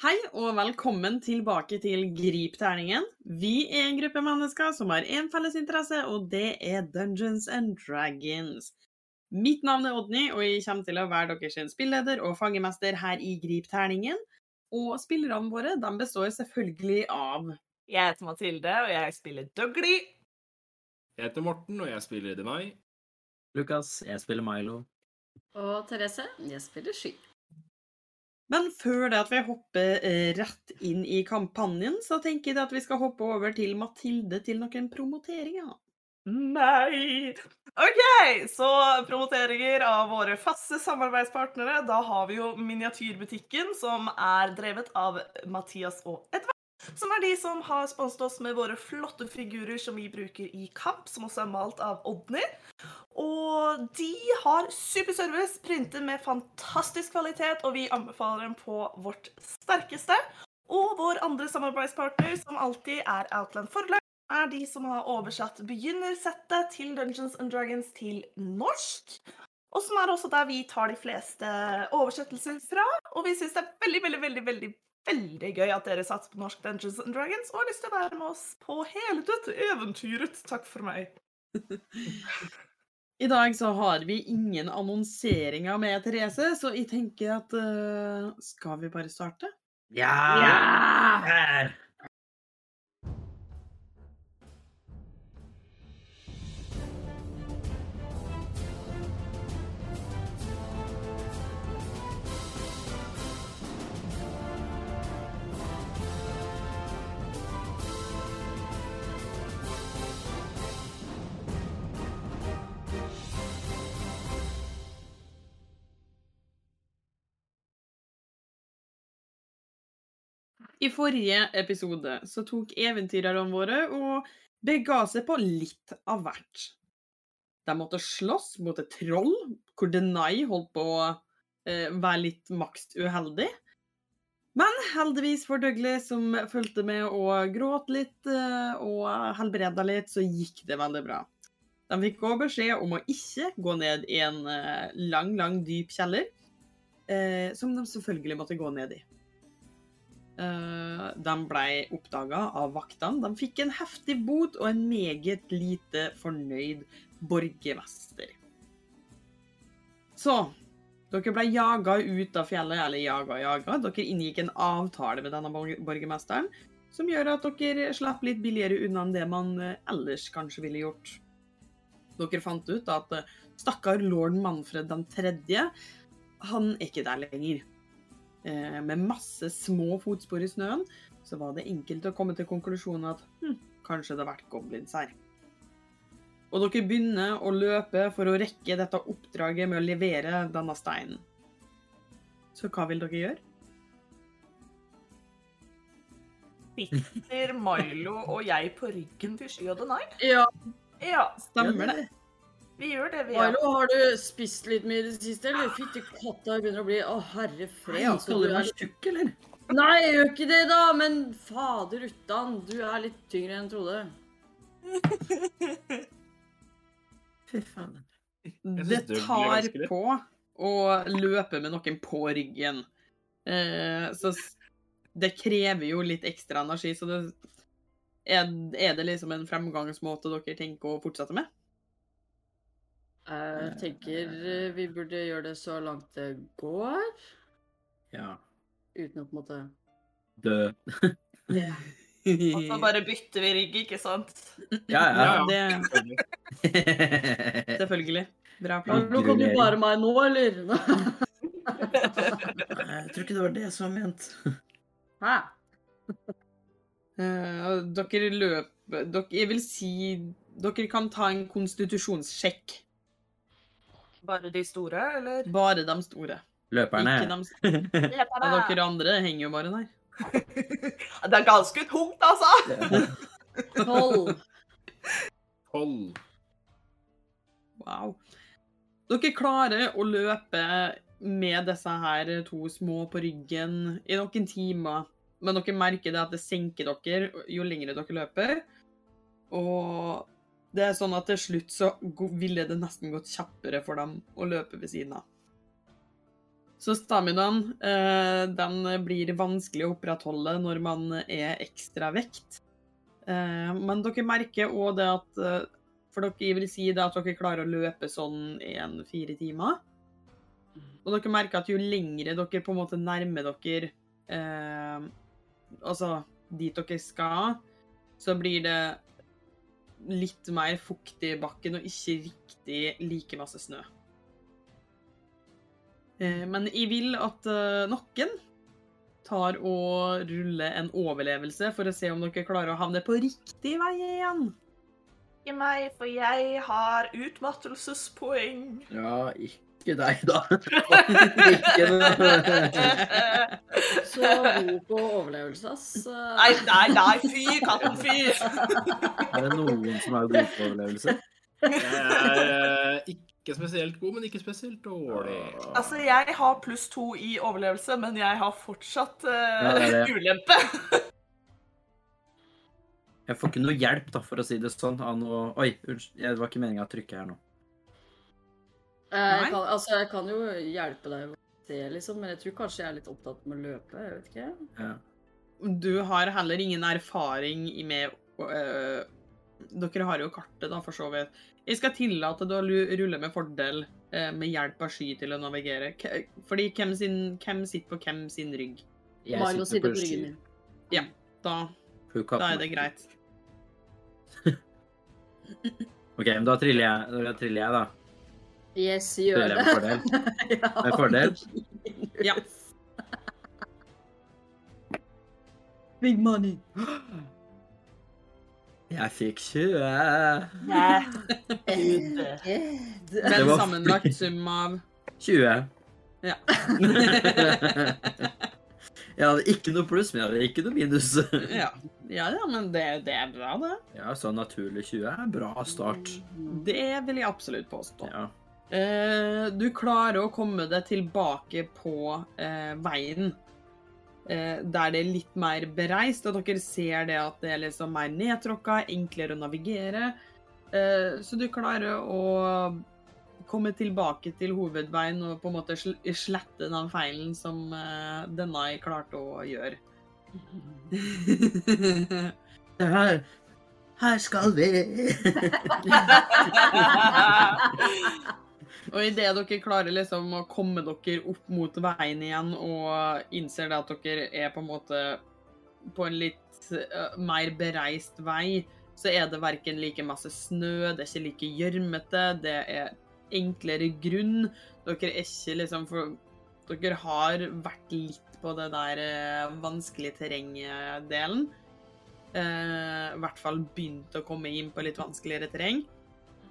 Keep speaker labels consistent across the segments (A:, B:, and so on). A: Hei og velkommen tilbake til Grip terningen. Vi er en gruppe mennesker som har én felles interesse, og det er Dungeons and Dragons. Mitt navn er Odny, og jeg kommer til å være deres spilleder og fangemester her i Grip terningen. Og spillerne våre de består selvfølgelig av
B: Jeg heter Mathilde, og jeg spiller Dougley.
C: Jeg heter Morten, og jeg spiller Denai.
D: Lukas, jeg spiller Milo.
E: Og Therese, jeg spiller sky.
A: Men før det at vi hopper eh, rett inn i kampanjen, så tenker jeg at vi skal hoppe over til Mathilde til noen promoteringer.
B: Nei! OK, så promoteringer av våre faste samarbeidspartnere. Da har vi jo Miniatyrbutikken, som er drevet av Mathias og Edvard. Som er de som har sponset oss med våre flotte figurer som vi bruker i kamp, som også er malt av Odny. Og de har superservice, printer med fantastisk kvalitet, og vi anbefaler dem på vårt sterkeste. Og vår andre samarbeidspartner, som alltid er Outland Forlag er de som har oversatt begynnersettet til Dungeons and Dragons til norsk. Og som er også der vi tar de fleste oversettelser fra. Og vi syns det er veldig, veldig, veldig, veldig veldig gøy at dere satser på norsk Dungeons and Dragons og har lyst til å være med oss på hele dette eventyret. Takk for meg.
A: I dag så har vi ingen annonseringer med Therese, så jeg tenker at eh, Skal vi bare starte?
D: Ja!
E: Ah.
D: Her!
A: I forrige episode så tok eventyrerne våre og bega seg på litt av hvert. De måtte slåss mot et troll, hvor Denai holdt på å eh, være litt maks uheldig. Men heldigvis for Dougley, som fulgte med og gråt litt eh, og helbreda litt, så gikk det veldig bra. De fikk også beskjed om å ikke gå ned i en eh, lang, lang, dyp kjeller, eh, som de selvfølgelig måtte gå ned i. Eh, de ble oppdaga av vaktene. De fikk en heftig bot og en meget lite fornøyd borgermester. Så dere ble jaga ut av fjellet, eller jaga og jaga. Dere inngikk en avtale med denne borg- borgermesteren som gjør at dere slapp litt billigere unna enn det man eh, ellers kanskje ville gjort. Dere fant ut at eh, stakkar lord Manfred den tredje, han er ikke der lenger. Eh, med masse små fotspor i snøen, så var det enkelt å komme til konklusjonen at hm, kanskje det har vært goblins her. Og dere begynner å løpe for å rekke dette oppdraget med å levere denne steinen. Så hva vil dere gjøre?
B: Sitter Milo og jeg på ryggen til Sky og Denai?
E: Ja,
B: Ja,
A: Stemmer det?
B: vi gjør det, vi. er.
E: Milo, har du spist litt mye i det siste, eller? Fytti katta, jeg begynner å bli Å, herre fred.
D: Fred,
E: altså,
D: skal du
E: du er
D: være tjukk, eller?
E: litt- Nei, jeg gjør ikke det, da! Men fader uttan, du er litt tyngre enn jeg trodde.
D: Fy faen.
C: Jeg
A: Det
C: synes det blir
A: tar
C: ganske lett.
A: på å løpe med noen på ryggen. Eh, så s- det krever jo litt ekstra energi, så det er, er det liksom en fremgangsmåte dere tenker å fortsette med?
E: Jeg tenker eh, vi burde gjøre det så langt det går,
D: Ja.
E: uten å på en måte
D: Dø.
B: Og så bare bytter vi rygg, ikke sant?
D: Ja, ja.
A: Ja, det
D: ja.
A: Selvfølgelig. Bra plan.
E: Nå kan du
D: Grunering.
E: bare meg nå, eller?
D: Jeg tror ikke det var det som var ment.
E: Hæ?
A: Eh, og dere løper dere, Jeg vil si dere kan ta en konstitusjonssjekk.
B: Bare de store, eller?
A: Bare de store.
D: Løperne.
A: Ikke de, s- ja, dere andre henger jo bare der.
B: Det er ganske tungt, altså.
E: Tolv.
C: Hold.
A: Wow. Dere klarer å løpe med disse her to små på ryggen i noen timer, men dere merker det at det senker dere jo lengre dere løper. Og det er sånn at til slutt så go- ville det nesten gått kjappere for dem å løpe ved siden av. Så staminaen eh, den blir vanskelig å opprettholde når man er ekstra vekt. Eh, men dere merker òg det at eh, For dere vil si det at dere klarer å løpe sånn en fire timer. Og dere merker at jo lengre dere på en måte nærmer dere eh, Altså dit dere skal, så blir det litt mer fuktig i bakken og ikke riktig like masse snø. Eh, Men jeg vil at eh, noen tar og ruller en overlevelse for å se om dere klarer å havne på riktig vei igjen.
B: Ikke meg, for jeg har utmattelsespoeng.
D: Ja, ikke deg, da. ikke det.
E: Så god på overlevelse, ass.
B: Nei, nei, nei, fy katten, fy!
D: Er det noen som er god på overlevelse?
C: Jeg er eh, ikke spesielt god, men ikke spesielt dårlig.
B: Altså, jeg har pluss to i overlevelse, men jeg har fortsatt eh,
D: Ja, det er det.
B: ulempe.
D: Jeg får ikke noe hjelp, da, for å si det sånn. Av noe... Oi, unnskyld. Det var ikke meninga å trykke her nå.
E: Eh,
A: Nei.
E: Jeg kan, altså, jeg kan jo hjelpe deg å se, liksom, men jeg tror kanskje jeg er litt opptatt med å løpe. Jeg vet ikke.
D: Ja.
A: Du har heller ingen erfaring i med eh, Dere har jo kartet, da, for så vidt. Jeg skal tillate deg å lu- rulle med fordel eh, med hjelp av sky til å navigere. K fordi hvem, sin, hvem sitter på hvem sin rygg?
D: Jeg
E: Mario
D: sitter
E: sitter på ryggen min.
A: Da,
D: Hun katten.
A: da er det greit.
D: OK, men da triller jeg, da. Triller jeg, da.
E: Yes,
D: Triller
E: gjør
D: jeg med fordel.
E: det. Ja.
D: Med fordel.
A: Ja.
E: Big money.
D: Jeg fikk 20.
B: Nei.
E: Good.
A: Den
D: var-
A: sammenlagt sum av
D: 20.
A: Ja.
D: jeg hadde ikke noe pluss, men jeg hadde ikke noe minus.
A: Ja, ja, ja men det, det er bra, det.
D: Ja, så naturlig 20 er en bra start.
A: Det vil jeg absolutt påstå.
D: Ja.
A: Eh, du klarer å komme deg tilbake på eh, veien. Eh, der det er litt mer bereist, og dere ser det at det er liksom mer nedtråkka, enklere å navigere. Eh, så du klarer å komme tilbake til hovedveien og på en måte sl slette den feilen som eh, denne klarte å gjøre.
D: Det Her, her skal vi.
A: Og idet dere klarer liksom å komme dere opp mot veien igjen og innser det at dere er på en måte på en litt eh, mer bereist vei, så er det verken like masse snø, det er ikke like gjørmete, det er enklere grunn. Dere er ikke liksom for Dere har vært litt på det der eh, vanskelige terrenget-delen. Eh, I hvert fall begynt å komme inn på litt vanskeligere terreng.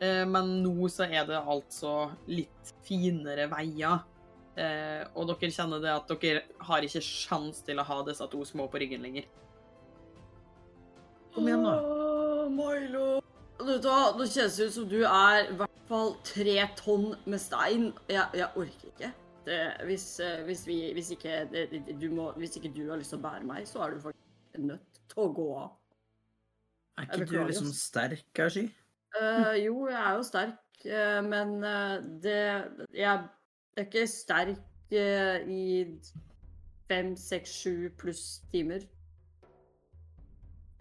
A: Eh, Men nå så er det altså litt finere veier. Eh, og dere kjenner det at dere har ikke sjans til å ha disse to små på ryggen lenger.
D: Kom igjen, da.
E: Åh, Milo. Vet du hva, Nå kjennes det ut som du er i hvert fall tre tonn med stein. Jeg, jeg orker ikke. Det, hvis, eh, hvis, vi, hvis, ikke, det, det- du må, hvis ikke du har lyst til å bære meg, så er du faktisk nødt til å gå av.
D: Er ikke du liksom sterk, kanskje?
E: Eh, jo, jeg er jo sterk, eh, men eh, det Jeg er ikke sterk eh, i fem, seks, sju pluss timer.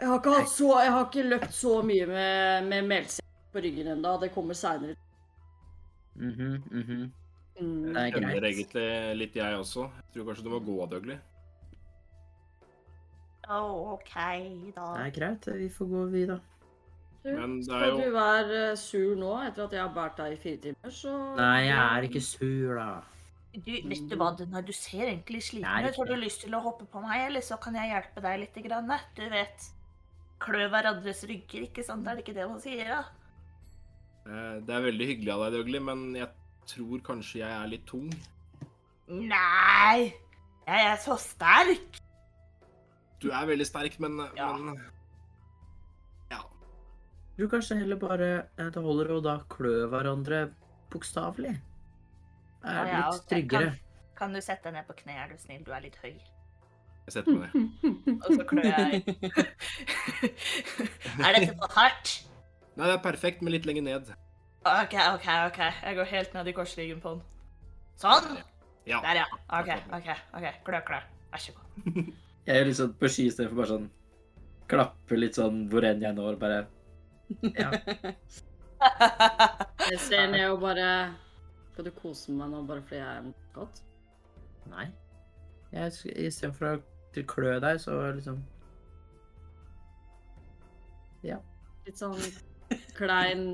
E: Jeg har ikke, hatt så, jeg har ikke løpt så mye med, med melsekk på ryggen ennå. Det kommer seinere.
D: Mhm, mhm.
E: Mm.
C: Jeg
D: Det er
C: kjenner
D: greit.
C: egentlig litt, jeg også. Jeg tror kanskje du må gå av, Dougley.
B: Å, OK, da.
D: Det er greit, vi får gå, vi, da.
C: Men det er
E: Skal
C: jo-
E: du være eh, sur nå, etter at jeg har båret deg i fire timer, så
D: Nei, jeg er ikke sur, da.
B: Du, vet du hva, Dina, du ser egentlig sliten
D: Nei,
B: ut. Har du
D: ikke.
B: lyst til å hoppe på meg, eller så kan jeg hjelpe deg litt? Grann, du vet. Klø hverandres rygger, ikke sant? Er det ikke det man sier, da?
C: Eh, Det er veldig hyggelig av deg, Dougley, men jeg tror kanskje jeg er litt tung.
B: Nei! Jeg er så sterk!
C: Du er veldig sterk, men, eh,
B: Ja.
C: men Ja.
D: Du kanskje heller bare eh, Det holder å da klø hverandre bokstavelig. Det
B: Ja,
D: er
B: ja,
D: litt
B: jeg kan-
D: tryggere.
B: Kan du sette deg ned på kne, er du snill? Du er litt høy.
C: Jeg setter meg ned.
B: Og så klør jeg. er dette for hardt?
C: Nei, det er perfekt, men litt lenger ned.
B: OK, OK, OK. Jeg går helt ned i korsryggen på den. Sånn!
C: Ja.
B: Der, ja. OK, ok, ok. klø, klø. Vær så god.
D: Jeg gjør litt sånn på ski istedenfor bare sånn Klappe litt sånn hvor enn jeg når, bare Ja.
E: Jeg ser ned og bare Skal du kose med meg nå bare fordi jeg er godt?
D: Nei. Jeg, sk- istedenfor å klø deg, så liksom
E: Litt sånn klein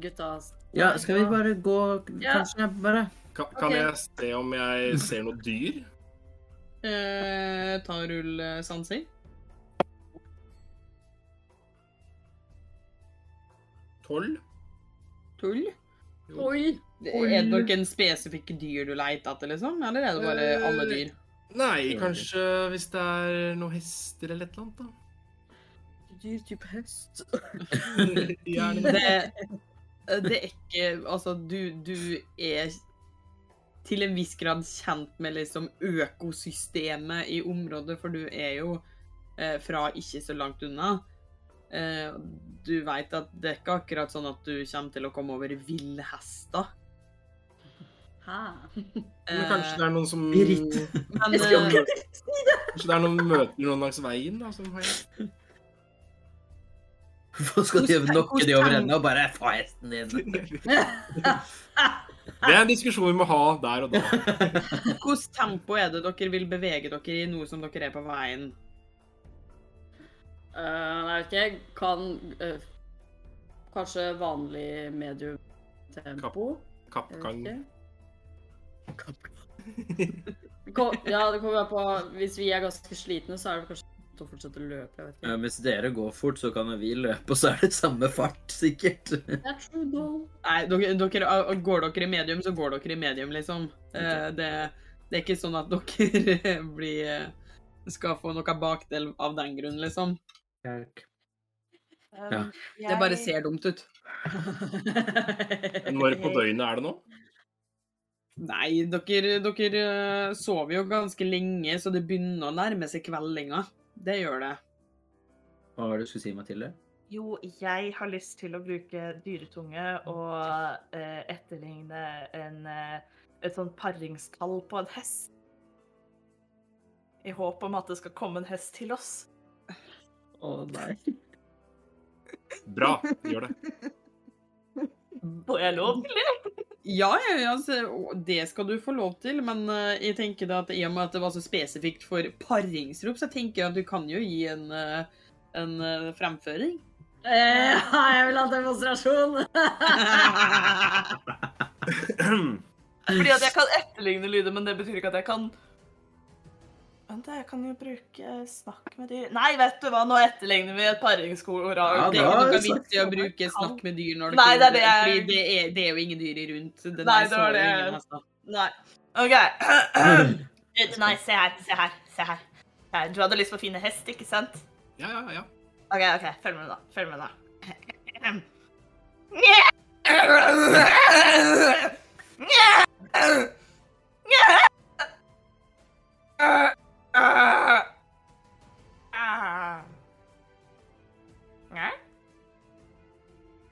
E: gutta
D: Ja, skal vi bare gå
E: Ja.
D: Kanskje bare
C: Kan, kan
E: Ok.
C: jeg se om jeg ser noe dyr?
A: Eh, ta og rull eh, sansing.
C: Tolv?
A: Tull.
E: Oi!
A: Er det noen spesifikke dyr du leter etter, liksom? Eller er det bare
C: Eh,
A: alle dyr?
C: Nei, kanskje hvis det er noen hester eller et eller annet, da.
E: Dyr type hest.
C: Gjerne.
A: Det, det er ikke Altså, du, du er til en viss grad kjent med liksom økosystemet i området, for du er jo eh, fra ikke så langt unna. Eh, du veit at det er ikke akkurat sånn at du kommer til å komme over villhester.
E: Hæ?
C: Men kanskje det er noen som
D: Birgit.
A: Men,
E: Jeg skulle
A: eh,
E: akkurat si det!
C: Kanskje det er noen møter noen langs veien, da, som har hest?
D: Hvorfor skal de
A: Hvordan-
D: knokke de
A: hvordan-
D: over ende og bare få hesten din?
C: Det er en diskusjon vi må ha der og da.
A: Hvilket tempo er det dere vil bevege dere i nå som dere er på veien?
E: Eh, nei, jeg vet ikke. jeg Kan eh, Kanskje vanlig medium tempo? Jeg vet
C: Kappgang.
E: ikke. Kom, ja, det kommer an på Hvis vi er ganske slitne, så er det kanskje dumt å fortsette å løpe. Jeg vet ikke.
D: Ja, hvis dere går fort, så kan jo vi løpe, og så er det samme fart, sikkert.
E: Det er true, though.
A: Nei, dere, dere, ah, går dere i medium, så går dere i medium, liksom. Eh, Det, det er ikke sånn at dere blir eh, skal få noe bakdel av den grunn, liksom.
B: Um,
A: Det
D: Ja.
A: bare ser dumt ut.
C: Når på døgnet er det nå?
A: Nei, dere, dere eh, sover jo ganske lenge, så det begynner å nærme seg kveldinga. Det gjør det.
D: Hva var det du skulle si, Mathilde?
B: Jo, jeg har lyst til å bruke dyretunge og eh, etterligne en, eh, et sånt paringstall på en hest. I håp om at det skal komme en hest til oss.
D: Å, nei.
C: Bra, gjør det.
B: Får jeg lov til det?
A: Ja, ja, ja, altså, og det skal du få lov til, men eh, jeg tenker da at i og med at det var så spesifikt for paringsrop, så tenker jeg at du kan jo gi en, eh, en eh, fremføring.
E: Eh, ja, jeg vil ha demonstrasjon!
B: Fordi at jeg kan etterligne lyder, men det betyr ikke at jeg kan Vent, da, jeg kan jo bruke eh, snakk med dyr Nei, vet du hva, nå etterligner vi et paringskor.
D: Ja,
A: Det er
D: bra.
A: ikke noe
D: sagt
A: vits i å
D: det.
A: bruke snakk med dyr når
B: Nei, det er
A: kunne-
B: det jeg-
A: fordi det, er, det er jo ingen dyr i rundt. Den
B: Nei,
A: der
B: det var
A: så jo
B: det.
A: ingen altså. hester.
B: Nei. OK. Nei, se her. Se her. Se her. Se her. Du hadde lyst på fine hest, ikke sant?
C: Ja, ja, ja.
B: OK, ok, følg med, da. Følg med, da.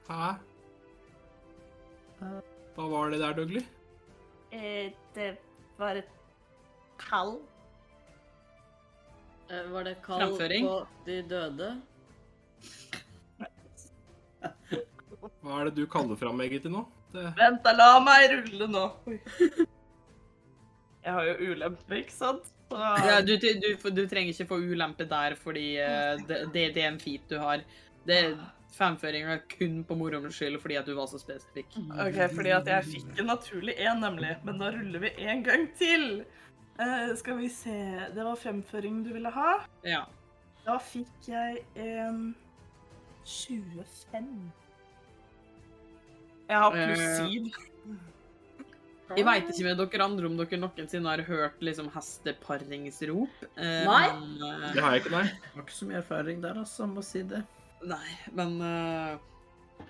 C: Hæ? Hva var det der, Dougley?
B: Eh, Det var et kall.
E: Eh, Var det kall
A: Framføring.
E: på de døde?
C: Hva er det du kaller fram egentlig nå? Det...
B: Vent, da, la meg rulle nå. Oi. Jeg har jo ulempe, ikke sant? Så...
A: Ja, du, du, du, du trenger ikke få ulempe der, fordi eh, det, det, det er en feat du har. Det er fremføringa kun på moroens skyld, fordi at du var så spesifikk.
B: OK, fordi at jeg fikk en naturlig én, nemlig. Men da ruller vi en gang til. Eh, skal vi se Det var fremføring du ville ha.
A: Ja.
B: Da fikk jeg en 25. Jeg har pluss
A: Eh,
B: 7.
A: Jeg veit ikke med dere andre om dere noensinne har hørt liksom hesteparingsrop. eh,
E: Nei.
A: men, eh,
C: Det har jeg ikke, nei.
D: Har ikke så mye erfaring der, altså, må si det.
A: Nei, men eh,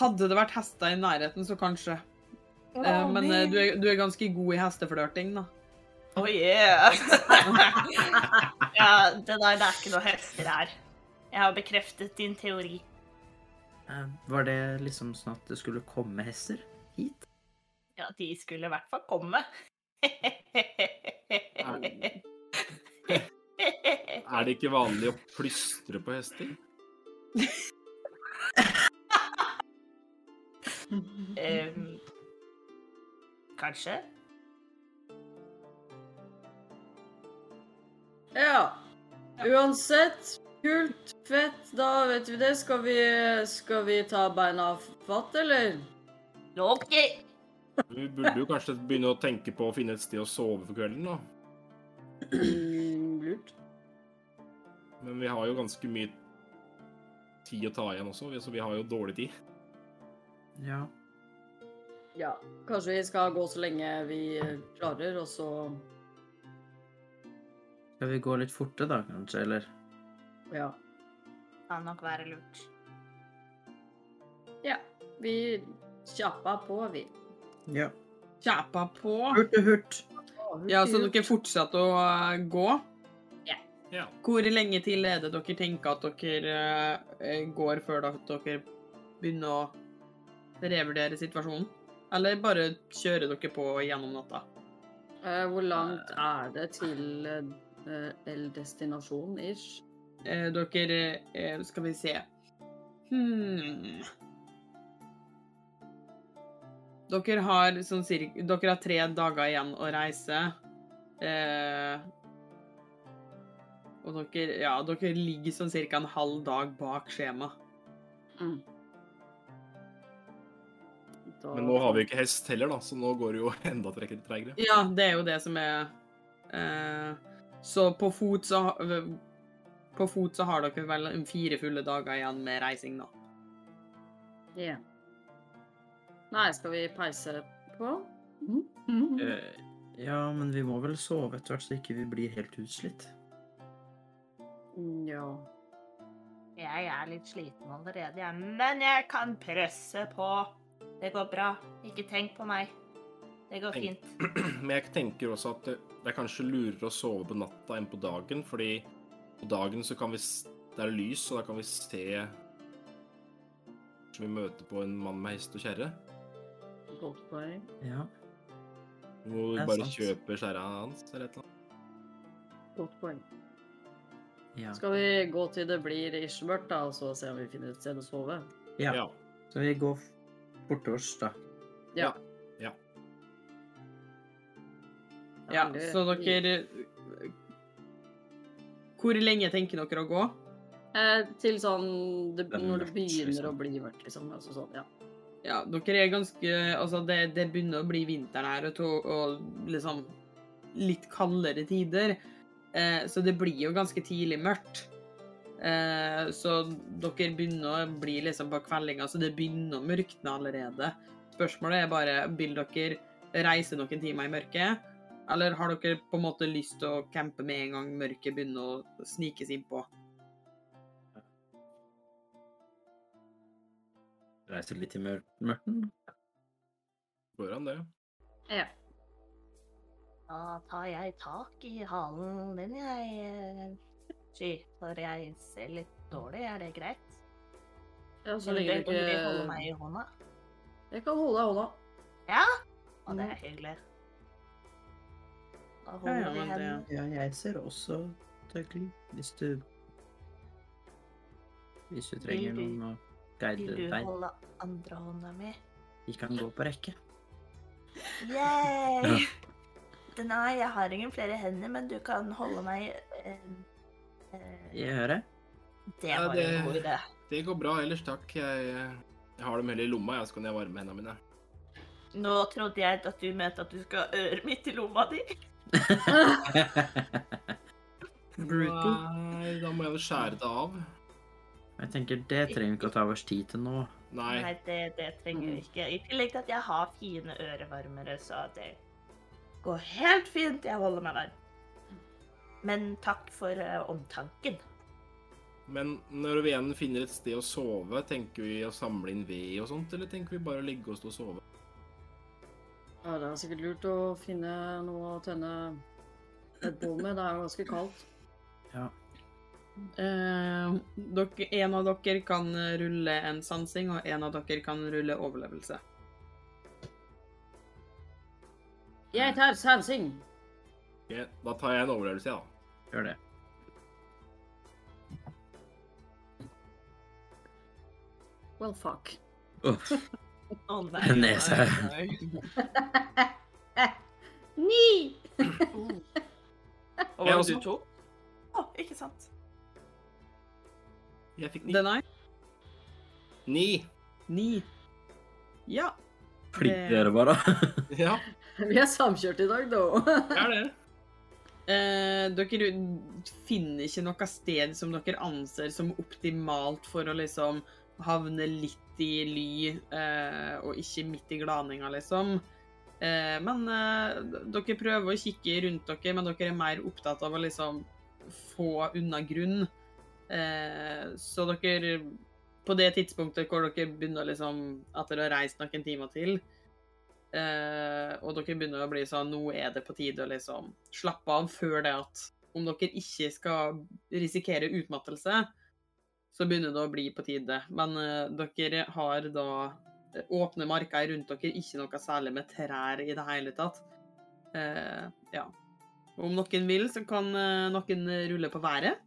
A: Hadde det vært hester i nærheten, så kanskje. Eh, men eh, du, er, du er ganske god i hesteflørting, da.
B: Oh yeah! ja, det der det er ikke noe hester her. Jeg har bekreftet din teori.
D: Eh, Var det liksom sånn at det skulle komme hester hit?
B: Ja, de skulle i hvert fall komme.
C: Er det ikke vanlig å plystre på hester?
B: Ehm, kanskje?
E: Ja. Uansett. Kult. Fett. Da vet vi det. Skal vi, skal vi ta beina fatt, eller?
B: Loki!
C: Vi burde jo kanskje begynne å tenke på å finne et sted å sove for kvelden, da.
E: Mm, Lurt.
C: Men vi har jo ganske mye tid å ta igjen også, så vi har jo dårlig tid.
D: Ja.
E: Ja. Kanskje vi skal gå så lenge vi eh, klarer, og så
D: Skal vi gå litt forte da, kanskje, eller?
E: Ja.
B: Kan nok være lurt.
E: Vi kjappa på, vi.
D: Ja.
A: Kjæpa på.
D: Hurt og hurt.
A: Ja, så dere fortsatte å eh, gå.
C: Ja.
A: Hvor lenge til er det dere tenker at dere eh, går før da at dere begynner å revurdere situasjonen? Eller bare kjører dere på gjennom natta?
E: Eh, hvor langt er det til eh, el destinasjon, ish?
A: Eh, dere eh, Skal vi se hmm. Dere har sånn cirka Dere har tre dager igjen å reise. Eh, og dere Ja, dere ligger sånn cirka en halv dag bak skjema.
E: Mm. Da-
C: Men nå har vi jo ikke hest heller, da, så nå går det jo enda treg- tregere.
A: Ja, det er jo det som er eh, Så på fot så ha- På fot så har dere vel en fire fulle dager igjen med reising, da.
E: Ja. Nei, skal vi peise på? Mm.
D: Eh, Ja, men vi må vel sove etter hvert, så ikke vi blir helt utslitt.
E: Ja.
B: Jeg er litt sliten allerede, jeg, men jeg kan presse på. Det går bra. Ikke tenk på meg. Det går
C: Tenk.
B: fint.
C: Men jeg tenker også at det det er kanskje lurere å sove på natta enn på dagen, fordi på dagen så kan vi s- Det er lys, og da kan vi se Kanskje vi møter på en mann med hest og kjerre.
E: Godt poeng.
D: Ja.
C: Hvor vi
D: Det er
C: bare
D: sant.
C: kjøper kjerra hans eller et eller annet.
E: Godt poeng.
D: Ja.
E: Skal vi gå til det blir ish mørkt, da, og så se om vi finner et sted å sove?
D: Ja.
C: Ja.
D: Så vi går bortover, da.
E: Ja.
C: Ja.
A: Ja,
E: Eller-
A: så dere Hvor lenge tenker dere å gå?
E: Eh, Til sånn det,
D: Det er
E: Når det
D: mørkt,
E: begynner
D: liksom.
E: å bli mørkt, liksom. Altså sånn, ja.
A: Ja, dere er ganske Altså, det, det begynner å bli vinteren her, og, to- og liksom litt kaldere tider. Eh, så det blir jo ganske tidlig mørkt. Eh, så dere begynner å bli liksom på kveldinga, så det begynner å mørkne allerede. Spørsmålet er bare vil dere reise noen timer i mørket, eller har dere på en måte lyst til å campe med en gang mørket begynner å snikes innpå?
D: Reiser litt i mør- mørten.
C: Går an, det.
B: Da tar jeg tak i halen din, jeg. eh, Sky, for jeg ser litt dårlig. Er det greit?
E: ja så
B: Eller
E: lenge det
B: vil du holde
E: ikke
B: meg i hånda?
E: Jeg kan holde deg i hånda.
B: Ja? Å, det er hyggelig. Da holder
A: ja, men
B: vi
A: det-
B: hendene.
D: Ja, jeg ser også døgn. Hvis du Hvis du trenger
B: du-
D: noen å
B: Vil
D: guide
B: du
D: deg.
B: holde andre hånda mi?
D: Vi kan gå på rekke.
B: Yay! Den er, jeg har ingen flere hender, men du kan holde meg eh, eh,
D: I øret.
B: Det
C: Ja,
B: var
C: det-
B: en god idé.
C: Det går bra ellers, takk. Jeg, jeg har dem heller i lomma, jeg, så kan jeg varme hendene mine.
B: Nå trodde jeg at du mente at du skulle ha øret mitt i lomma di.
D: Brutal.
C: Nei, da må jeg jo skjære det av.
D: Jeg tenker det trenger vi ikke å ta vår tid til nå.
C: Nei.
B: Nei, det, det trenger vi ikke. I tillegg til at jeg har fine ørevarmere, så det går helt fint. Jeg holder meg varm. Men takk for eh, omtanken.
C: Men når vi igjen finner et sted å sove, tenker vi å samle inn ved og sånt, eller tenker vi bare å ligge oss til å sove?
E: Ja, det er sikkert lurt å finne noe å tenne et bål med. Det er jo ganske kaldt.
D: Ja.
A: Eh, dere, en av dere kan rulle en sansing, og en av dere kan rulle overlevelse.
E: Jeg tar sansing.
C: Ok, da tar jeg en overlevelse, jeg, da.
D: Gjør det.
E: Well, fuck.
D: Uff.
B: Å nei.
D: En nese.
B: nei, nei.
E: Eh, Ni!
B: Og hva
C: Jeg
B: var det
C: også.
B: du tok? Å, ikke sant.
C: Jeg fikk ni.
A: Den er
C: Ni!
A: ni. Ja.
D: Flinke dere var, da.
C: Ja,
E: Vi er samkjørt i dag, da.
C: det er det.
A: Eh, dere finner ikke noe sted som dere anser som optimalt for å liksom havne litt i ly, eh, og ikke midt i glaninga, liksom. Eh, men eh, d- dere prøver å kikke rundt dere, men dere er mer opptatt av å liksom få unna grunn. Eh, så dere På det tidspunktet hvor dere begynner liksom Etter å ha reist noen timer til, Eh, og dere begynner å bli sånn Nå er det på tide å liksom slappe av før det at Om dere ikke skal risikere utmattelse, så begynner det å bli på tide. Men eh, dere har da eh, åpne marker rundt dere, ikke noe særlig med trær i det hele tatt. Eh, ja. Om noen vil, så kan eh, noen rulle på været.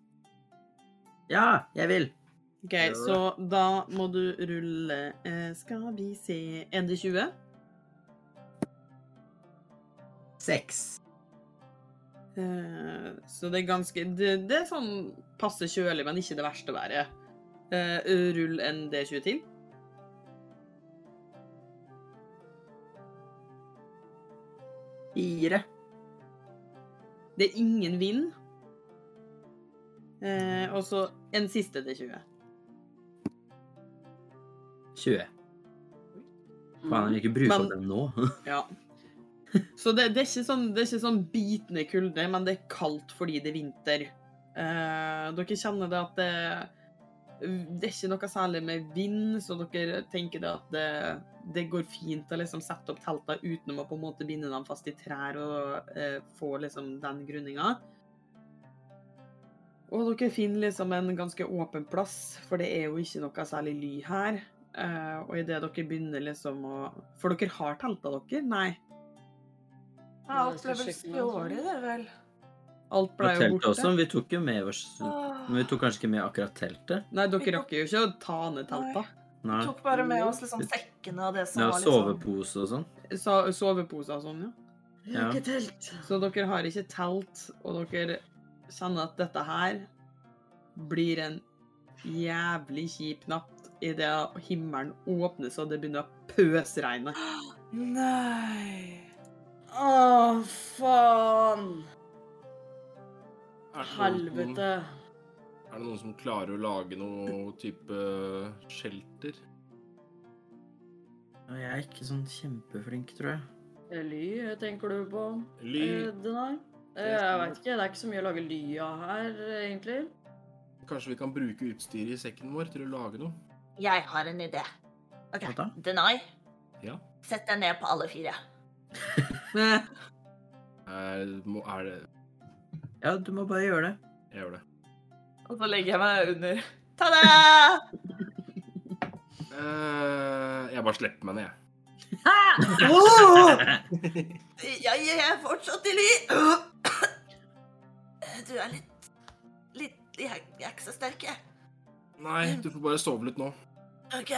D: Ja, jeg vil.
A: OK, så da må du rulle eh, Skal vi se ND20?
D: Seks.
A: Eh, Så det er ganske Det, det er sånn passe kjølig, men ikke det verste været. Eh, rull en D20 til.
D: Fire.
A: Det er ingen vind. Eh, og så en siste D20.
D: 20. Faen, jeg vil ikke bruke
A: Men-
D: opp den nå.
A: Ja. Så det, det, er ikke sånn, det er ikke sånn bitende kulde, men det er kaldt fordi det er vinter. Eh, dere kjenner det at det, det er ikke noe særlig med vind, så dere tenker det at det, det går fint å liksom sette opp teltene uten å på en måte binde dem fast i trær og eh, få liksom den grunninga. Og dere finner liksom en ganske åpen plass, for det er jo ikke noe særlig ly her. Eh, og idet dere begynner liksom å For dere har telta dere? Nei.
B: Ja, alt ble vel
E: Jeg skal sjekke noe
B: stjålet, det vel.
A: Alt
D: Og
A: ble jo
D: teltet
A: borte.
D: også. men Vi tok jo med oss
B: Åh.
D: Men vi tok kanskje ikke med akkurat teltet.
A: Nei, dere rakk jo ikke å ta ned telta.
D: Nei.
B: Tok bare med oss liksom sekkene og det som
D: Med
B: var
D: å
B: liksom
D: sovepose og sånn.
A: Sa- Soveposer og sånn, ja.
E: Jeg har
D: Ja.
E: ikke telt.
A: Så dere har ikke telt, og dere kjenner at dette her blir en jævlig kjip natt idet himmelen åpnes og det begynner å pøsregne.
B: Nei.
E: Å, faen.
C: Er det noen som-
E: Helvete.
C: Er det noen som klarer å lage noe type eh, shelter?
D: Og jeg er ikke sånn kjempeflink, tror jeg.
E: Ly, tenker du på?
C: Ly
E: Eh, Den her? Eh, Jeg veit ikke. Det er ikke så mye å lage ly av her, egentlig.
C: Kanskje vi kan bruke utstyret i sekken vår til å lage noe?
F: Jeg har en idé. OK.
D: Hva da?
F: Denai,
C: Ja.
F: sett deg ned på alle fire.
A: Eh,
C: Er, må, er det
D: Ja, du må bare gjøre det.
C: Jeg gjør det.
B: Og så legger jeg meg under.
F: Ta det!
C: Eh, jeg bare slipper meg ned, jeg.
F: Jeg, jeg er fortsatt i ly. Du er litt Litt Jeg, jeg er ikke så sterk, jeg.
C: Nei, du får bare sove litt nå.
F: OK.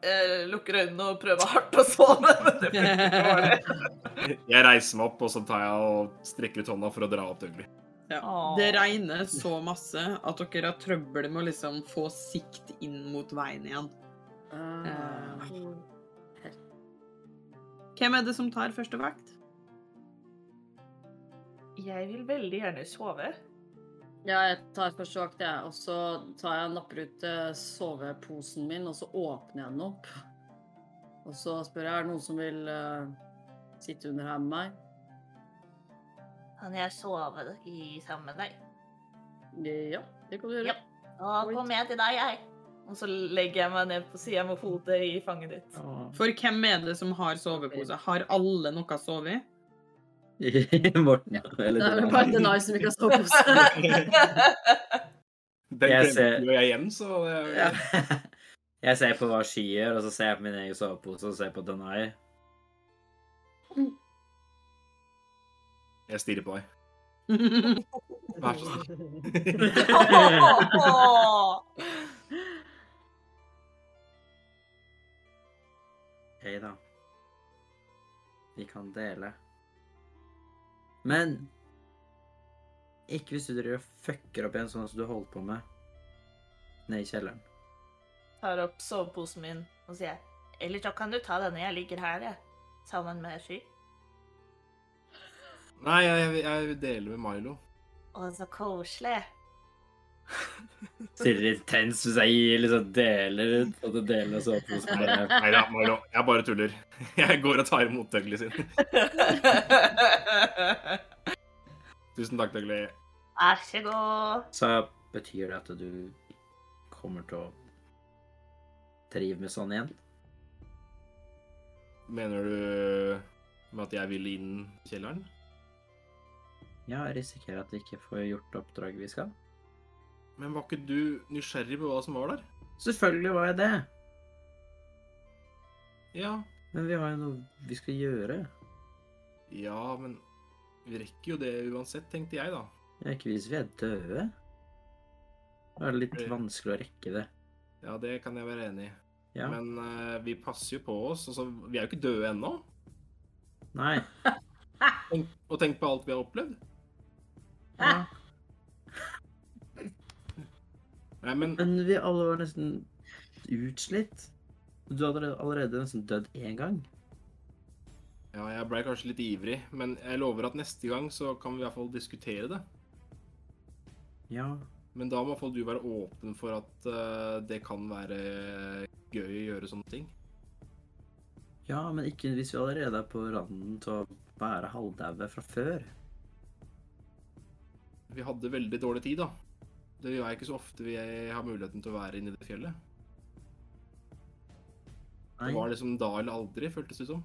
B: Jeg lukker øynene og prøver hardt å sove, men det blir ikke dårlig.
C: Jeg reiser meg opp, og så tar jeg og strekker ut hånda for å dra opp Dougley.
A: ja.
B: Åh.
A: Det regner så masse at dere har trøbbel med å liksom få sikt inn mot veien igjen.
E: Ah.
A: Hvem er det som tar første vakt?
B: Jeg vil veldig gjerne sove.
E: Ja, jeg tar først vakt, jeg. Og så tar jeg og napper ut eh, soveposen min, og så åpner jeg den opp. Og så spør jeg er det noen som vil eh, sitte under her med meg.
F: Kan jeg sove i sammen med deg?
E: Ja, det kan du gjøre.
F: Ja. Da kommer jeg til deg, jeg.
B: Og så legger jeg meg ned på sida med hodet i fanget ditt.
A: For hvem er det som har sovepose? Har alle noe å sove i?
D: Morten. Eller
E: Det er vel
D: Donald.
E: bare Denai som ikke har sovepose.
C: Den
D: Jeg
C: glemte
D: ser-
C: jo jeg igjen, så det,
D: Ja. Jeg ser på hva Sky gjør, og så ser jeg på min egen sovepose, og så ser jeg på Denai.
C: Jeg stirrer på deg. Vær så snill.
D: Hei da. Vi kan dele. Men ikke hvis du driver og fucker opp igjen sånn som du holdt på med nede i kjelleren.
F: Tar opp soveposen min og sier Eller så kan du ta denne, jeg ligger her, jeg. Sammen med Sky.
C: Nei, jeg, jeg deler med Milo.
F: Å, så koselig.
D: Stirrer intens hvis jeg gir, liksom deler ut og du deler soveposen. med-
C: Nei da, Milo. Jeg bare tuller. Jeg går og tar imot Dougley sin. Tusen takk, Dougley.
F: Vær så god.
D: Så betyr det at du kommer til å drive med sånn igjen?
C: Mener du med at jeg vil inn i kjelleren?
D: Ja, jeg risikerer at vi ikke får gjort oppdraget vi skal.
C: Men var ikke du nysgjerrig på hva som var der?
D: Selvfølgelig var jeg det,
C: Ja.
D: men vi har jo noe vi skal gjøre.
C: Ja, men vi rekker jo det uansett, tenkte jeg, da.
D: Ja, ikke hvis vi er døde. Da er det
C: Eh.
D: litt vanskelig å rekke det.
C: Ja, det kan jeg være enig i.
D: Ja.
C: Men eh, vi passer jo på oss. Altså, vi er jo ikke døde ennå.
D: Nei.
C: Tenk, og tenk på alt vi har opplevd.
D: Ja.
C: Nei, men
D: Men vi alle var nesten utslitt. Du hadde allerede- allerede nesten dødd én gang.
C: Ja, jeg ble kanskje litt ivrig. Men jeg lover at neste gang så kan vi i hvert fall diskutere det.
D: Ja.
C: Men da må i hvert fall du være åpen for at eh, det kan være gøy å gjøre sånne ting.
D: Ja, men ikke hvis vi allerede er på randen til å være halvdaue fra før.
C: Vi hadde veldig dårlig tid, da. Det gjør jeg ikke så ofte vi har muligheten til å være inne i det fjellet. Det
D: Nei.
C: var liksom da eller aldri, føltes det som.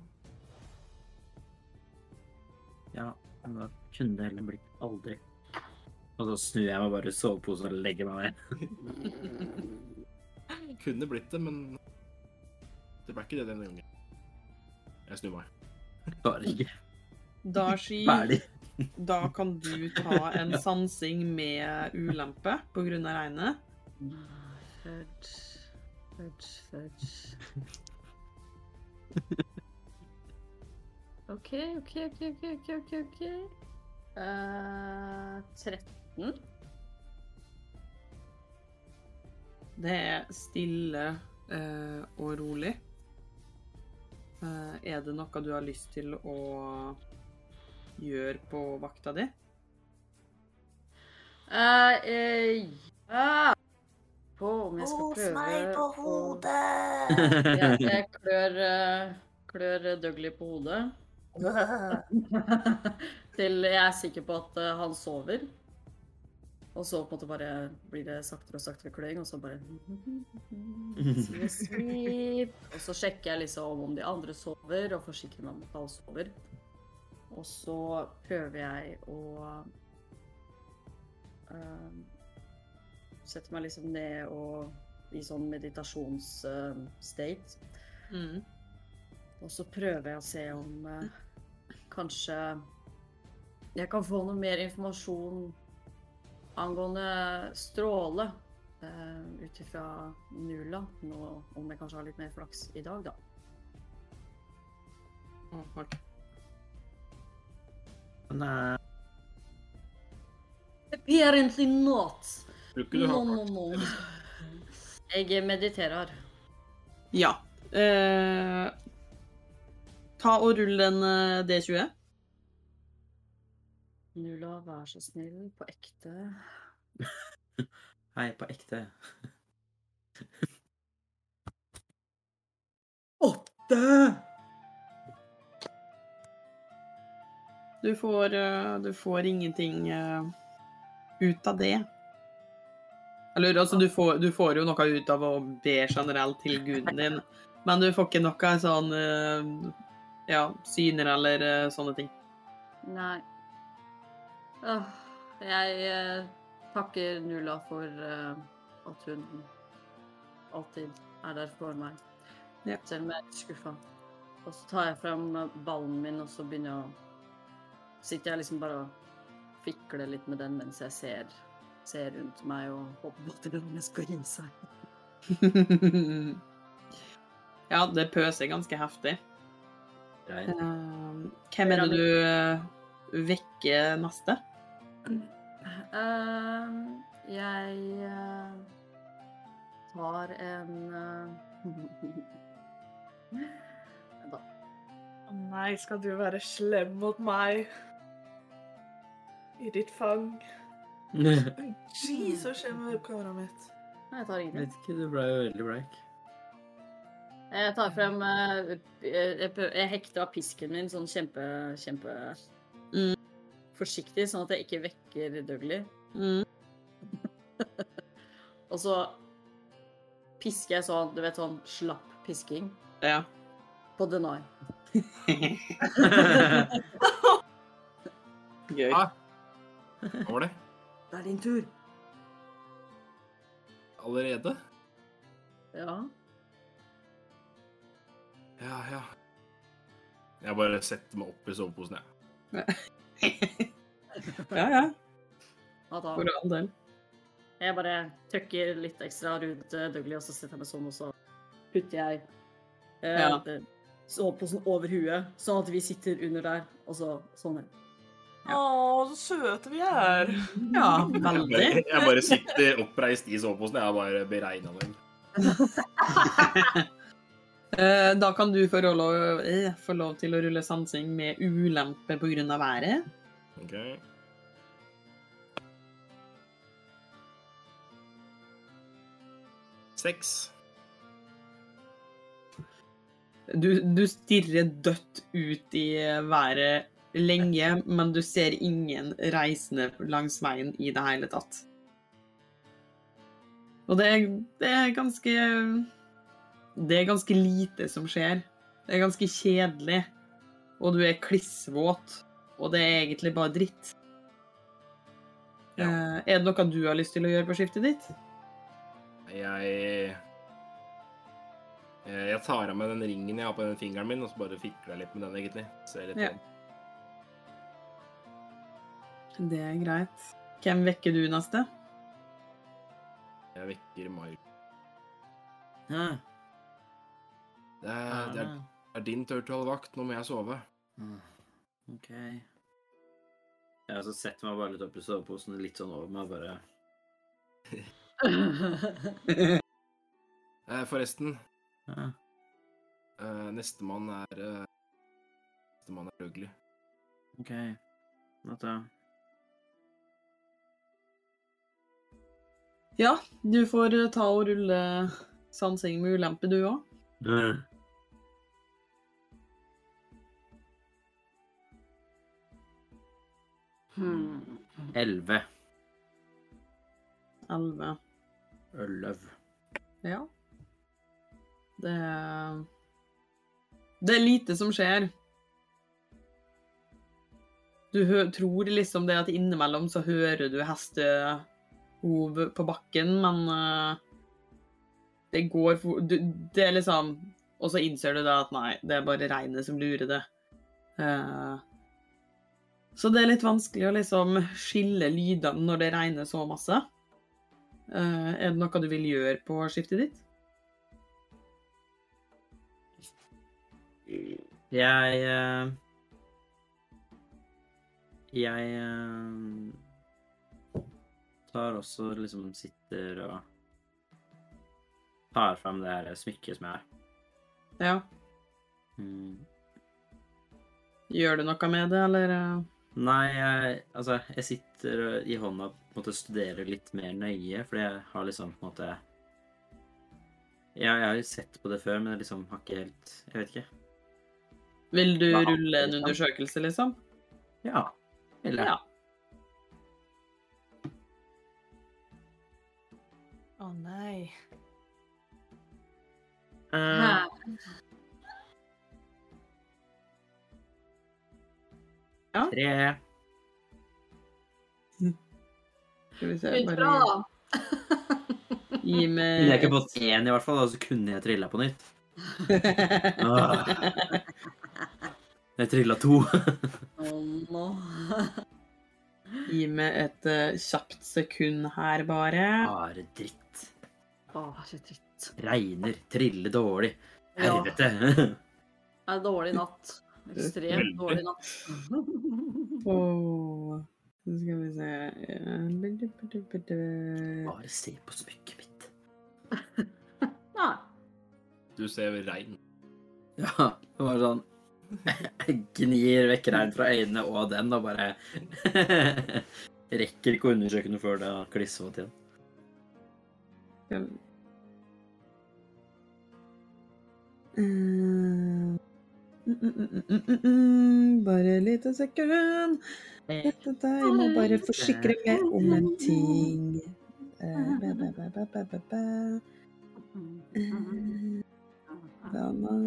D: Ja, men da kunne det heller blitt aldri. Og så snur jeg meg bare i soveposen og legger meg ned.
C: Kunne blitt det, men det ble ikke det denne gangen. Jeg snur meg.
D: Bare ikke
A: Da, Sky,
D: ferdig.
A: da kan du ta en sansing med ulempe pga. regnet.
E: Fudge, fudge, fudge. OK, OK, OK, OK. ok, ok, ok. Eh, 13.
A: Det er stille eh, og rolig. Eh, er det noe du har lyst til å gjøre på vakta di?
E: Eh, eh, ja. På om jeg skal
F: Kos
E: prøve
F: meg på
E: å-
F: hodet.
E: Ja, jeg klør, eh, klør Dougley på hodet. Til jeg er sikker på at eh, han sover. Og så på en måte bare blir det saktere og saktere kløing, og så bare Svi, svi. Og så sjekker jeg liksom om de andre sover, og forsikrer meg om at alle sover. Og så prøver jeg å eh, Sette meg liksom ned og i sånn eh, meditasjonsstate.
A: Mm.
E: Og så prøver jeg å se om eh, kanskje jeg kan få noe mer informasjon angående stråle eh, ut ifra Nula. Nå, om jeg kanskje har litt mer flaks i dag, da.
A: Å, ok.
D: Nei.
E: Apparently not.
C: Tror ikke du
E: No,
C: har
E: no,
C: klart
E: no. Jeg mediterer.
A: Ja. Eh, ta og rull en eh, D20.
E: Nula, vær så snill, på ekte.
D: Hei, på ekte.
E: Åtte!
A: Du får, eh, du får ingenting eh, ut av det. Eller altså, du får, du får jo noe ut av å be generelt til guden din, men du får ikke noe sånn eh, ja, syner eller eh, sånne ting.
E: Nei. Åh, jeg eh, takker Nula for eh, at hun alltid er der for meg.
A: Ja.
E: Selv om jeg er skuffa. Og så tar jeg fram eh, ballen min, og så begynner jeg å sitter jeg liksom bare og fikler litt med den mens jeg ser, ser rundt meg og håper på at den skal gi seg.
A: ja, det pøser ganske heftig.
D: Greit.
A: Ehm, hvem er det du eh, vekker neste?
E: Ehm, jeg eh, tar en eh, da.
B: Å nei, skal du være slem mot meg? I ditt fang.
D: Vet
B: Jeez, hva skjer med webkameraet mitt?
E: Nei, jeg tar ingenting.
D: ikke, du ble jo veldig bleik.
E: Jeg tar frem eh, Jeg prø- jeg hekter av pisken min sånn kjempe, kjempe
A: Mm.
E: forsiktig, sånn at jeg ikke vekker Dougley.
A: Mm.
E: Og så pisker jeg sånn, du vet sånn slapp pisking
A: Ja.
E: på Denai.
A: Gøy.
C: Ah. Hva var det?
E: Det er din tur.
C: Allerede?
E: Ja.
C: Ja, ja. Jeg bare setter meg opp i soveposen, jeg.
A: Ja, ja.
E: ja da.
A: For all del.
E: Jeg bare tøkker litt ekstra rundt eh, Dougley, og så setter jeg meg sånn, og så putter jeg eh,
A: Ja.
E: eh, soveposen over huet, sånn at vi sitter under der, og så sånn.
A: Ja.
B: Å, så søte vi er.
A: Ja,
C: Jeg
A: veldig.
C: bare, jeg bare sitter oppreist i soveposen, jeg har bare beregna den.
A: Eh, Da kan du få lov, eh, få lov til å rulle sansing med ulempe pga. været.
C: OK. Seks.
A: Du, du stirrer dødt ut i været lenge, men du ser ingen reisende langs veien i det hele tatt. Og det er, det er ganske Det er ganske lite som skjer. Det er ganske kjedelig. Og du er klissvåt. Og det er egentlig bare dritt. Eh, Er det noe du har lyst til å gjøre på skiftet ditt?
C: Jeg Eh, Jeg tar av meg den ringen jeg har på den fingeren min, og så bare fikler jeg litt med den, egentlig. Ser litt
A: Ja.
C: på den.
A: Det er greit. Hvem vekker du neste?
C: Jeg vekker Mark.
D: Hæ?
C: Det er, det, er, Mm. det er din tur til å holde vakt, nå må jeg sove.
D: Ah, OK. Jeg så setter meg bare litt opp i soveposen, litt sånn over meg, bare
C: Eh, forresten,
D: ah,
C: eh, nestemann er eh, Nestemann er Dougley.
D: OK. Natta.
A: Ja, du får eh, ta og rulle sansing med ulempe, du òg.
D: Mm.
E: Hmm.
D: Elleve.
A: Elleve.
D: Øløv.
A: Ja. Det er Det er lite som skjer. Du hø tror liksom det at innimellom så hører du hestehov på bakken, men eh, det går for du, Det er liksom Og så innser du det at nei, det er bare regnet som lurer det. Eh, så det er litt vanskelig å liksom skille lydene når det regner så masse. Eh, er det noe du vil gjøre på skiftet ditt?
D: Jeg eh, Jeg eh, tar også liksom sitter og tar fram det her smykket som jeg har.
A: Ja.
D: Mm.
A: Gjør du noe med det, eller? eh?
D: Nei, jeg, altså, jeg sitter og- i hånda på en måte studerer litt mer nøye, fordi jeg har liksom på en måte Ja, jeg har jo sett på det før, men jeg liksom har ikke helt Jeg vet ikke.
A: Vil du
D: Hva annet,
A: rulle en
D: liksom?
A: undersøkelse, liksom?
D: Ja. Eller
A: Ja.
F: Å nei.
D: Eh, Tre.
A: Skal vi se,
E: Begynte bra,
A: bare
E: da.
A: gi meg
D: Kunne jeg ikke fått én, i hvert fall, da, så kunne jeg trilla på nytt. Ah. Jeg trilla to.
E: Å, nå.
A: Gi meg et eh, kjapt sekund her, bare.
D: Bare dritt.
E: Åh, så dritt.
D: Regner, triller dårlig.
E: Ja, det
D: Helvete.
E: er en dårlig natt. Ekstremt
C: Veldig.
E: dårlig natt.
A: Åh, så skal vi se Eh, bidi, bidi, bidi.
D: Bare se på smykket mitt.
E: Nei.
C: Du ser regn.
D: Ja, det var sånn Gnir vekk regn fra øynene og den, og bare Rekker ikke å undersøke noe før det har klissvått igjen.
A: Skal vi- Eh, mm, mm, mm, mm, mm, mm, Bare et lite sekund. Dette der, jeg må bare forsikre meg om en ting. Eh, ba, ba, ba, ba, ba, ba, ba. Eh, Hva nå?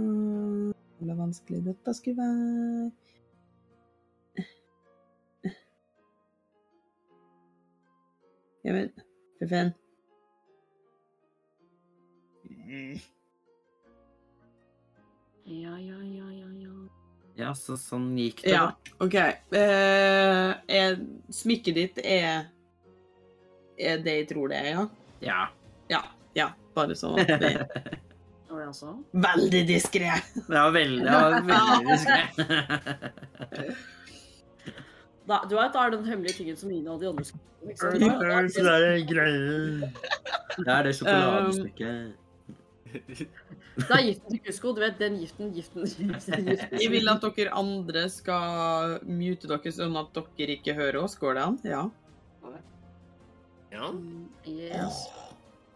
A: Hvor vanskelig dette skulle være. Ja, men, for faen.
E: Ja, ja, ja, ja, ja.
D: Ja, så sånn gikk det.
A: Ja,
D: da.
A: OK. Eh, er, smykket ditt er Er det jeg tror det er, ja?
D: Ja.
A: Ja. ja. Bare sånn at vi er
E: Det var det altså.
A: veldig diskré.
D: Det var veldig, det var veldig diskré.
E: Da, du vet, det er den hemmelige tingen som Ine og de andre skulle liksom.
D: Det er det sjokoladestykket.
E: Det er giften til Kusko. Du vet, den giften, giften, giften, giften.
A: Jeg vil at dere andre skal mute dere sånn at dere ikke hører oss. Går det an? Ja.
C: Ja.
E: Yes.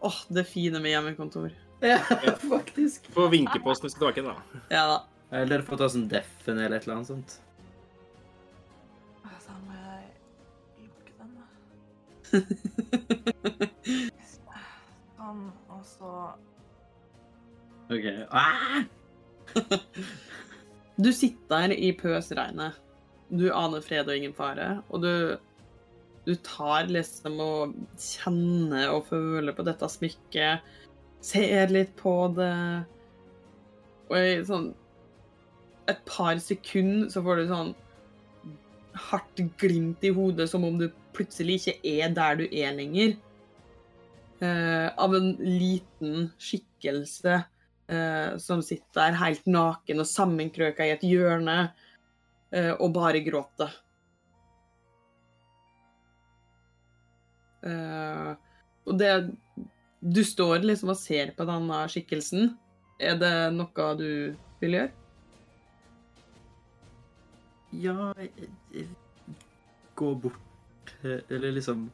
A: Åh, det fine med hjemmekontor.
D: Ja, faktisk.
C: Få vinke på oss når vi skal tilbake, da.
A: Ja da.
D: Eller få ta sånn deffen eller et eller annet sånt.
F: Altså, må jeg lukke den, da? Sånn, og så
D: Ok. Ah!
A: Du sitter der i pøsregnet. Du aner fred og ingen fare, og du du tar liksom og kjenner og føler på dette smykket, ser litt på det, og i sånn et par sekunder så får du sånn hardt glimt i hodet, som om du plutselig ikke er der du er lenger, eh, av en liten skikkelse eh, som sitter der helt naken og sammenkrøka i et hjørne, eh, og bare gråter. Eh, og det Du står liksom og ser på denne skikkelsen. Er det noe du vil gjøre?
D: Ja jeg- jeg- Gå bort eh, Eller liksom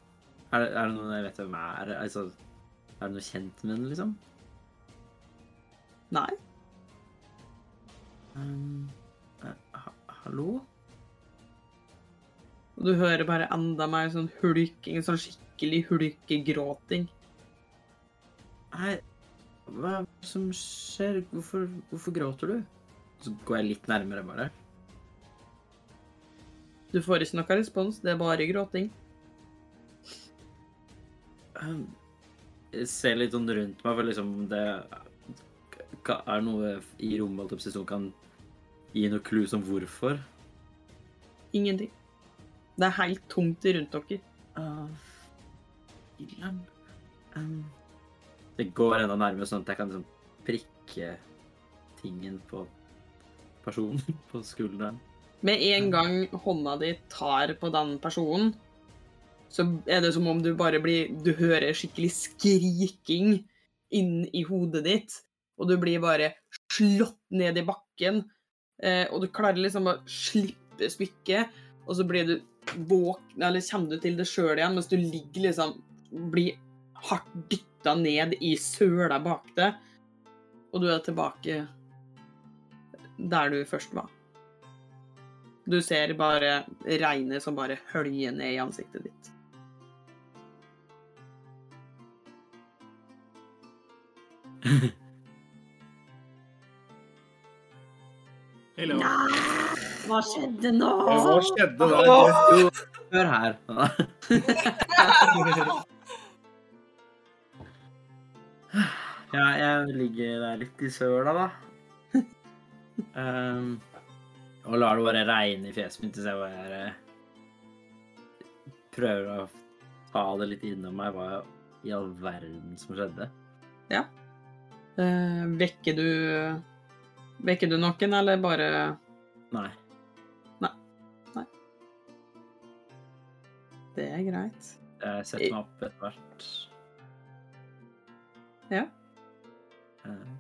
D: Er det, er det noen jeg vet hvem er? Altså, er det noe kjent med den, liksom?
A: Nei?
D: Um, eh, ha, hallo?
A: Og du hører bare enda mer sånn hulking, sånn skikkelig hulkegråting.
D: Hei, hva er det som skjer? Hvorfor, hvorfor gråter du? Så går jeg litt nærmere, bare.
A: Du får ikke noe respons, det er bare gråting.
D: Um, jeg ser litt sånn rundt meg, for liksom det ka- Er det noe i rommet holdt jeg på å si, som kan gi noe clue om hvorfor?
A: Ingenting. Det er helt tomt rundt dere.
D: av Dylan. Um, det går enda nærmere, sånn at jeg kan liksom prikke tingen på personen på skulderen.
A: Med en gang hånda di tar på den personen, så er det som om du bare blir Du hører skikkelig skriking inn i hodet ditt, og du blir bare slått ned i bakken. Eh, og du klarer liksom å slippe smykket, og så blir du våken, eller kommer du til det sjøl igjen, mens du ligger liksom Blir hardt dytta ned i søla bak deg, og du er tilbake der du først var. Du ser bare regnet som bare høljer ned i ansiktet ditt.
C: Hello.
E: Hva skjedde nå?
C: Hva skjedde der?
D: Jo, hør her. Ja, jeg ligger der litt i søla, da. Ehm, Um, og lar det bare regne i fjeset mitt til jeg bare prøver å ta det litt innom meg hva i all verden som skjedde.
A: Eh, vekker du Vekker du noen, eller bare
D: Nei.
A: Det er greit.
D: Jeg setter meg opp etter hvert.
A: Ja.
D: Eh,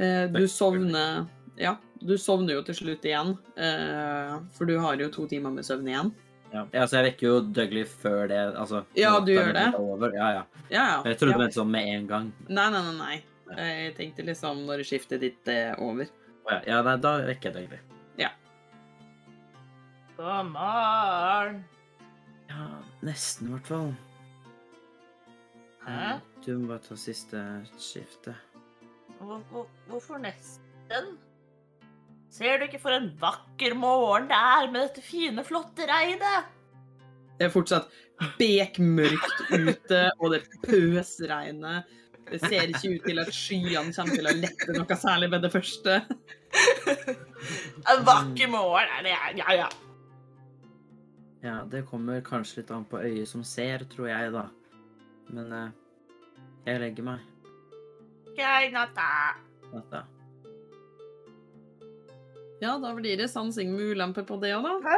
A: Eh, du
D: Takk.
A: sovner Ja, du sovner jo til slutt igjen, eh, for du har jo to timer med søvn igjen.
D: Ja. ja, så altså, jeg vekker jo Dougley før det. Altså,
A: Ja,
D: natta
A: du gjør
D: er
A: det.
D: Over. Ja, ja.
A: Ja,
D: Jeg
A: ja.
D: trodde det var sånn med en gang.
A: Nei, nei, nei. nei. Jeg tenkte liksom når skiftet ditt er over.
D: Å Ja, ja nei, da vekker jeg Dougley.
F: God morgen!
D: Ja, nesten i hvert fall. Eh,
F: Hæ?
D: Du må bare ta siste skiftet.
F: Hvor, hvor, hvorfor nesten? Ser du ikke for en vakker morgen det er med dette fine, flotte regnet?
A: Det er fortsatt bekmørkt ute, og det pøsregner. Det ser ikke ut til at skyene kommer til å lette noe særlig ved det første.
F: En vakker morgen er det, ja, ja.
D: Ja, det kommer kanskje litt an på øyet som ser, tror jeg, da. Men eh, jeg legger meg.
F: Grei natta.
D: Natta.
A: Ja, da blir det sansing med ulempe på det òg, da.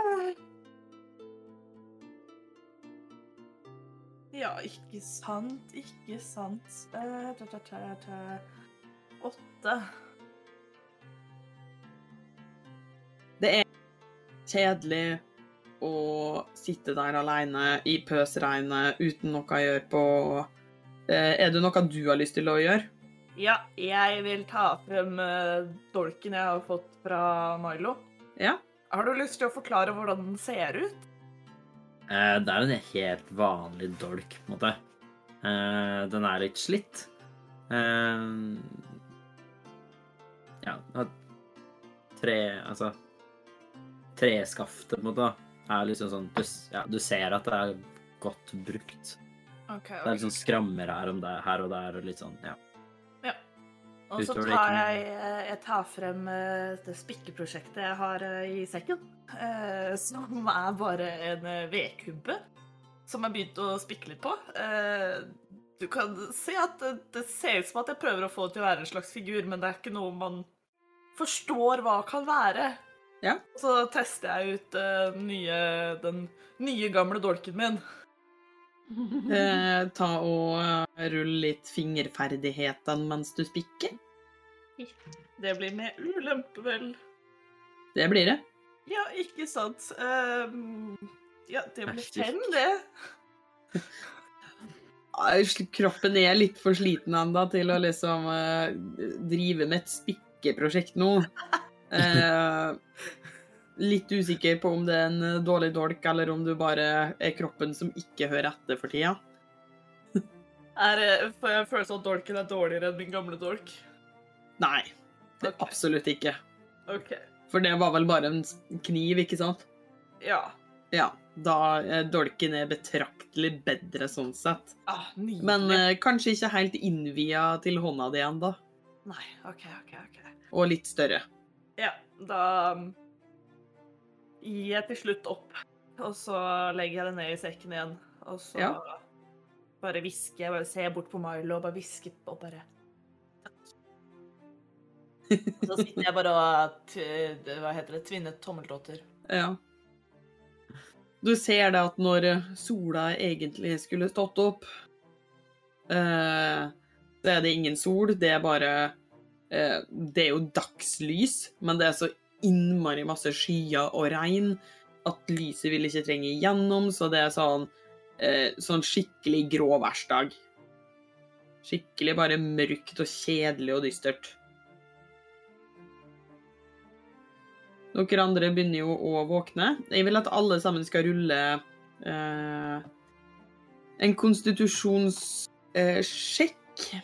B: Ja, ikke sant, ikke sant. Eh, tø, tø, tø, tø. Åtte.
A: Kjedelig å sitte der aleine i pøsregnet uten noe å gjøre på. Eh, Er det noe du har lyst til å gjøre?
B: Ja, jeg vil ta frem eh, dolken jeg har fått fra Milo.
A: Ja.
B: Har du lyst til å forklare hvordan den ser ut?
D: Eh, det er en helt vanlig dolk, på en måte. Eh, den er litt slitt. Eh, ja, den har tre Altså Treskaftet, på en måte, da, er liksom sånn du, s- ja, du ser at det er godt brukt.
B: Ok,
D: Det er litt sånn skrammer her, om det, her og der og litt sånn, ja.
B: Og så
D: Utover det
B: tar
D: ikke noe.
B: jeg, eh, jeg tar frem eh, det spikkeprosjektet jeg har eh, i sekken. eh, Som er bare en eh, vedkubbe som jeg begynte å spikke litt på. Eh, Du kan se at det, det ser ut som at jeg prøver å få det til å være en slags figur, men det er ikke noe man forstår hva kan være.
A: Ja.
B: Så tester jeg ut eh, nye, den nye gamle dolken min.
E: Mm.
A: Eh, ta og eh, rulle litt fingerferdighetene mens du spikker.
B: Det blir med ulempe, vel.
A: Det blir det.
B: Ja, ikke sant. Ehm, ja, det blir
D: Æsj,
B: fem, det.
A: Ai, sl- Kroppen er litt for sliten ennå til å liksom eh, drive med et spikkeprosjekt nå. Eh, litt usikker på om det er en eh, dårlig dolk, eller om du bare er kroppen som ikke hører etter for tida.
B: Er, eh, får jeg følelsen at dolken er dårligere enn min gamle dolk?
A: Nei, det
B: Ok.
A: absolutt ikke.
B: OK.
A: For det var vel bare en s- kniv, ikke sant?
B: Ja.
A: Ja, da eh, dolken er betraktelig bedre sånn sett.
B: Ah, nydelig.
A: Men eh, kanskje ikke helt innvia til hånda di ennå,
B: Nei, OK, OK. ok.
A: og litt større.
B: Ja, da mm, gir jeg til slutt opp, og så legger jeg det ned i sekken igjen. Og så bare hvisker jeg, bare ser bort på Milo og bare hvisker og bare Takk. Og så sitter jeg bare og t hva heter det, tvinnet tommeltotter.
A: Ja. Du ser det at når sola egentlig skulle stått opp, eh, så er det ingen sol, det er bare eh, Det er jo dagslys, men det er så innmari masse skyer og regn at lyset vil ikke trenge igjennom, så det er sånn, eh, sånn skikkelig grå værsdag. Skikkelig bare mørkt og kjedelig og dystert. Dere andre begynner jo å våkne. Jeg vil at alle sammen skal rulle eh, en konstitusjonssjekk. Eh, sjekk.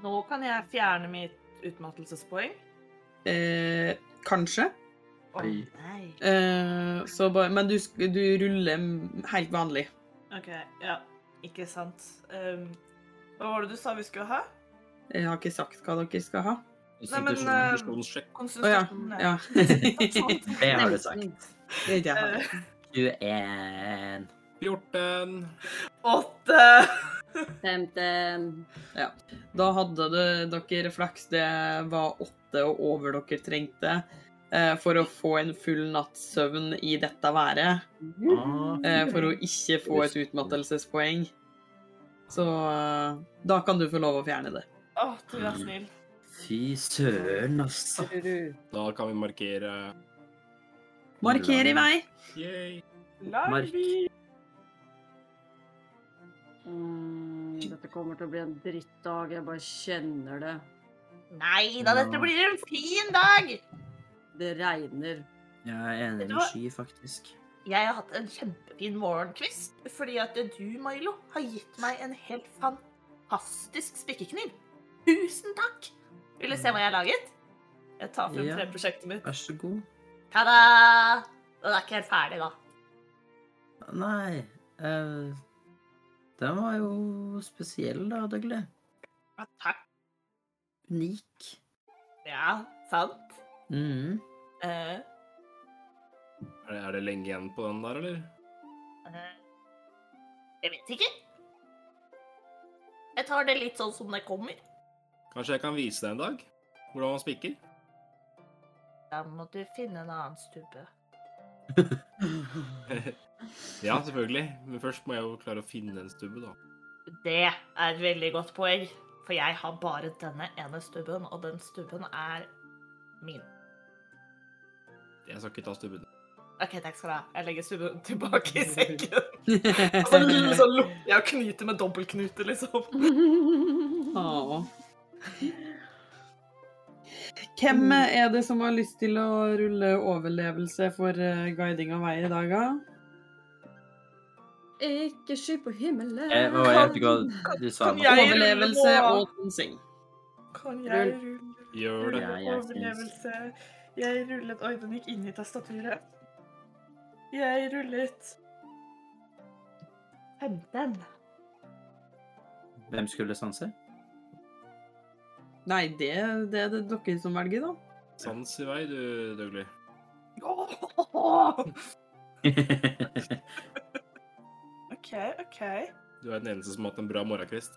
B: Nå kan jeg fjerne mitt utmattelsespoeng.
A: eh, kanskje.
D: Oi.
F: Nei.
A: Eh, så bare, men du, sk- du ruller helt vanlig.
B: OK, ja. Ikke sant. Ehm, hva var det du sa vi skulle ha?
A: Jeg har ikke sagt hva dere skal ha.
B: Nei, men, eh,
C: Konstitusjonssjekk.
B: Konstitusjon?
A: Ja.
B: Nei. Sant.
D: Det har du sagt.
A: Det er ikke jeg har.
D: 21.
C: 14.
B: Åtte.
E: 15.
A: Da hadde det, dere flaks. Det var åtte og over dere trengte eh, for å få en full natts søvn i dette været.
D: Ah,
A: Eh, for å ikke få et utmattelsespoeng. Så eh, da kan du få lov å fjerne det.
B: Å, du er snill.
D: fy søren, altså.
C: Da kan vi markere
A: Marker i vei.
C: Yay.
B: Larvi.
E: Mm, dette kommer til å bli en drittdag. Jeg bare kjenner det.
F: Nei da,
D: Ja.
F: dette blir en fin dag!
E: Det regner.
D: Jeg er enig
F: Vet du
D: med
F: hva?
D: Sky, faktisk.
F: Jeg har hatt en kjempefin morgenkvist, fordi at du, Milo, har gitt meg en helt fantastisk spikkekniv. Tusen takk! Vil du se hva jeg har laget?
B: Jeg tar frem
D: Ja.
B: frem prosjektet mitt.
D: Vær så god.
F: Ta-da! Den er ikke helt ferdig, da.
D: Nei eh, Den var jo spesiell, da, Dougley.
F: Ja, takk.
D: Unik.
F: Ja, sant.
D: Mhm.
F: Eh,
C: Er det, er det lenge igjen på den der, eller?
F: eh, jeg vet ikke. Jeg tar det litt sånn som det kommer.
C: Kanskje jeg kan vise deg en dag? Hvordan man spikker?
F: Da må du finne en annen stubbe.
C: ja, selvfølgelig. Men først må jeg jo klare å finne en stubbe, da.
F: Det er et veldig godt poeng, for jeg har bare denne ene stubben, og den stubben er min.
C: Jeg skal ikke ta stubben.
F: OK, takk skal du ha. Jeg legger stubben tilbake i sekken.
B: Og så liksom lukker jeg og knyter med dobbeltknute, liksom.
A: Åh. Hvem er det som har lyst til å rulle overlevelse for eh, guiding av vei i dag, da?
E: Ikke sky på himmelen.
D: Eh, hva var det Edgar du sa?
B: Kan
D: nå?
B: jeg- ruller
A: Overlevelse
B: nå.
A: og dansing.
B: Kan jeg rulle
C: Gjør det.
D: Ja, jeg syns-
B: overlevelse? Jeg rullet Oi, den gikk inn i tastaturet. Jeg rullet
F: 15.
D: Hvem skulle sanse?
A: Nei, det, det er det dere som velger, da.
C: Sans i vei, du, Dougley.
B: Åh! OK, OK.
C: Du er den eneste som har hatt en bra morgenkvist.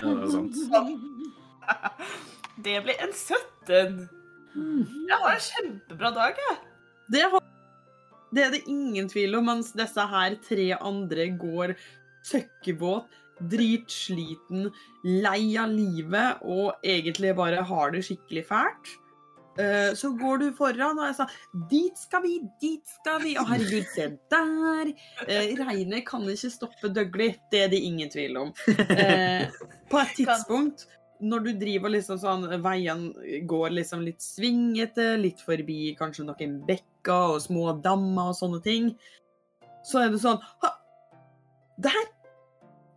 D: Ja, det er sant.
B: Det blir en 17. Jeg har en kjempebra dag, jeg.
A: Det, har, det er det ingen tvil om, mens disse her tre andre går søkkebåt, dritsliten, lei av livet og egentlig bare har det skikkelig fælt. Eh, Så går du foran, og jeg sa 'dit skal vi, dit skal vi', og herregud, se der. Eh, Regnet kan ikke stoppe Dougley, det er det ingen tvil om. Eh, på et tidspunkt når du driver liksom sånn Veien går liksom litt svingete, litt forbi kanskje noen bekker og små dammer og sånne ting. Så er det sånn ha, Der!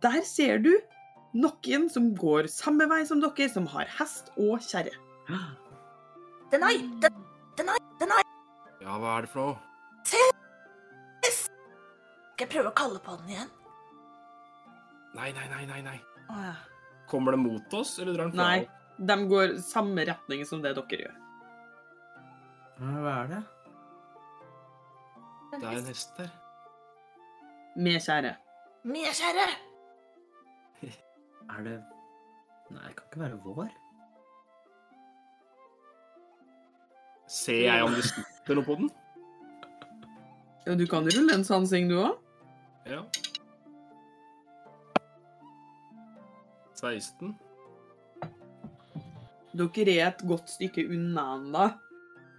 A: Der ser du noen som går samme vei som dere, som har hest og kjerre.
F: Den har den,
C: Ja, hva er det for noe?
F: Skal jeg prøve å kalle på den igjen?
C: Nei, nei, nei, nei, nei.
F: Å ja.
C: Kommer det mot oss, eller drar den fra?
A: Nei,
C: oss?
A: de går samme retning som det dere gjør.
D: Ja, Hva er det?
F: Den
C: Det er en
F: er
C: hest der.
A: Med kjerre.
F: mye kjære!
D: Er det Nei, det kan ikke være vår.
C: Ser jeg om det sitter noe på den?
A: Ja, du kan rulle en sansing, du òg.
C: Ja. 16.
A: Dere er et godt stykke unna ennå.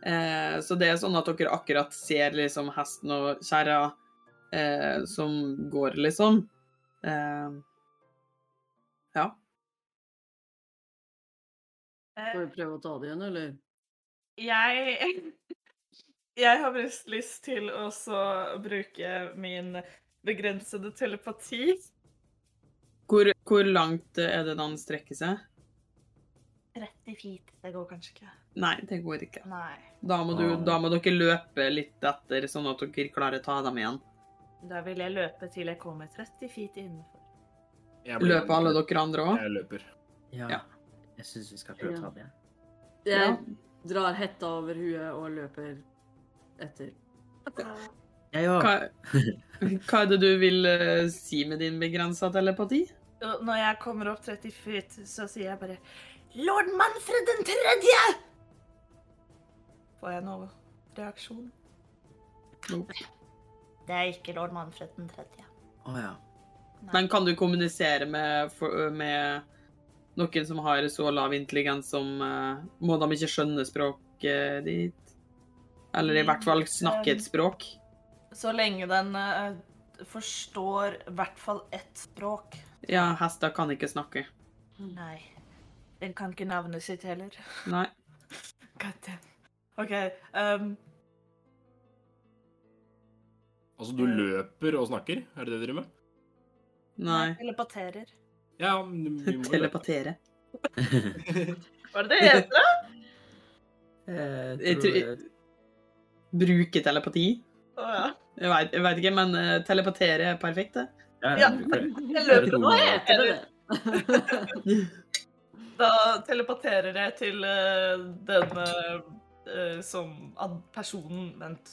A: Eh, så det er sånn at dere akkurat ser liksom hesten og kjerra eh, som går, liksom. Eh, ja.
E: Skal vi prøve å ta det igjen, eller?
B: Jeg Jeg har mest lyst til å så bruke min begrensede telepati.
A: Hvor, hvor langt er det den strekker seg?
F: 30 feet. Det går kanskje ikke.
A: Nei, det går ikke.
F: Nei.
A: Da må, du,
D: Ah.
A: da må dere løpe litt etter, sånn at dere klarer å ta dem igjen.
F: Da vil jeg løpe til jeg kommer 30 feet innenfor.
C: Jeg blir-
A: Løper alle dere andre òg?
C: Jeg løper.
D: Ja.
A: Ja.
D: Jeg syns vi skal prøve å ta det.
E: Jeg drar hetta over huet og løper etter.
D: Jeg òg.
A: Hva, hva er det du vil eh, si med din begrensa telepati?
B: Og Når jeg kommer opp 30 feet, så sier jeg bare Lord Manfred den tredje! Får jeg noe reaksjon?
F: Det er ikke lord Manfred den tredje.
D: Å ja.
A: Men kan du kommunisere med, for- eh, med noen som har så lav intelligens som eh, Må de ikke skjønne språket ditt? Eller i hvert fall snakke et språk?
B: Så lenge den eh, forstår i hvert fall ett språk.
A: Ja, hester kan ikke snakke. Mm.
B: Nei. Den kan ikke navnet sitt heller.
A: Nei.
B: God damn. OK. Um,
C: Altså, du løper og snakker? Er det det du driver med?
A: Nei.
B: jeg Telepaterer.
C: Ja, men du- vi må jo løpe.
A: Telepatere.
B: Var det det heter?
D: Jeg
A: Jeg
D: tror
A: tror- Bruke telepati.
B: Å ja.
A: Jeg veit, jeg vet ikke, men eh, telepatere er perfekt, det.
D: Ja,
B: Ja.
D: det
B: Jeg
D: er
B: løper
D: et
B: nå,
D: ord.
B: jeg.
E: Heter det det?
B: Da telepaterer jeg til eh, den eh, eh, som ad- personen Vent.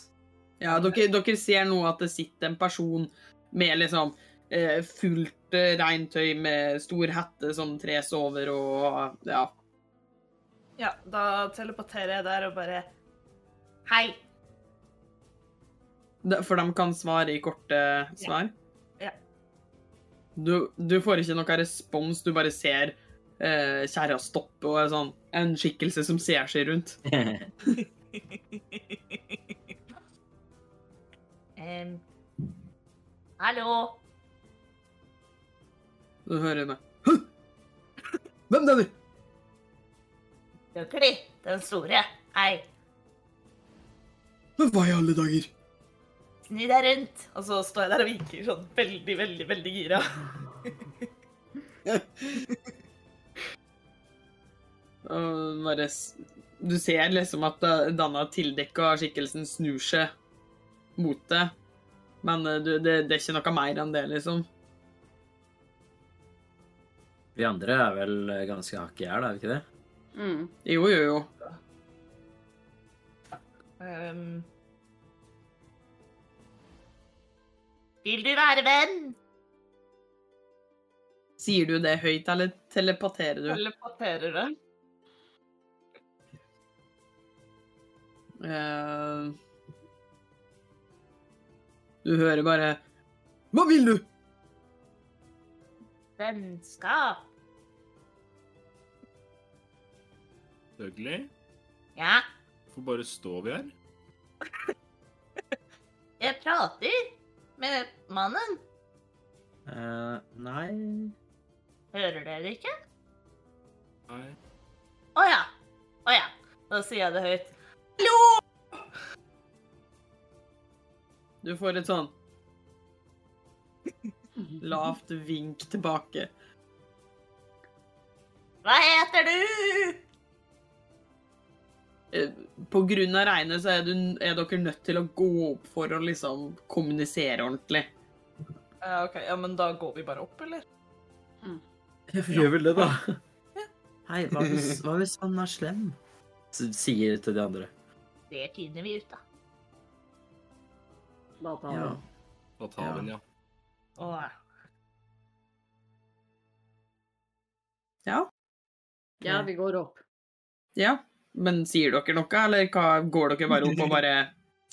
A: Ja, dere, dere ser nå at det sitter en person med liksom eh, fullt eh, regntøy med stor hette som tres over og ja.
B: Ja, da telepaterer jeg der og bare
F: Hei.
A: Det- For de kan svare i korte eh, svar.
B: Ja.
A: Du, du får ikke noe respons, du bare ser eh, kjerra stoppe og er sånn, en skikkelse som ser seg rundt.
F: Em, hallo.
A: Du hører meg. «Hå! Hvem er du?
F: Jøkli, den store. Hei.
A: Men hva i alle dager?
F: Snu deg rundt.
B: Og så står jeg der og vinker sånn veldig, veldig, veldig gira.
A: Og bare s- Du ser liksom at eh, denne tildekka skikkelsen snur seg mot deg. Men eh, du, det, det er ikke noe mer enn det, liksom.
D: Vi andre er vel ganske hakk i hæl, er vi ikke det?
E: Mm.
A: Jo, jo, jo.
F: Ehm.
B: Um,
F: Vil du være venn?
A: Sier du det høyt, eller telepaterer du?
B: telepaterer det.
A: Eh, du hører bare Hva vil du?
F: Vennskap.
C: Selvfølgelig.
F: Ja,
C: Hvorfor bare står vi her?
F: jeg prater med mannen.
D: Eh, nei
F: Hører dere ikke?
C: Nei.
F: Å ja. Å ja. Da sier jeg det høyt.
A: Du får et sånn lavt vink tilbake.
F: Hva heter du?
A: Eh, På grunn av regnet så er, du, er dere nødt til å gå opp for å liksom kommunisere ordentlig.
B: Ja, Eh, OK. Ja, men da går vi bare opp, eller?
D: Hvorfor gjør vel det, da? Hei, hva hvis, hva hvis han er slem? Så sier til de andre.
F: Det finner vi ut av.
E: Da tar vi
D: Ja. Mhm.
E: den.
C: Da tar vi den, ja.
B: Å, ja.
E: ja, vi går opp.
A: Ja, men sier dere noe, eller hva, går dere bare opp og bare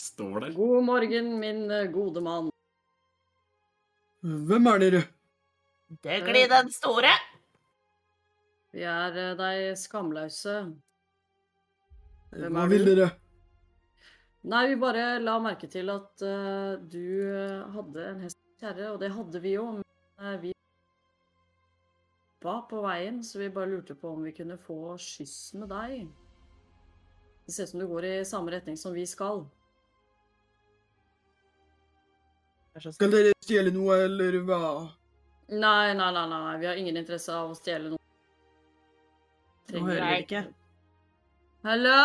C: Står der.
E: God morgen, min eh, gode mann.
A: Hvem er dere?
F: Døgli den store.
E: Vi er eh, de skamløse. Hvem
A: Hva
E: er
A: vil
E: du?
A: dere?
E: Nei, vi bare la merke til at eh, du eh, hadde en hest og kjerre, og det hadde vi jo. Men eh, vi var på veien, så vi bare lurte på om vi kunne få skyss med deg. Det ser ut som du går i samme retning som vi skal.
A: Skal dere stjele noe, eller hva?
E: Nei, nei, nei, nei, nei. vi har ingen interesse av å stjele noe.
A: Nå hører dere ikke.
E: Hallo!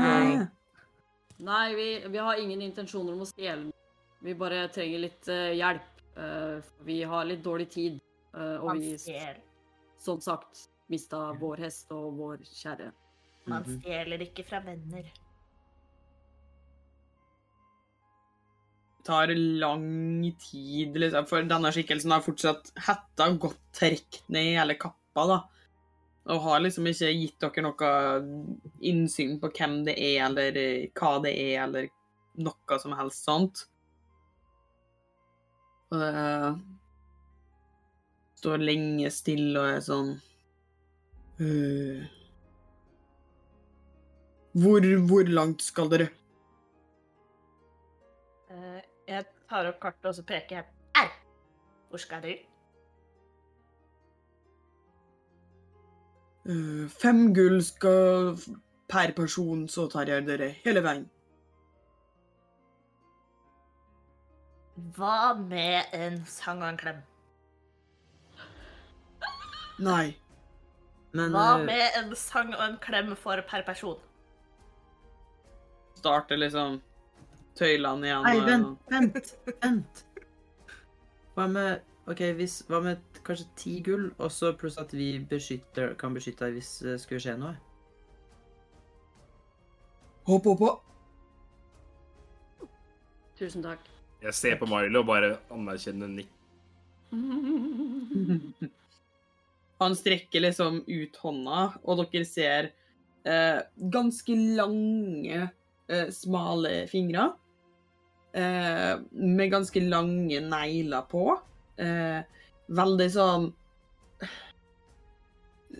A: Nei.
E: Nei, vi, vi har ingen intensjoner om å stjele noe. Vi bare trenger litt eh, hjelp. eh, for vi har litt dårlig tid. eh, og
F: Man
E: vi,
F: stjeler,
E: som sagt, mista vår hest og vår kjerre.
F: man
D: Mhm.
F: stjeler ikke fra venner.
A: tar lang tid, liksom. For denne skikkelsen har fortsatt hetta godt trukket ned i hele kappa, da. Og har liksom ikke gitt dere noe innsyn på hvem det er, eller eh, hva det er, eller noe som helst sånt. Og det eh, står lenge stille og er sånn «Øh. hvor, hvor langt skal dere?
F: Eh, Jeg tar opp kartet og så peker jeg. Her! Hvor skal du?
A: «Øh, fem gull skal per person, så tar jeg dere hele veien.
F: Hva med en sang og en klem?
A: Nei.
D: Men
F: Hva
D: eh,
F: med en sang og en klem for per person?
A: starter liksom tøylene igjen.
D: Nei,
A: og-
D: vent, vent, vent. Hva med Ok, hvis, hva med t- kanskje ti gull, og så pluss at vi beskytter, kan beskytte deg hvis det skulle skje noe?
A: Hopp oppå.
E: Tusen takk.
C: Jeg ser på Milo og bare anerkjenner nikk.
A: Han strekker liksom ut hånda, og dere ser eh, ganske lange, eh, smale fingre. Eh, med ganske lange negler på. Eh, veldig sånn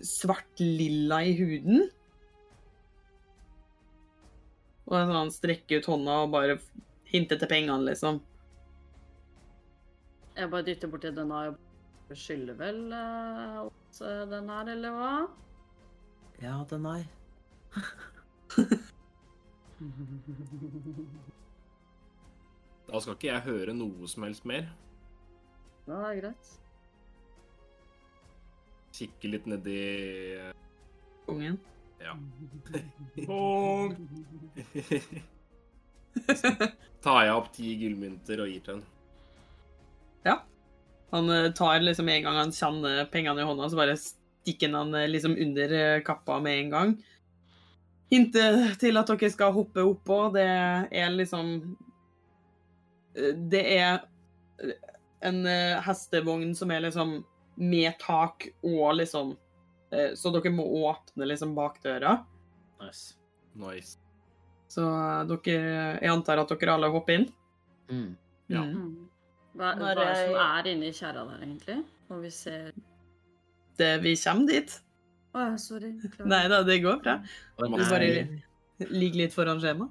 A: svart-lilla i huden. Og han strekker ut hånda og bare hinter til pengene, liksom.
E: Jeg bare dytter borti denne og skylder vel eh, oss eh, den her, eller hva?
D: Ja eller nei?
C: Da skal ikke jeg høre noe som helst mer.
E: Ja, det er greit.
C: Kikke litt nedi
A: Kongen.
C: Ja.
A: Han
C: eh, Tar jeg opp ti gullmynter og gir til henne.
A: eh, tar liksom en gang han kjenner pengene i hånda, så bare stikker han han eh, liksom under eh, kappa med en gang. Hintet til at dere skal hoppe oppå, det er liksom eh, Det er eh, en eh, hestevogn som er liksom med tak og liksom eh, Så dere må åpne liksom bakdøra.
D: Nice.
C: Nice.
A: Så dere Jeg antar at dere alle hopper inn?
D: Mm.
C: Ja.
A: Mm.
E: Hva, hva
F: Når
E: er det som
F: jeg-
E: er inni kjerra der, egentlig? Når vi ser Å
A: Det, vi kommer dit.
E: ja, sorry. beklager.
A: Nei da, det går bra.
D: Og
C: Du
D: nei.
A: bare- Ligger litt foran skjema.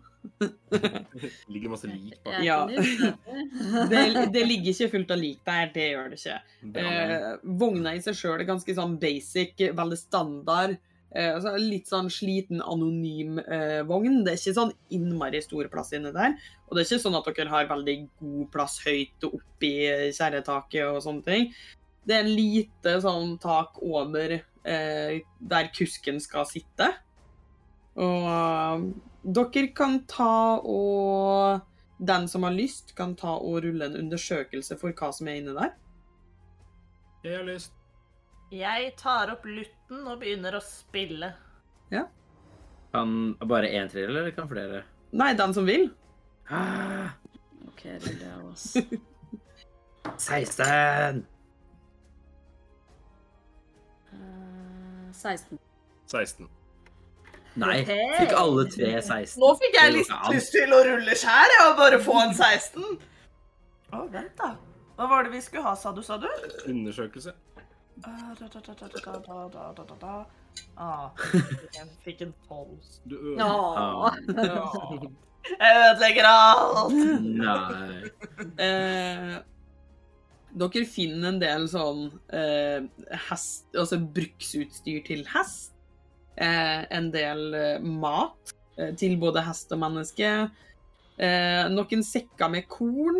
C: Ligger masse lik bak.
E: Jeg
A: Ja.
E: er ikke
A: Det,
E: nysgjerrig.
A: det ligger ikke fullt av lik der, det gjør det ikke.
C: Bra.
A: Eh, vogna i seg sjøl er ganske sånn basic, veldig standard. Eh, altså litt sånn sliten, anonym eh, vogn. Det er ikke sånn innmari stor plass inni der. Og det er ikke sånn at dere har veldig god plass høyt og oppi kjerretaket og sånne ting. Det er lite sånn tak over eh, der kusken skal sitte. Og eh, dere kan ta og Den som har lyst, kan ta og rulle en undersøkelse for hva som er inni der.
C: Jeg har lyst.
F: Jeg tar opp lutten og begynner å spille.
D: Kan bare én tredjedel, eller kan flere?
A: Nei, den som vil.
D: Ah,
E: OK, ruller jeg av oss.
D: 16!
E: Eh, 16.
C: 16.
D: Nei,
F: Hey.
D: fikk alle tre 16?
B: Nå fikk jeg litt
D: Ja.
B: lyst til å rulle skjær, jeg, og bare få en 16. Å, vent da. Hva var det vi skulle ha, sa du, sa du?
C: Undersøkelse.
B: Ah, da, da, da, da, da, da, da, da, da, da. Ah, jeg fikk en 12.
C: Du øh, øver.
D: Ah,
E: Ja.
B: Jeg ødelegger alt!
D: Nei.
A: Eh, dere finner en del sånn eh, hest, altså bruksutstyr til hest. Eh, en del eh, mat eh, til både hest og menneske. Eh, noen sekker med korn.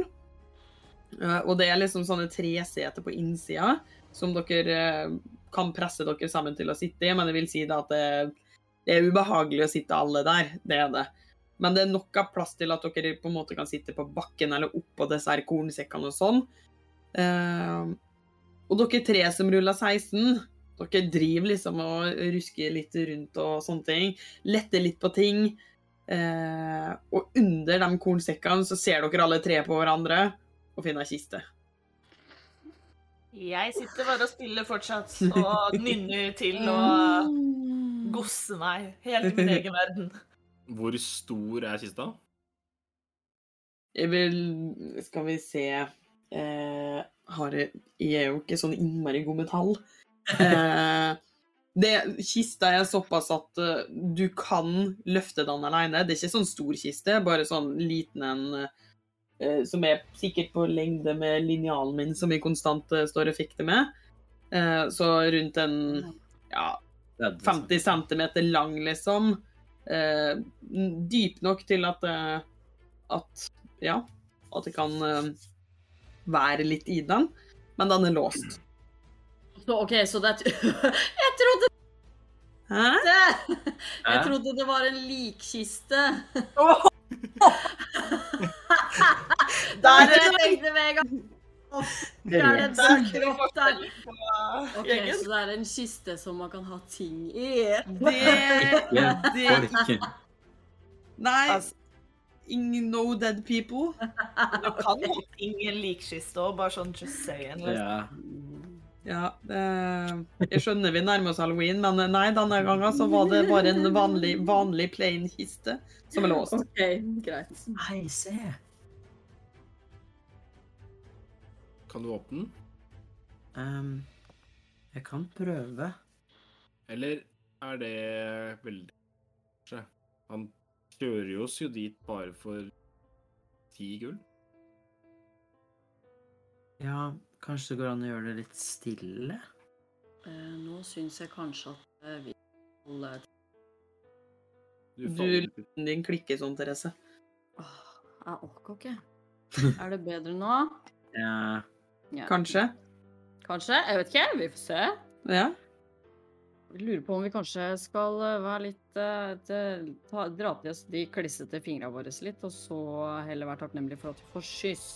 A: Eh, og det er liksom sånne treseter på innsida som dere eh, kan presse dere sammen til å sitte i, men jeg vil si da at det, det er ubehagelig å sitte alle der. Det er det. Men det er nok av plass til at dere på en måte kan sitte på bakken eller oppå disse her kornsekkene og sånn. Eh, og dere tre som ruller 16, dere driver liksom og rusker litt rundt og sånne ting. Letter litt på ting. Eh, og under de kornsekkene så ser dere alle tre på hverandre og finner ei kiste.
B: Jeg sitter bare og spiller fortsatt og nynner til og gosser meg helt i min egen verden.
C: Hvor stor er kista?
A: Jeg vil Skal vi se eh, har jeg, jeg er jo ikke sånn innmari god med tall. Eh, det, kista er såpass at eh, du kan løfte den alene. Det er ikke sånn stor kiste, bare sånn liten en eh, som er sikkert på lengde med linjalen min, som jeg konstant eh, står og fikter med. Eh, så rundt en ja, 50 cm lang, liksom. Eh, n- dyp nok til at eh, at ja, at det kan eh, være litt i den. Men den er låst.
E: Så, OK, så det er Jeg trodde
A: Hæ?
E: det! Jeg
D: Hæ?
E: trodde det var en likkiste.
B: Der
E: Der
B: er
E: tenkte Vegard. Der er det en
B: Der
E: sånn
B: kunne vi
E: kropp der.
B: på
E: OK,
B: gjengen.
E: så det er en kiste som man kan ha ting i.
A: Det,
D: Ja,
A: det
D: Orker.
A: Nei.
B: Altså-
A: Ingen no dead people.
B: Du kan ha ting i en likkiste og bare sånn just saying. Liksom.
D: Ja.
A: Ja, eh, jeg skjønner vi nærmer oss halloween, men eh, nei, denne gangen så var det bare en vanlig, vanlig plain kiste som er låst.
E: OK, greit.
D: Nei, se.
C: Kan du åpne den?
D: Ehm, jeg kan prøve.
C: Eller er det veldig Kanskje. Han kjører jo oss jo dit bare for ti gull.
D: Ja, kanskje det går an å gjøre det litt stille?
E: Eh, Nå syns jeg kanskje at eh, vi skal eh,
C: Du
A: Du-
C: faller ut.
A: Din klikker sånn, Therese.
E: Åh, Jeg orker ikke. Er det bedre nå?
D: Ja.
E: Ja.
A: Kanskje?
E: Kanskje? Jeg vet ikke. Vi får se.
A: Ja.
E: Jeg lurer på om vi kanskje skal eh, være litt eh, til- ta, Dra til oss de klissete fingra våre litt, og så heller være takknemlige for at vi får skyss.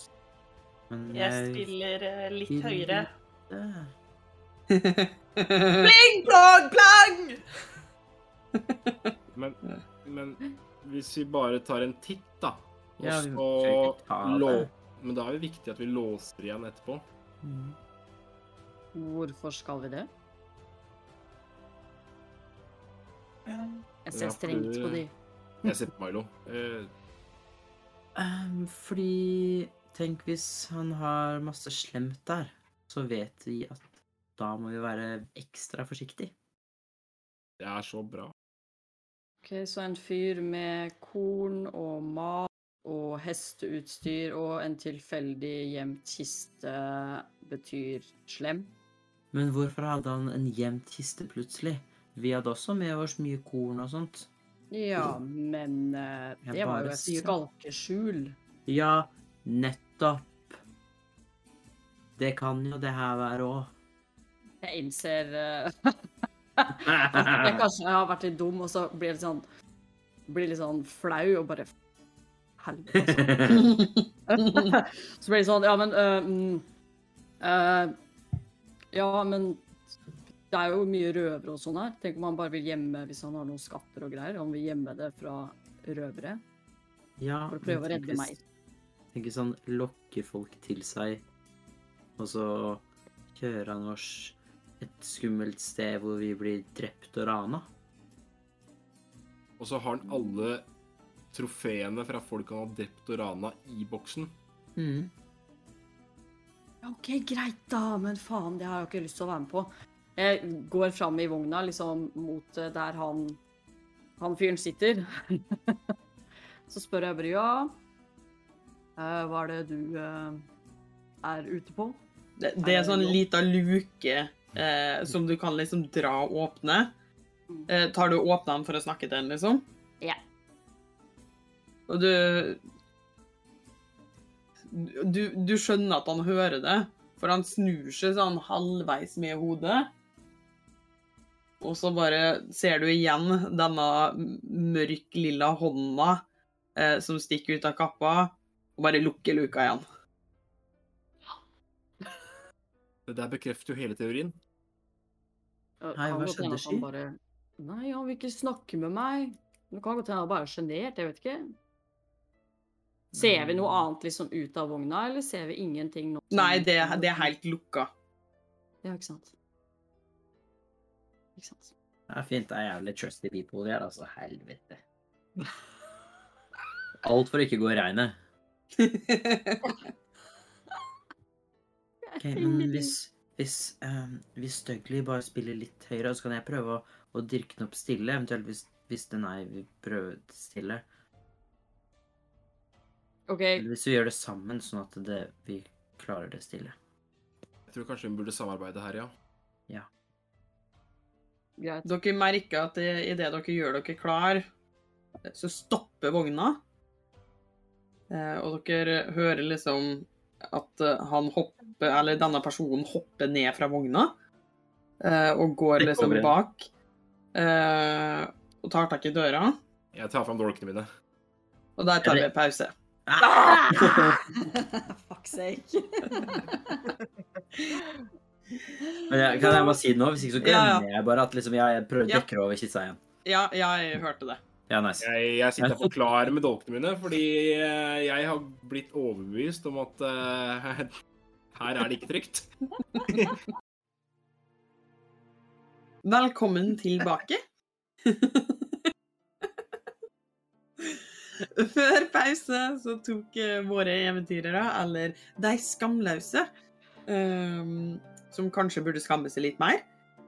D: Men
B: Jeg spiller eh, litt høyere.
D: Ja.
B: Pling, plong, plang!
C: Men, men hvis vi bare tar en titt, da, og
D: Ja, vi
C: så
D: må ikke ta det.
C: lå... Men da er det viktig at vi låser igjen etterpå.
D: Mm.
E: Hvorfor skal vi det? Jeg
C: Ja,
E: ser strengt
C: fordi-
E: på de.
C: Jeg ser på Milo. Eh,
D: Ehm, fordi Tenk hvis han har masse slemt der, så vet vi at da må vi være ekstra forsiktig.
C: det er så bra.
E: Ok, Så en fyr med korn og mat og hesteutstyr og en tilfeldig gjemt kiste betyr slem?
D: Men hvorfor hadde han en gjemt kiste plutselig? Vi hadde også med oss mye korn og sånt.
E: Ja, men eh,
D: Jeg
E: det var
D: bare
E: jo et
D: sier det.
E: skalkeskjul.
D: Ja, nettopp. Det kan jo det her være òg.
E: Jeg innser eh, at jeg kanskje har vært litt dum, og så blir jeg litt sånn, blir litt sånn flau og bare Helvete. Så blir det sånn, ja, men øh, mm, øh, Ja, men det er jo mye røvere og sånn her. Tenk om han bare vil gjemme hvis han har noen skatter og greier. Han vil gjemme det fra røvere
D: ja,
E: for å prøve å
D: men tenk
E: redde
D: hvis-
E: meg.
D: Tenk hvis han lokker folk til seg, og så kjører han oss et skummelt sted hvor vi blir drept og rana.
C: Og så har han alle trofeene fra folk han har drept og rana, i boksen.
D: Mm.
E: Ja, OK, greit da, men faen, det har jeg jo ikke lyst til å være med på. Jeg går fram i vogna, liksom mot eh, der han, han fyren sitter. Så spør jeg bare ja. eh, hva er det du eh, er ute på?
A: Det, det er sånn lita luke eh, som du kan liksom dra og åpne. Eh, tar du og åpner den for å snakke til den, liksom?
E: Ja.
A: Og du du, du skjønner at han hører det, for han snur seg sånn halvveis med hodet. Og så bare ser du igjen denne mørk lilla hånda eh, som stikker ut av kappa, og bare lukker luka igjen.
C: Det der bekrefter jo hele teorien.
E: Eh,
D: Hei,
E: kan
D: hva
E: Eh, godt
D: skjedde,
E: hende at han
D: Sky?
E: Bare, Nei, han vil ikke snakke med meg. Det kan godt hende han bare er sjenert, jeg vet ikke. Ser vi noe annet liksom ut av vogna, eller ser vi ingenting nå? som-
A: Mm. Nei, det, det er helt lukka.
E: Ja, ikke sant. Ikke sant.
D: Det er fint. Det er jævlig trusty people de er, altså. Helvete. Alt for å ikke gå i regnet. Ok, men hvis, hvis, um, hvis Dougley bare spiller litt høyere, så kan jeg prøve å, å dirke den opp stille, eventuelt hvis, hvis den er vi prøver stille.
E: OK,
D: Eller hvis vi gjør det sammen, sånn at det, vi klarer det stille.
C: Jeg tror kanskje hun burde samarbeide her, ja.
E: greit.
A: Dere merker at det- i det dere gjør dere klar, så stopper vogna. Eh, Og dere hører liksom at eh, han hopper, eller denne personen hopper ned fra vogna. eh, Og går
D: Det
A: liksom
D: kommer en.
A: bak. eh, Og tar tak i døra.
C: Jeg tar fram dolkene mine.
A: Og der tar vi
D: Eller-
A: en pause.
D: Ah,
E: Fuck sake.
D: Men jeg, kan jeg bare si det nå? Hvis ikke så
A: Ja, ja.
D: glemmer jeg bare at liksom, jeg, jeg prøver å
A: Ja.
D: dekke over kissa igjen.
A: Ja, jeg hørte det.
D: Ja, nice.
C: Jeg, jeg sitter og forklarer med dolkene mine, fordi eh, jeg har blitt overbevist om at eh, her er det ikke trygt.
A: Velkommen tilbake. Før pause så tok eh, våre eventyrere, eller de skamløse, ehm, som kanskje burde skamme seg litt mer,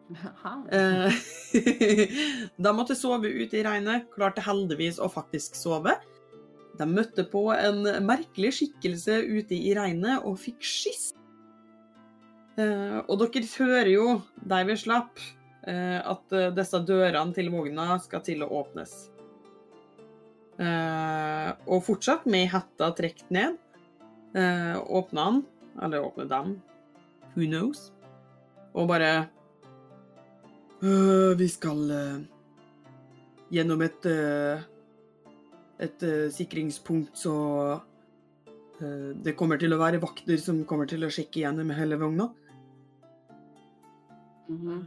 E: Hæ?
A: Eh, De Eh, måtte sove ute i regnet, klarte heldigvis å faktisk sove. De møtte på en merkelig skikkelse ute i regnet og fikk skyss. Eh, Og dere hører jo, der vi slapp, eh, at eh, disse dørene til vogna skal til å åpnes. Eh, Og fortsatt med hetta trukket ned, eh, åpna han, eller åpnet dem, who knows, og bare Øh, vi skal øh, gjennom et øh, et øh, sikringspunkt, så øh, det kommer til å være vakter som kommer til å sjekke gjennom hele vogna.
E: Mhm.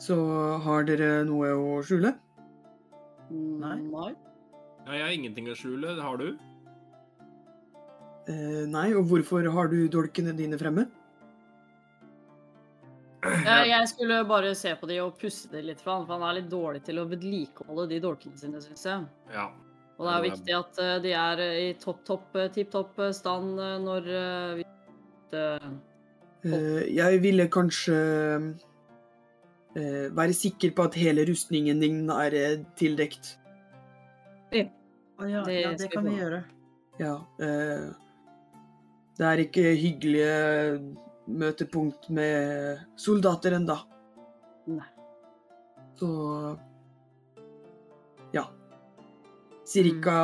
A: Så har dere noe å skjule?
D: Nei.
E: Nei.
C: Ja, jeg har ingenting å skjule. Har du?
A: Eh, nei, og hvorfor har du dolkene dine fremme?
E: Eh, Jeg skulle bare se på de og pusse det litt, for han, for han er litt dårlig til å vedlikeholde de dolkene sine, syns jeg.
C: Ja.
E: Og det er jo
C: Ja, det
E: viktig at eh, de er eh, i topp, topp, eh, tipp topp eh, stand eh, når eh, vi eh,
A: Eh, jeg ville kanskje eh, være sikker på at hele rustningen din er eh, tildekt.
D: Å ja,
E: Det skal vi få.
D: gjøre.
A: Ja. eh, det er ikke hyggelige møtepunkt med soldater enda.
E: Nei.
A: Så ja. Cirka,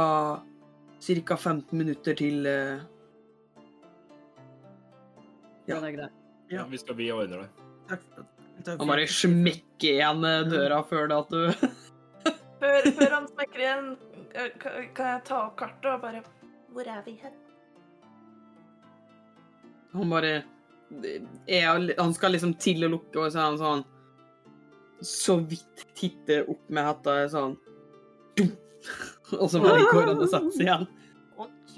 A: cirka 15 minutter til eh, Ja.
E: den er grei.
C: ja. Vi skal vi ordner det.
D: Takk,
A: Han bare smekker igjen eh, døra før det at du
B: Før, før han smekker igjen, eh, ka- kan jeg ta opp kartet og bare
F: Hvor er vi hen?
A: Han bare er, Han skal liksom til å lukke, og så er han sånn Så vidt titter opp med hetta er sånn dum. Og så bare går han og setter seg igjen.
F: OK.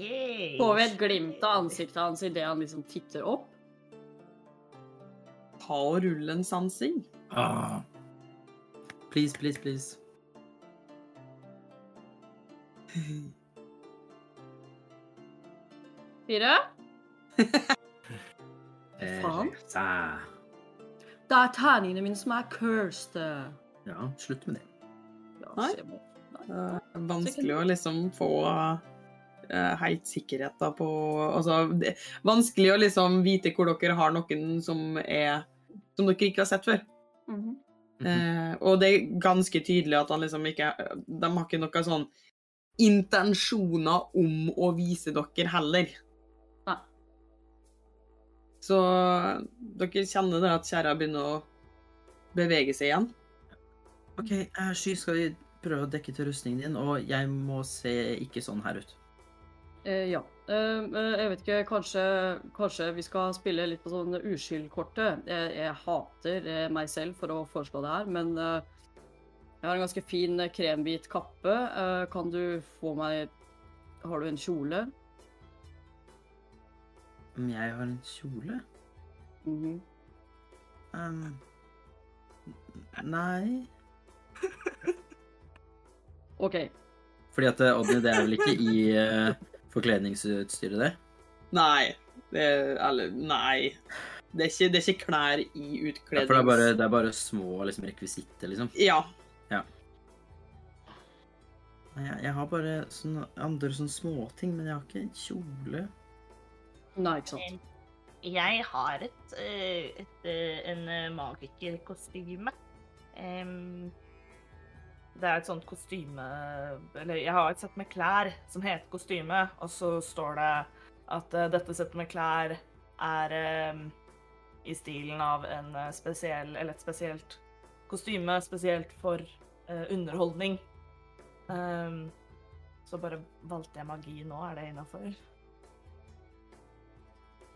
E: Får vi et glimt av ansiktet hans idet han liksom titter opp?
A: Ta og rull en sansing.
D: Ah. Please, please, please.
E: Fire? Faen.
D: Eh,
E: Det er terningene mine som er cursed. Ja,
D: Ja, slutt med det.
A: Nei.
E: så jeg må-
A: Det er vanskelig å liksom få eh, helt sikkerhet da på Altså, det, vanskelig å liksom vite hvor dere har noen som er Som dere ikke har sett før.
E: Mhm.
A: Eh, og det er ganske tydelig at han liksom ikke De har ikke noen sånn intensjoner om å vise dere heller.
E: Nei.
A: Så dere kjenner det at kjerra begynner å bevege seg igjen.
D: Ok, eh, Sky, skal vi prøve å dekke til rustningen din, og jeg må se ikke sånn her ut.
E: Eh, ja. Eh, eh, jeg vet ikke, kanskje, kanskje vi skal spille litt på sånn uskyldkortet. Jeg, jeg hater eh, meg selv for å foreslå det her, men eh, Jeg har en ganske fin eh, krembit kappe. Eh, Kan du få meg Har du en kjole?
D: Om jeg har en kjole?
E: Mhm.
D: Um, nei
E: OK.
D: Fordi at eh, Odny, det er vel ikke i eh, forkledningsutstyret, det?
A: Nei. Det er, eller, nei. Det er, ikke, det er ikke klær i
D: Ja,
A: utkledning.
D: for det er bare, det er bare små liksom, rekvisitter, liksom.
A: Ja.
D: Nei, jeg, jeg har bare sånne andre sånne småting, men jeg har ikke en kjole.
E: Nei, ikke sant.
F: Jeg har et, eh, et eh, en eh, magikerkostyme. Em,
B: Det er et sånt kostyme Eller jeg har et sett med klær som heter kostyme, og så står det at eh, dette settet med klær er em, i stilen av en eh, spesiell Eller et spesielt kostyme spesielt for eh, underholdning. Em, så bare valgte jeg magi nå. Er det innafor?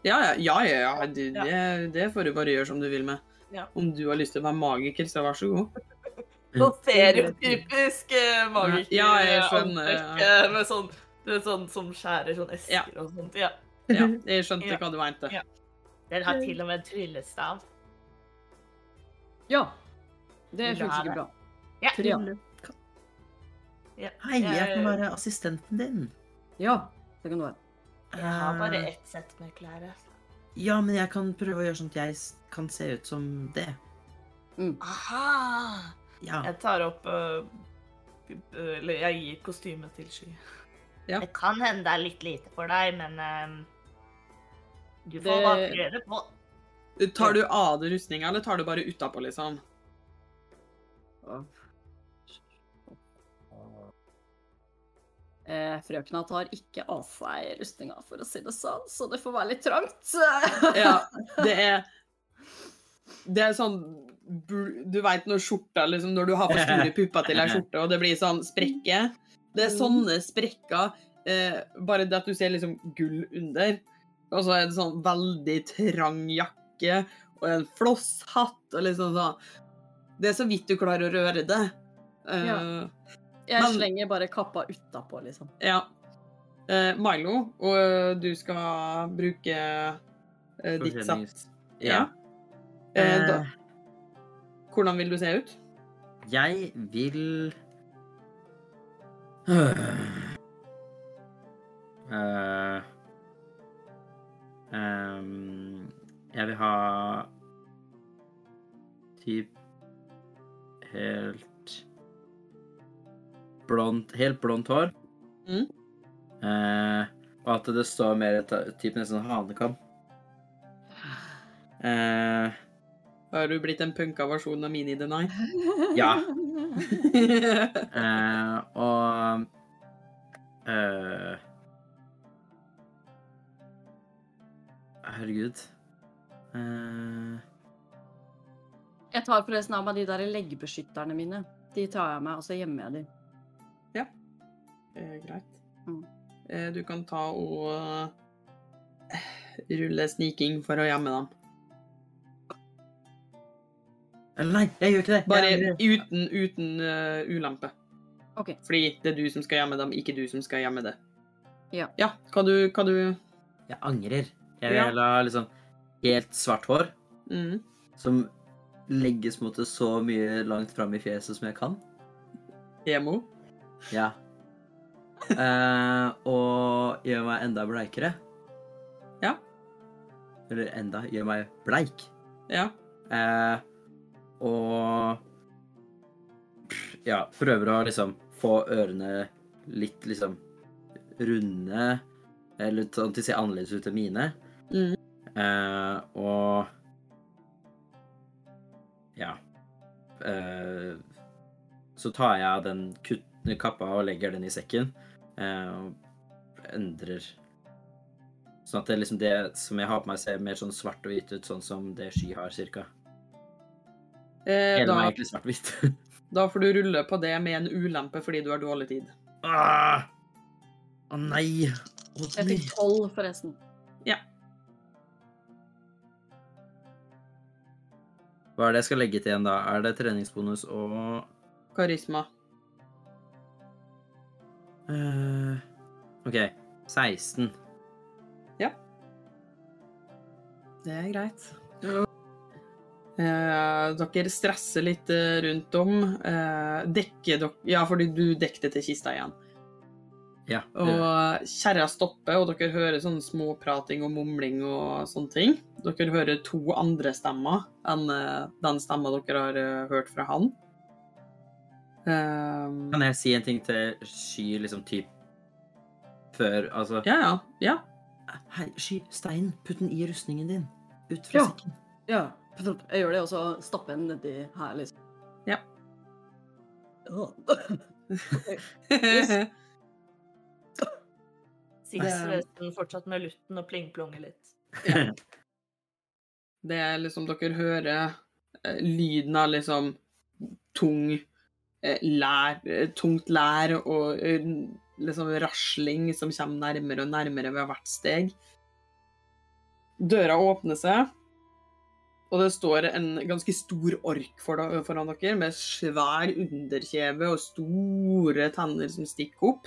A: Ja, ja, ja. ja, ja. Du, det, det får du bare gjøre som du vil med.
B: Ja.
A: Om du har lyst til å være magiker, så vær så god.
B: Sånn stereotypisk eh, magiker.
A: Ja, jeg skjønner, ja.
B: antrekk, eh, Med sånn, du vet, sånn som skjærer sånn esker
A: Ja.
B: og sånt. Ja. Mm.
A: Ja, jeg skjønte
B: Ja.
A: hva du mente.
B: Ja.
F: den har til og med en tryllestav.
E: Ja. Det
F: Vil du
E: funker
F: ha
E: sikkert bra.
F: Ja.
E: Tre.
D: Hei, jeg
B: Eh,
D: kan være assistenten din.
E: Ja, det kan du være.
F: Jeg
B: Ah.
F: har bare
D: Eh,
F: ett sett med klær. altså.
D: Ja, men jeg kan prøve å gjøre sånn at jeg s- kan se ut som det.
F: Aha!
D: Ja.
B: Jeg tar opp eh, Eller jeg gir kostymet til Sky.
A: Ja.
F: Det kan hende det er litt lite for deg, men em, du får
E: Det-
F: bare prøve på.
A: Tar du av deg rustninga, eller tar du bare utapå, liksom?
E: Eh, frøkna tar ikke av seg rustninga, for å si det sånn, så det får være litt trangt.
A: Ja, det er Det er sånn bl- Du veit når skjorta liksom Når du har for store pupper til ei skjorte, og det blir sånn sprekke. Det er sånne sprekker, eh, bare det at du ser liksom gull under. Og så er det sånn veldig trang jakke og en flosshatt og liksom sånn Det er så vidt du klarer å røre det. Eh,
E: Ja. Jeg
A: Men-
E: slenger bare kappa utapå, liksom.
A: Ja. Eh, Milo, og eh, du skal bruke eh, ditt sats.
D: Forklednings- Ja.
A: Eh, da,
D: Eh,
A: hvordan vil du se ut?
D: Jeg vil Eh, ehm, Jeg vil ha typ helt blondt Helt blondt hår.
A: Mm.
D: Eh, og at det står mer ta- typ nesten hanekam. Eh,
A: Har du blitt en punka versjon av Mini-Deny?
D: Ja. Eh, og eh, Herregud. Eh,
E: Jeg tar forresten av meg de der leggbeskytterne mine. De tar jeg meg, og så gjemmer jeg dem.
A: Eh, greit.
E: Mm.
A: Eh, du kan ta og eh, rulle sniking for å gjemme dem.
D: eller nei, jeg gjør ikke det!
A: Bare
D: Jeg-
A: uten, uten eh, ulempe.
E: OK.
A: Fordi det er du som skal gjemme dem, ikke du som skal gjemme det.
E: Ja.
A: ja hva du, hva du
D: Jeg angrer. Jeg vil
A: Ja.
D: heller ha liksom helt svart hår
A: mm.
D: som legges mot det så mye langt fram i fjeset som jeg kan.
A: Emo?
D: Ja. Eh, og gjør meg enda bleikere.
A: Ja.
D: Eller enda gjør meg bleik.
A: Ja.
D: Eh, og ja, prøver å liksom få ørene litt liksom runde, eller sånn til å se annerledes ut enn mine.
A: Mm.
D: Eh, og ja. Eh, så tar jeg av den kutt- kappa og legger den i sekken, eh, og endrer Sånn at det, liksom det som jeg har på meg, ser mer sånn svart og hvitt ut, sånn som det sky har, cirka.
A: Eh,
D: Hele
A: da,
D: meg er egentlig svart-hvitt.
A: da får du rulle på det med en ulempe fordi du har dårlig tid.
D: Ah! Å nei! Å,
E: Jeg fikk tolv, forresten.
D: Hva er det jeg skal legge til igjen, da? Er det treningsbonus og
A: Karisma.
D: Eh, OK. 16.
A: Det er greit. Eh, dere stresser litt eh, rundt om. Eh, dekker dere Ja, fordi du dekket til kista igjen.
D: Ja. det
A: Og
D: gjør jeg.
A: kjerra stopper, og dere hører sånn småprating og mumling og sånne ting. Dere hører to andre stemmer enn eh, den stemma dere har eh, hørt fra han. Eh,
D: Kan jeg si en ting til Sky, liksom typ før Altså
A: ja, ja. ja.
D: Hei, Sky, steinen. Putt den i rustningen din. Ut
E: Ja.
D: fra sekken.
E: Ja, jeg gjør det, og så stapper jeg den nedi her, liksom.
A: Ja.
E: Åh.
F: Sigsvesen fortsatt med lutten og plingplonger litt.
A: Det er liksom Dere hører eh, lyden av liksom tung eh, lær, eh, tungt lær og eh, liksom rasling som kommer nærmere og nærmere ved hvert steg. Døra åpner seg, og det står en ganske stor ork for da- foran dere med svær underkjeve og store tenner som stikker opp.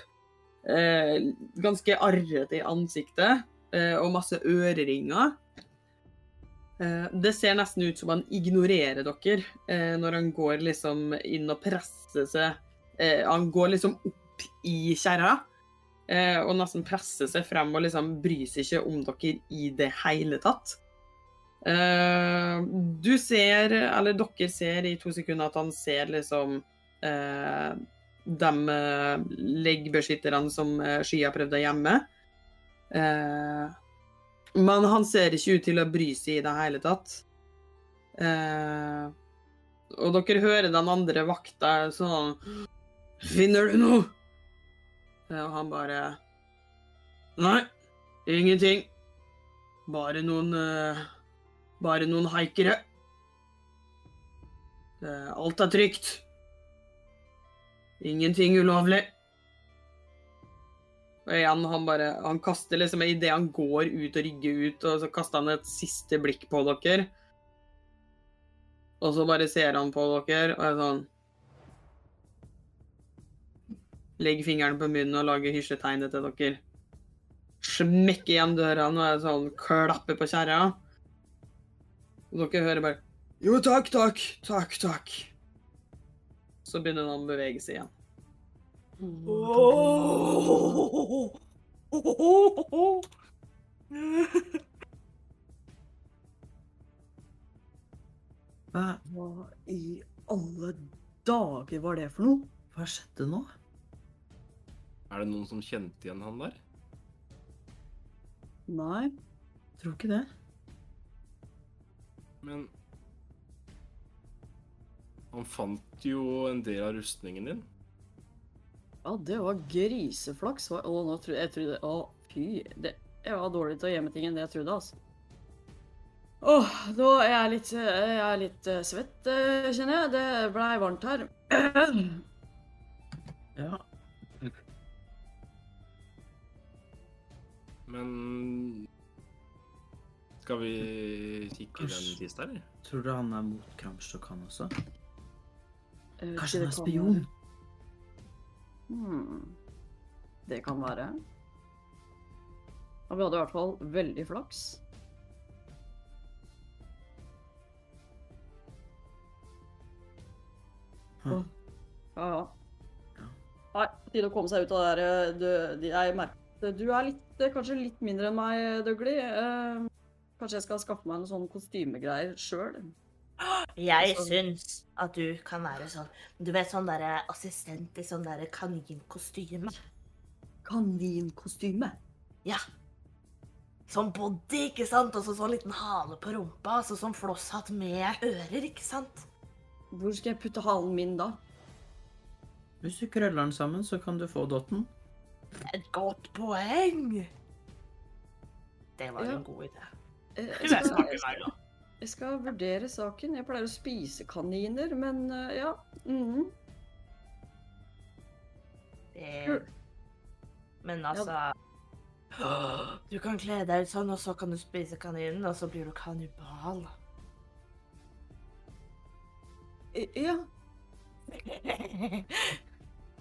A: Eh, ganske arrete i ansiktet eh, og masse øreringer. Eh, Det ser nesten ut som han ignorerer dere eh, når han går liksom inn og presser seg. Eh, Han går liksom opp i kjerra eh, og nesten presser seg frem og liksom bryr seg ikke om dere i det hele tatt. Eh, Du ser, eller dere ser i to sekunder at han ser liksom eh, de eh, leggbeskytterne som eh, Sky har prøvd å gjemme. Eh, men han ser ikke ut til å bry seg i det hele tatt. Eh, og dere hører den andre vakta sånn Finner du noe? Eh, Og han bare Nei, ingenting. Bare noen eh, Bare noen haikere. Eh, alt er trygt. Ingenting ulovlig. Og igjen, han bare Han kaster liksom Idet han går ut og rygger ut, og så kaster han et siste blikk på dere. Og så bare ser han på dere og er sånn Legger fingeren på munnen og lager hysjetegnet til dere. Smekker igjen dørene og er sånn klapper på kjerra. Og dere hører bare Jo, takk, takk, takk, takk. Så begynner han å bevege seg igjen.
D: Hva,
E: Hva i alle dager var det for noe?
D: hva skjedde nå?
C: Er det noen som kjente igjen han der?
E: Nei.
D: Tror ikke det.
C: Men Han fant jo en del av rustningen din.
E: Ja, det var griseflaks. hva- Å, nå trodde jeg trodde, Å, fy. Det, jeg var dårlig til å gjemme ting enn det jeg trodde, altså. Åh, nå er jeg litt, eh, jeg er litt eh, svett, eh, kjenner jeg. Det blei varmt her. Eh,
D: Ja.
C: Men Skal vi kikke i den
D: Kanskje-
C: kista, eller?
D: Tror du han er mot Kramstok, han også?
E: Jeg vet
D: Kanskje han
E: ikke, det
D: er
E: kan
D: spion?
E: være- Hmm. Det kan være. Og vi hadde i hvert fall veldig flaks.
D: Hm.
E: Ja, ja.
D: Ja.
E: Nei, på tide å komme seg ut av det der. eh, Du, de- jeg merker at du er litt, eh, kanskje litt mindre enn meg, Dougley. Eh, kanskje jeg skal skaffe meg noen sånne kostymegreier sjøl.
F: Jeg
E: Sånn.
F: syns at du kan være sånn Du vet sånn derre assistent i sånn derre kaninkostyme.
E: Kaninkostyme.
F: Ja. Sånn body, ikke sant? Og så sånn liten hale på rumpa. Så sånn flosshatt med ører, ikke sant?
E: Hvor skal jeg putte halen min da?
D: Hvis du krøller den sammen, så kan du få dotten.
F: Et godt poeng! Det var
E: Ja.
F: en god idé.
E: Eh, Jeg
B: Du er
E: skal,
B: smart,
E: jeg, skal,
B: Milo.
E: jeg skal vurdere saken. Jeg pleier å spise kaniner, men eh, ja. mhm.
B: Eh,
F: Det... Men altså Du kan kle deg ut sånn, og så kan du spise kaninen, og så blir du kannibal.
E: Eh, Ja.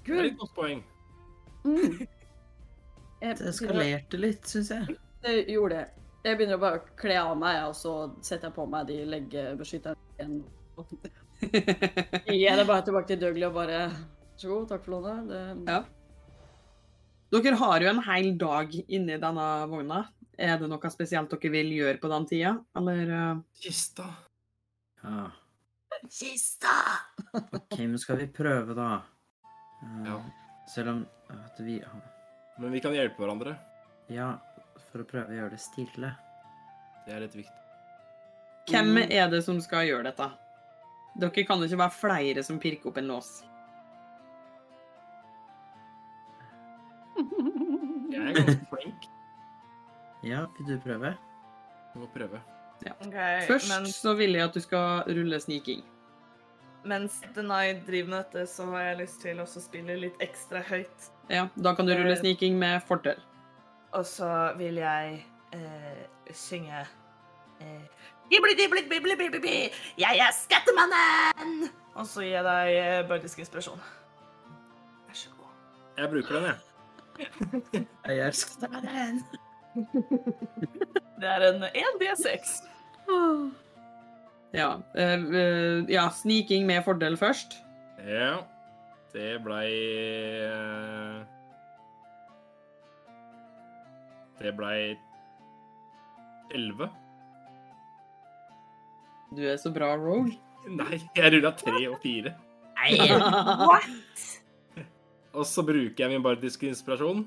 C: Det er et godt poeng.
E: Mm. Jeg
D: Det eskalerte litt, syns jeg.
E: Det gjorde det. Jeg begynner å bare å kle av meg, og så setter jeg på meg de leggebeskytterne igjen. Gir jeg det bare tilbake til Dougley og bare Vær så god, takk for lånet. Det...
A: Ja. Dere har jo en hel dag inni denne vogna. Er det noe spesielt dere vil gjøre på den tida, eller eh,
C: Kista.
D: Ja.
F: Kista!
D: Hvem skal vi prøve, da? Eh,
C: Ja.
D: Selv om at vi
C: Men vi kan hjelpe hverandre.
D: Ja, for å prøve å gjøre det stille.
C: Det er litt viktig.
A: Hvem er det som skal gjøre dette? Dere kan ikke være flere som pirker opp en lås.
C: Jeg er ganske flink.
D: Ja, vil du prøve?
C: Vi må prøve.
B: Okay,
A: Først
B: men
A: så vil jeg at du skal rulle sniking.
B: mens Denai driver med dette, så har jeg lyst til å også spille litt ekstra høyt.
A: Ja, da kan du rulle sniking med fortell.
B: Og så vil jeg eh, synge eh, Gibli, dibli, bibli, bibli, bi. Jeg er skattemannen! Og så gir jeg deg eh, bødisk inspirasjon. Vær så god.
C: Jeg bruker den, jeg.
D: Jeg er skattemannen.
B: Det er en 1D6.
A: Ja, eh, eh, ja sniking med fordel først.
C: Ja. Det blei eh, Det blei 11.
A: Du er så bra rogue.
C: Nei, jeg rulla 3 og 4. Og så bruker jeg min bardiske inspirasjon.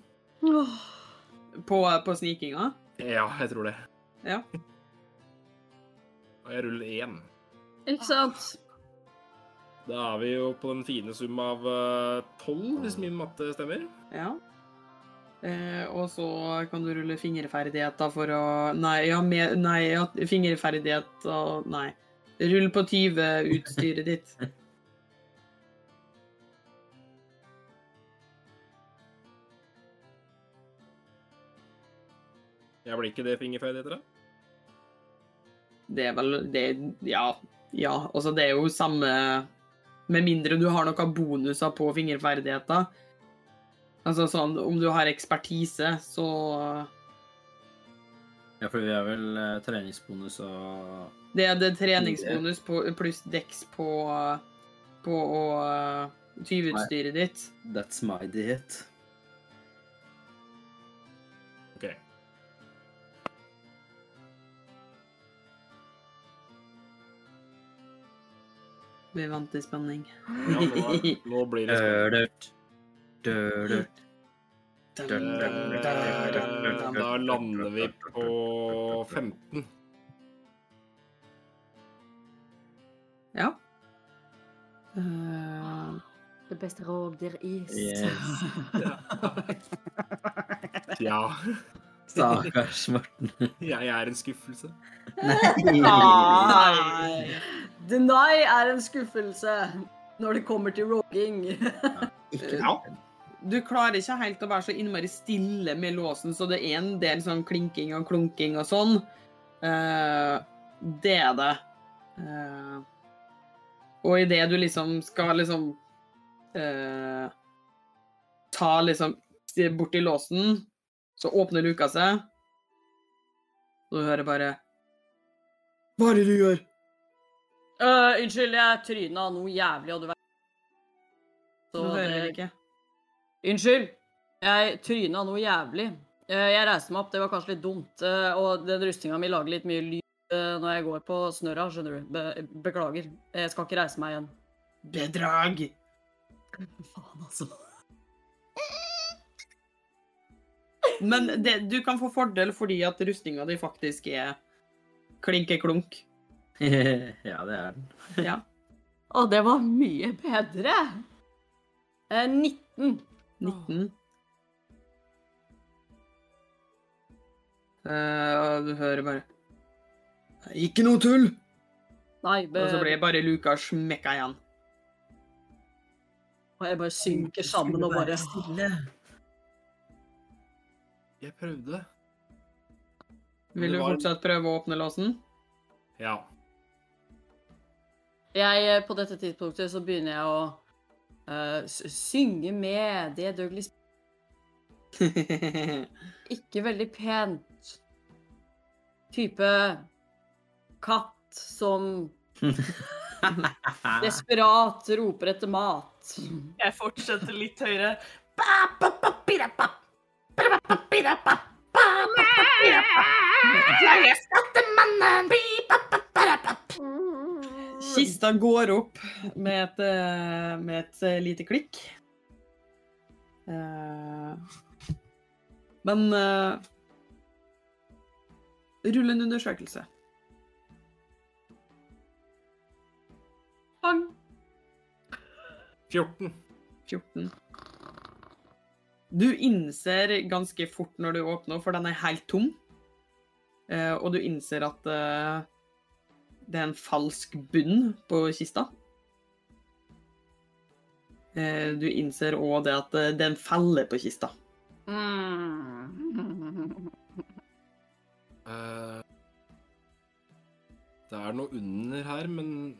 A: på, på snikinga.
C: Ja, jeg tror det.
A: Ja.
C: Og jeg ruller 1.
E: Ikke sant?
C: Da er vi jo på den fine sum av 12, hvis min matte stemmer.
A: Ja. Eh, og så kan du rulle fingerferdigheter for å Nei, ja, med, nei ja, fingerferdighet og Nei. Rull på 20-utstyret ditt.
C: Jeg blir ikke det fingerferdigheter, da.
A: Det er vel det, Ja. ja. Altså, det er jo samme Med mindre du har noen bonuser på fingerferdigheter. Altså sånn om du har ekspertise, så
D: Ja, for vi har vel eh, treningsbonus og
A: Det er det treningsbonus på, pluss deks på, på å eh, 20-utstyret ditt.
D: That's my diet.
C: OK.
A: Vi vant i spenning.
C: Ja, nå, nå blir det
D: Eh,
C: spennende.
D: Dølert. Dølert.
C: Eh, Da lander vi på 15.
A: Ja. Eh,
G: Det beste rovdyr i
D: Yes.
C: Ja.
D: Stakkars Morten.
C: Jeg er en skuffelse.
D: Nei.
E: Nei. Deny er en skuffelse når det kommer til roging.
D: Ikke
C: Ja.
A: du klarer ikke helt å være så innmari stille med låsen, så det er en del sånn klinking og klunking og sånn. Eh, det er det. Eh, og idet du liksom skal liksom eh, ta liksom borti låsen, så åpner luka seg, og du hører bare Hva er det du gjør?
E: Øh, unnskyld, jeg tryna noe jævlig, og du vet
A: Du hører vel ikke.
E: Unnskyld. Jeg tryna noe jævlig. Eh, Jeg reiste meg opp, det var kanskje litt dumt. eh, Og den rustninga mi lager litt mye lyd eh, når jeg går på snørra, skjønner du. Be beklager. Jeg skal ikke reise meg igjen.
A: Bedrag!
E: Faen, altså.
A: Men det, du kan få fordel fordi at rustninga di faktisk er klinkeklunk.
D: Ja, det er den.
A: Ja.
E: Å, det var mye bedre! Eh, 19.
A: 19. Eh, og du hører bare Ikke noe tull!
E: Nei, be
A: Og så blir bare luka smekka igjen.
E: og jeg bare synker sammen og bare
C: Jeg prøvde.
A: Vil du
C: Det var-
A: fortsatt prøve å åpne låsen?
C: Ja.
E: Jeg, eh, på dette tidspunktet så begynner jeg å eh, s- synge med det Douglas Ikke veldig pent. Type katt som desperat roper etter mat.
B: Jeg fortsetter litt høyere. Ba, ba, ba, bida, ba. Bida, ba, bida, ba. Ba, ba, ba, bida, ba. Jeg er skattemannen! Bi, ba, ba, bida, ba.
A: Kista går opp med et, eh, med et eh, lite klikk. Eh, Men eh, Rull en undersøkelse.
E: Pang!
C: 14.
A: 14. Du innser ganske fort når du åpner, for den er helt tom. Eh, og du innser at eh, det er en falsk bunn på kista. Eh, du innser òg det at eh, det er en felle på kista.
E: Mm.
C: Eh, det er noe under her, men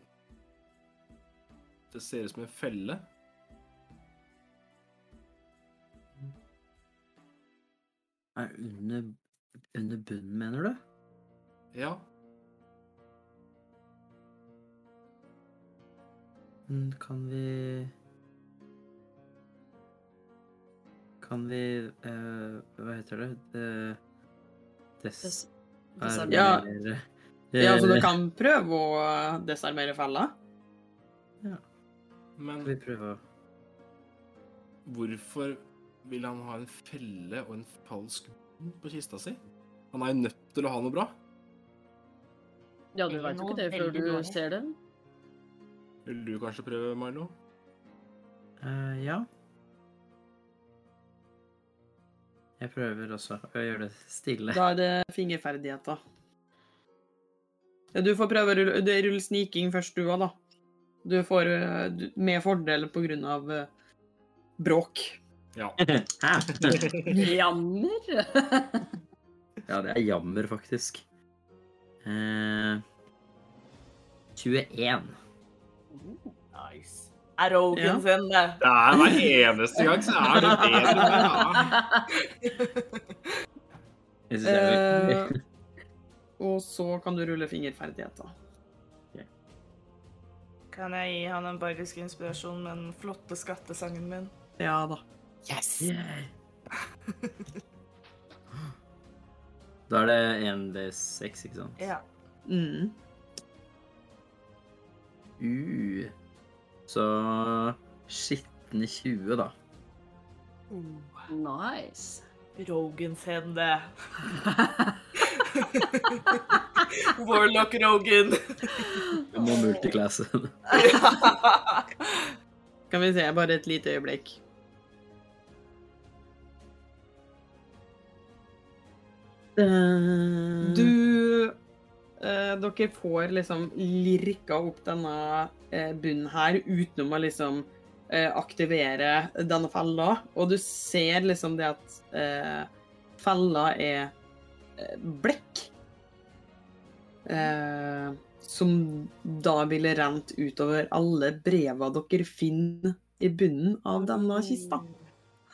C: det ser ut som en felle.
D: Er under, under bunnen, mener du?
C: Ja,
D: Mm, Kan vi Kan vi eh, Hva heter det? Eh, des...
E: Des- desarmere.
A: Ja.
D: armere-
A: Ja, så du
D: Eh,
A: kan prøve å eh, desarmere fella.
C: men
D: Skal vi prøve å
C: hvorfor vil han ha en felle og en falsk bunn på kista si? Han er jo nødt til å ha noe bra.
E: Ja, du
F: Det er
E: veit jo
F: noe
E: ikke det før
F: veldig
E: du
F: dårlig.
E: ser det.
C: Vil du kanskje prøve, Milo?
D: eh, Ja. Jeg prøver også å gjøre det stille.
A: Da er det fingerferdigheter. Ja, Du får prøve å rulle, det er rull sniking først du òg, da. Du får eh, du- med fordel på grunn av eh, bråk.
C: Ja.
E: Jammer!
D: Ja, det er jammer, faktisk. Eh, 21.
B: Nice. Arrogen sin, det.
C: Det er hver eneste gang så er det bedre. Ja.
D: Jeg synes det er veldig-
A: Eh, og så kan du rulle fingerferdigheter.
B: Kan jeg gi han en bergisk inspirasjon med den flotte skattesangen min?
A: Ja da.
D: Yeah. Da er det 1D6, ikke sant?
B: Ja.
A: Mm.
D: Uh. Så skitne 20, da.
E: Nice.
B: Rogen sin, Uh, det. Warlock Rogen.
D: Du må multiclasse.
A: Kan vi se, bare et lite øyeblikk. Du eh, Dere får liksom lirka opp denne eh, bunnen her utenom å liksom eh, aktivere denne fella, og du ser liksom det at eh, fella er eh, blekk. Eh, som da ville rent utover alle breva dere finner i bunnen av denne kista.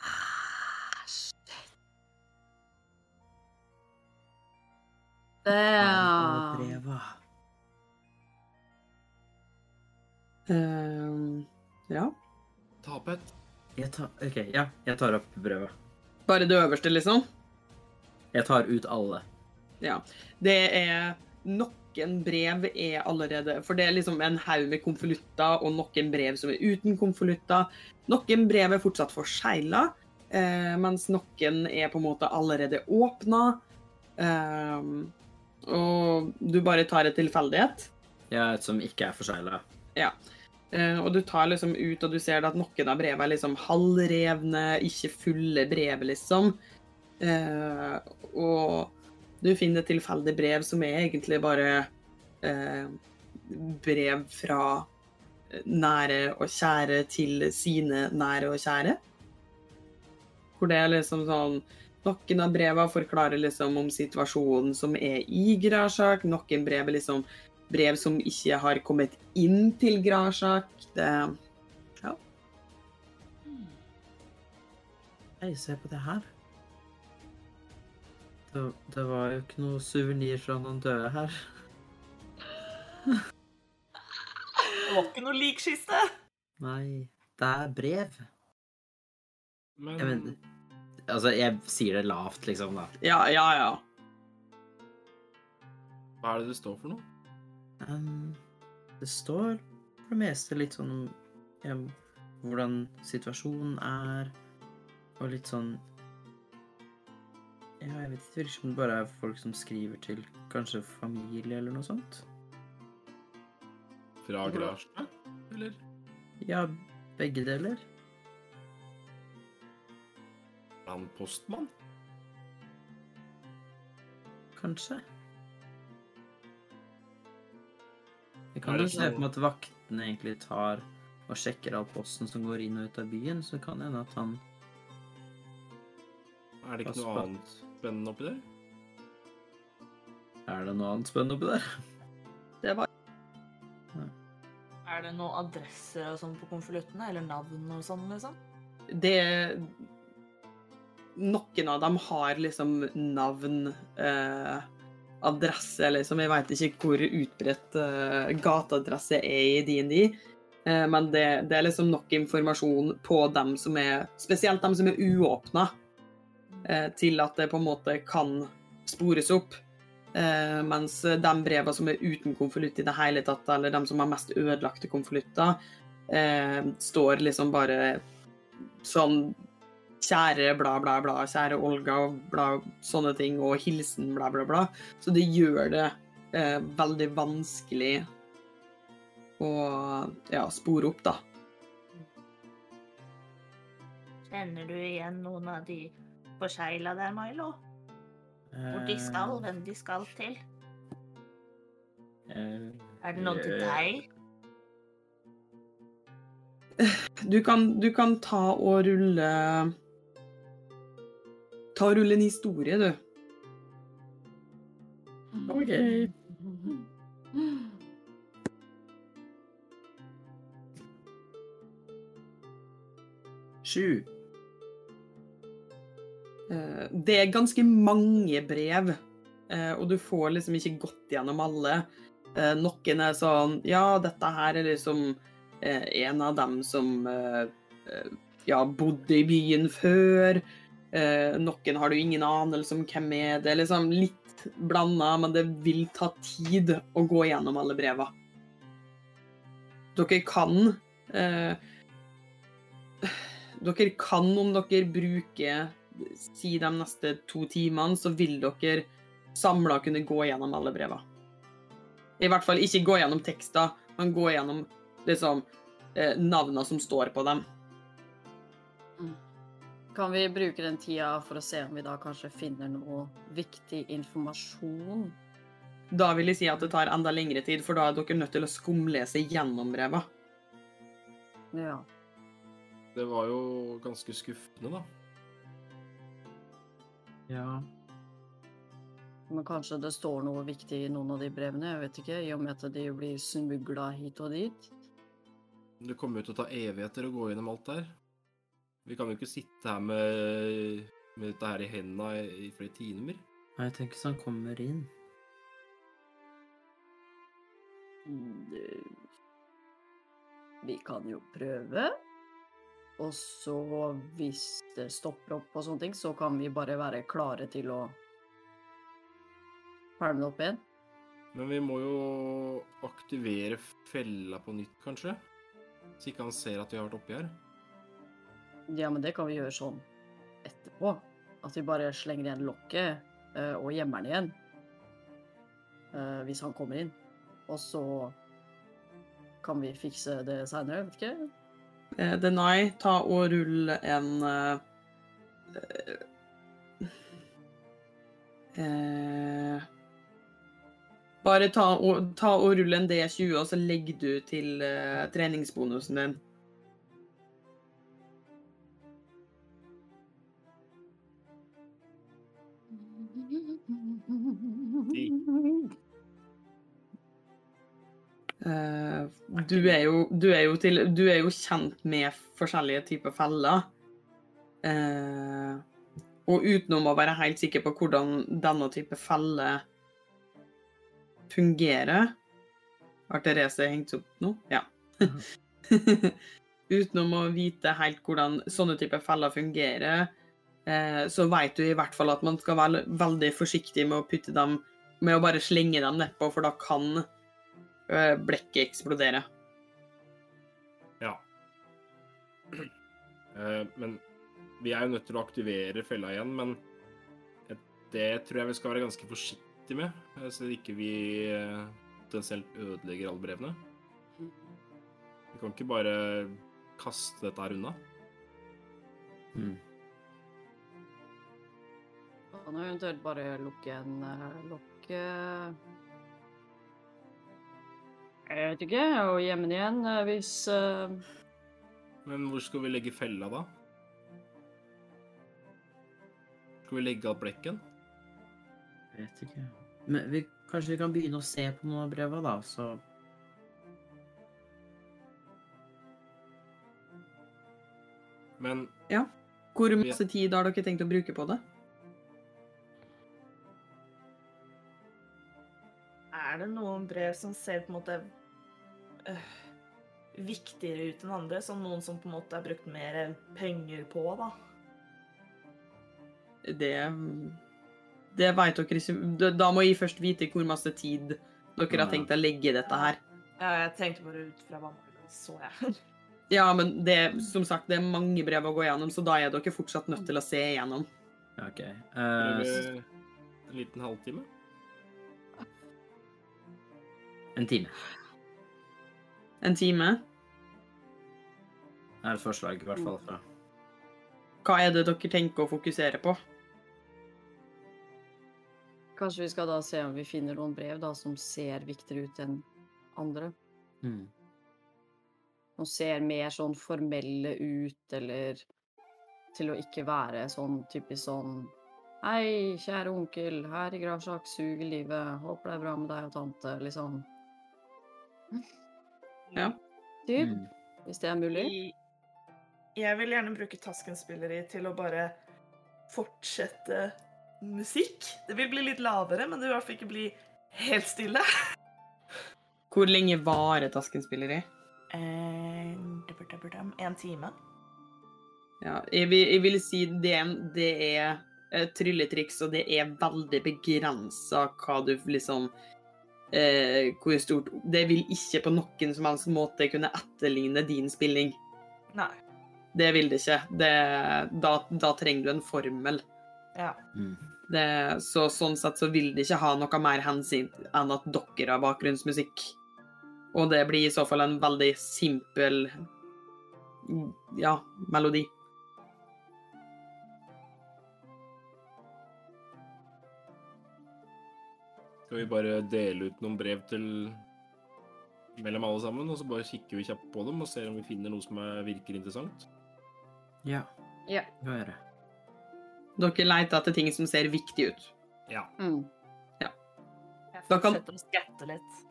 E: Ah, Damn.
A: Eh, ja.
C: Tapet.
D: Jeg tar, ok, ja, jeg tar opp brevet.
A: Bare det øverste, liksom.
D: Jeg tar ut alle.
A: Det er Noen brev er allerede For det er liksom en haug med konvolutter, og noen brev som er uten konvolutter. Noen brev er fortsatt forsegla, eh, mens noen er på en måte allerede åpna. Ehm, og du bare tar et tilfeldighet.
D: Ja, et som ikke er forsegla.
A: Eh, og du tar liksom ut, og du ser at noen av brevene er liksom halvrevne, ikke fulle brev, liksom. Eh, og du finner et tilfeldig brev som er egentlig bare eh, brev fra eh, nære og kjære til sine nære og kjære. Hvor det er liksom sånn Noen av brevene forklarer liksom om situasjonen som er i Grasjak, noen brev er liksom brev som ikke har kommet inn til Grasjak. Det
D: Hei, se på det her. Det, det var jo ikke noe suvenir fra noen døde her.
B: Det var ikke noe likkiste.
D: Nei, det er brev.
C: Men,
D: Jeg
C: Mm.
D: mener, altså, jeg sier det lavt, liksom, da.
A: Ja, ja, ja.
C: hva er det det står for noe?
D: Ehm, det står for det meste litt sånn om ja, hvordan situasjonen er, og litt sånn ja, Jeg vet ikke, det virker som det bare er folk som skriver til kanskje familie eller noe sånt.
C: Fra Grasjø, eller?
D: Ja, begge deler.
C: Er han postmann?
D: Kanskje? Jeg
C: Er
D: kan
C: det
D: jo se
C: sånn-
D: for meg at vaktene egentlig tar og sjekker all posten som går inn og ut av byen, så kan det hende at han
C: Er det ikke noe
D: Postmann.
C: annet spennende oppi der?
D: Er det noe annet spennende oppi der?
A: Det var
F: Er det noen adresser og sånn på konvoluttene? Eller navn og sånn, liksom?
A: det Noen av dem har liksom navn, eh, adresse, liksom. Jeg veit ikke hvor utbredt eh, gateadresse er i DND. Eh, men det, det er liksom nok informasjon på dem som er Spesielt dem som er uåpna, eh, til at det på en måte kan spores opp. Eh, mens de breva som er uten konvolutt i det hele tatt, eller de som har mest ødelagte konvolutter, eh, står liksom bare sånn Kjære bla, bla, bla. Kjære Olga, bla, sånne ting. Og hilsen, bla, bla, bla. Så det gjør det eh, veldig vanskelig å ja, spore opp, da.
F: Kjenner du igjen noen av de forsegla der, Milo? Hvor de skal,
D: Eh.
F: hvem de skal til? Er det noe til deg?
A: Du kan, du kan ta og rulle Ta og rulle en historie, du.
D: eh, OK. Sju.
A: Eh, Det er ganske mange brev, eh, og du får liksom ikke gått gjennom alle. Eh, Noen er sånn Ja, dette her er liksom eh, en av dem som eh, eh, ja, bodde i byen før. Eh, Noen har du ingen anelse om hvem er. Det er liksom litt blanda, men det vil ta tid å gå gjennom alle breva. Dere kan eh, Dere kan, om dere bruker si de neste to timene, så vil dere samla kunne gå gjennom alle breva. I hvert fall ikke gå gjennom tekster, men gå gjennom liksom eh, navna som står på dem.
E: Kan vi bruke den tida for å se om vi da kanskje finner noe viktig informasjon?
A: Da vil jeg si at det tar enda lengre tid, for da er dere nødt til å skumlese gjennom breva.
E: Ja.
C: Det var jo ganske skuffende, da.
D: Ja.
E: Men kanskje det står noe viktig i noen av de brevene, jeg vet ikke, i og med at de blir smugla hit og dit.
C: Det kommer jo til å ta evigheter å gå gjennom alt der. Vi kan jo ikke sitte her med, med dette her i hendene i, i flere timer.
D: Nei, jeg tenker så han kommer inn.
E: Mm, det- Vi kan jo prøve. Og så, hvis det stopper opp og sånne ting, så kan vi bare være klare til å pælme det opp igjen.
C: Men vi må jo aktivere fella på nytt, kanskje? Så ikke han ser at vi har vært oppi her.
E: Ja, men det kan vi gjøre sånn etterpå. At vi bare slenger igjen lokket eh, og gjemmer den igjen. eh, Hvis han kommer inn. Og så kan vi fikse det seinere, vet ikke.
A: Eh, Denai, ta og rull en eh, eh, eh, Bare ta og, ta og rull en D20, og så legger du til eh, treningsbonusen din. Eh, du, er jo, du, er jo til, du er jo kjent med forskjellige typer feller. Eh, og utenom å være helt sikker på hvordan denne type felle fungerer Har Therese hengt seg opp nå? Ja. utenom å vite helt hvordan sånne type feller fungerer, eh, så veit du i hvert fall at man skal være veldig forsiktig med å putte dem Med å bare slenge dem nedpå, for da kan eh, blekket eksplodere.
C: Ja. Eh, men vi er jo nødt til å aktivere fella igjen, men det tror jeg vi skal være ganske forsiktige med, eh, så ikke vi eh, potensielt ødelegger alle brevene. Vi kan ikke bare kaste dette her unna.
D: Mm.
G: Kan jo eventuelt bare lukke en eh, lokk eh, Jeg vet ikke. Og gjemme den igjen eh, hvis eh,
C: Men hvor skal vi legge fella, da? Skal vi legge av blekken?
D: Jeg vet ikke. Men vi, kanskje vi kan begynne å se på noen av breva, da, så
C: Men
A: Hvor masse tid har dere tenkt å bruke på det?
B: Er det noen brev som ser på en måte øh, viktigere ut enn andre? Som noen som på en måte har brukt mer penger på, da?
A: Det Det veit dere ikke- Da- Da må jeg først vite hvor masse tid dere har
D: Ja.
A: tenkt å legge i dette her.
B: Ja, jeg tenkte bare ut fra hva man så jeg.
A: Ja, men det, som sagt, det er mange brev å gå gjennom, så da er dere fortsatt nødt til å se igjennom.
D: ja, OK. Eh,
C: er det
D: s-
C: en liten halvtime?
D: Eh, en time
A: En time.
D: er et forslag, i hvert fall fra
A: Hva er det dere tenker å fokusere på?
G: Kanskje vi skal da se om vi finner noen brev da som ser viktigere ut enn andre.
D: mm.
G: Som ser mer sånn formelle ut, eller til å ikke være sånn typisk sånn Hei, kjære onkel, her i Gravsjak suger livet. Håper det er bra med deg og tante, liksom.
A: Ja.
G: Typ,
D: Mm.
G: hvis det er mulig.
B: Jeg vil gjerne bruke Tasken-spilleri til å bare fortsette musikk. Det vil bli litt lavere, men det vil i hvert fall ikke bli helt stille.
A: Hvor lenge varer tasken spiller i?
B: En time.
A: Ja, jeg, vil, jeg vil si det, er- det er et trylletriks, og det er veldig begrensa hva du liksom eh, Hvor stort Det vil ikke på noen som helst måte kunne etterligne din spilling.
B: Nei.
A: Det vil det ikke. Det, da, da trenger du en formel.
B: Ja.
D: Mm.
A: Det, så sånn sett så vil det ikke ha noe mer hensyn enn at dere har bakgrunnsmusikk. Og det blir i så fall en veldig simpel ja, melodi.
C: Skal vi bare dele ut noen brev til mellom alle sammen, og så bare kikker vi kjapt på dem og ser om vi finner noe som er, virker interessant?
D: Ja.
G: Ja.
D: Hva gjør jeg?
A: Dere leter etter ting som ser viktig ut.
C: Ja.
G: Mm.
B: Jeg
A: Da kan-
B: fortsetter å skatte litt.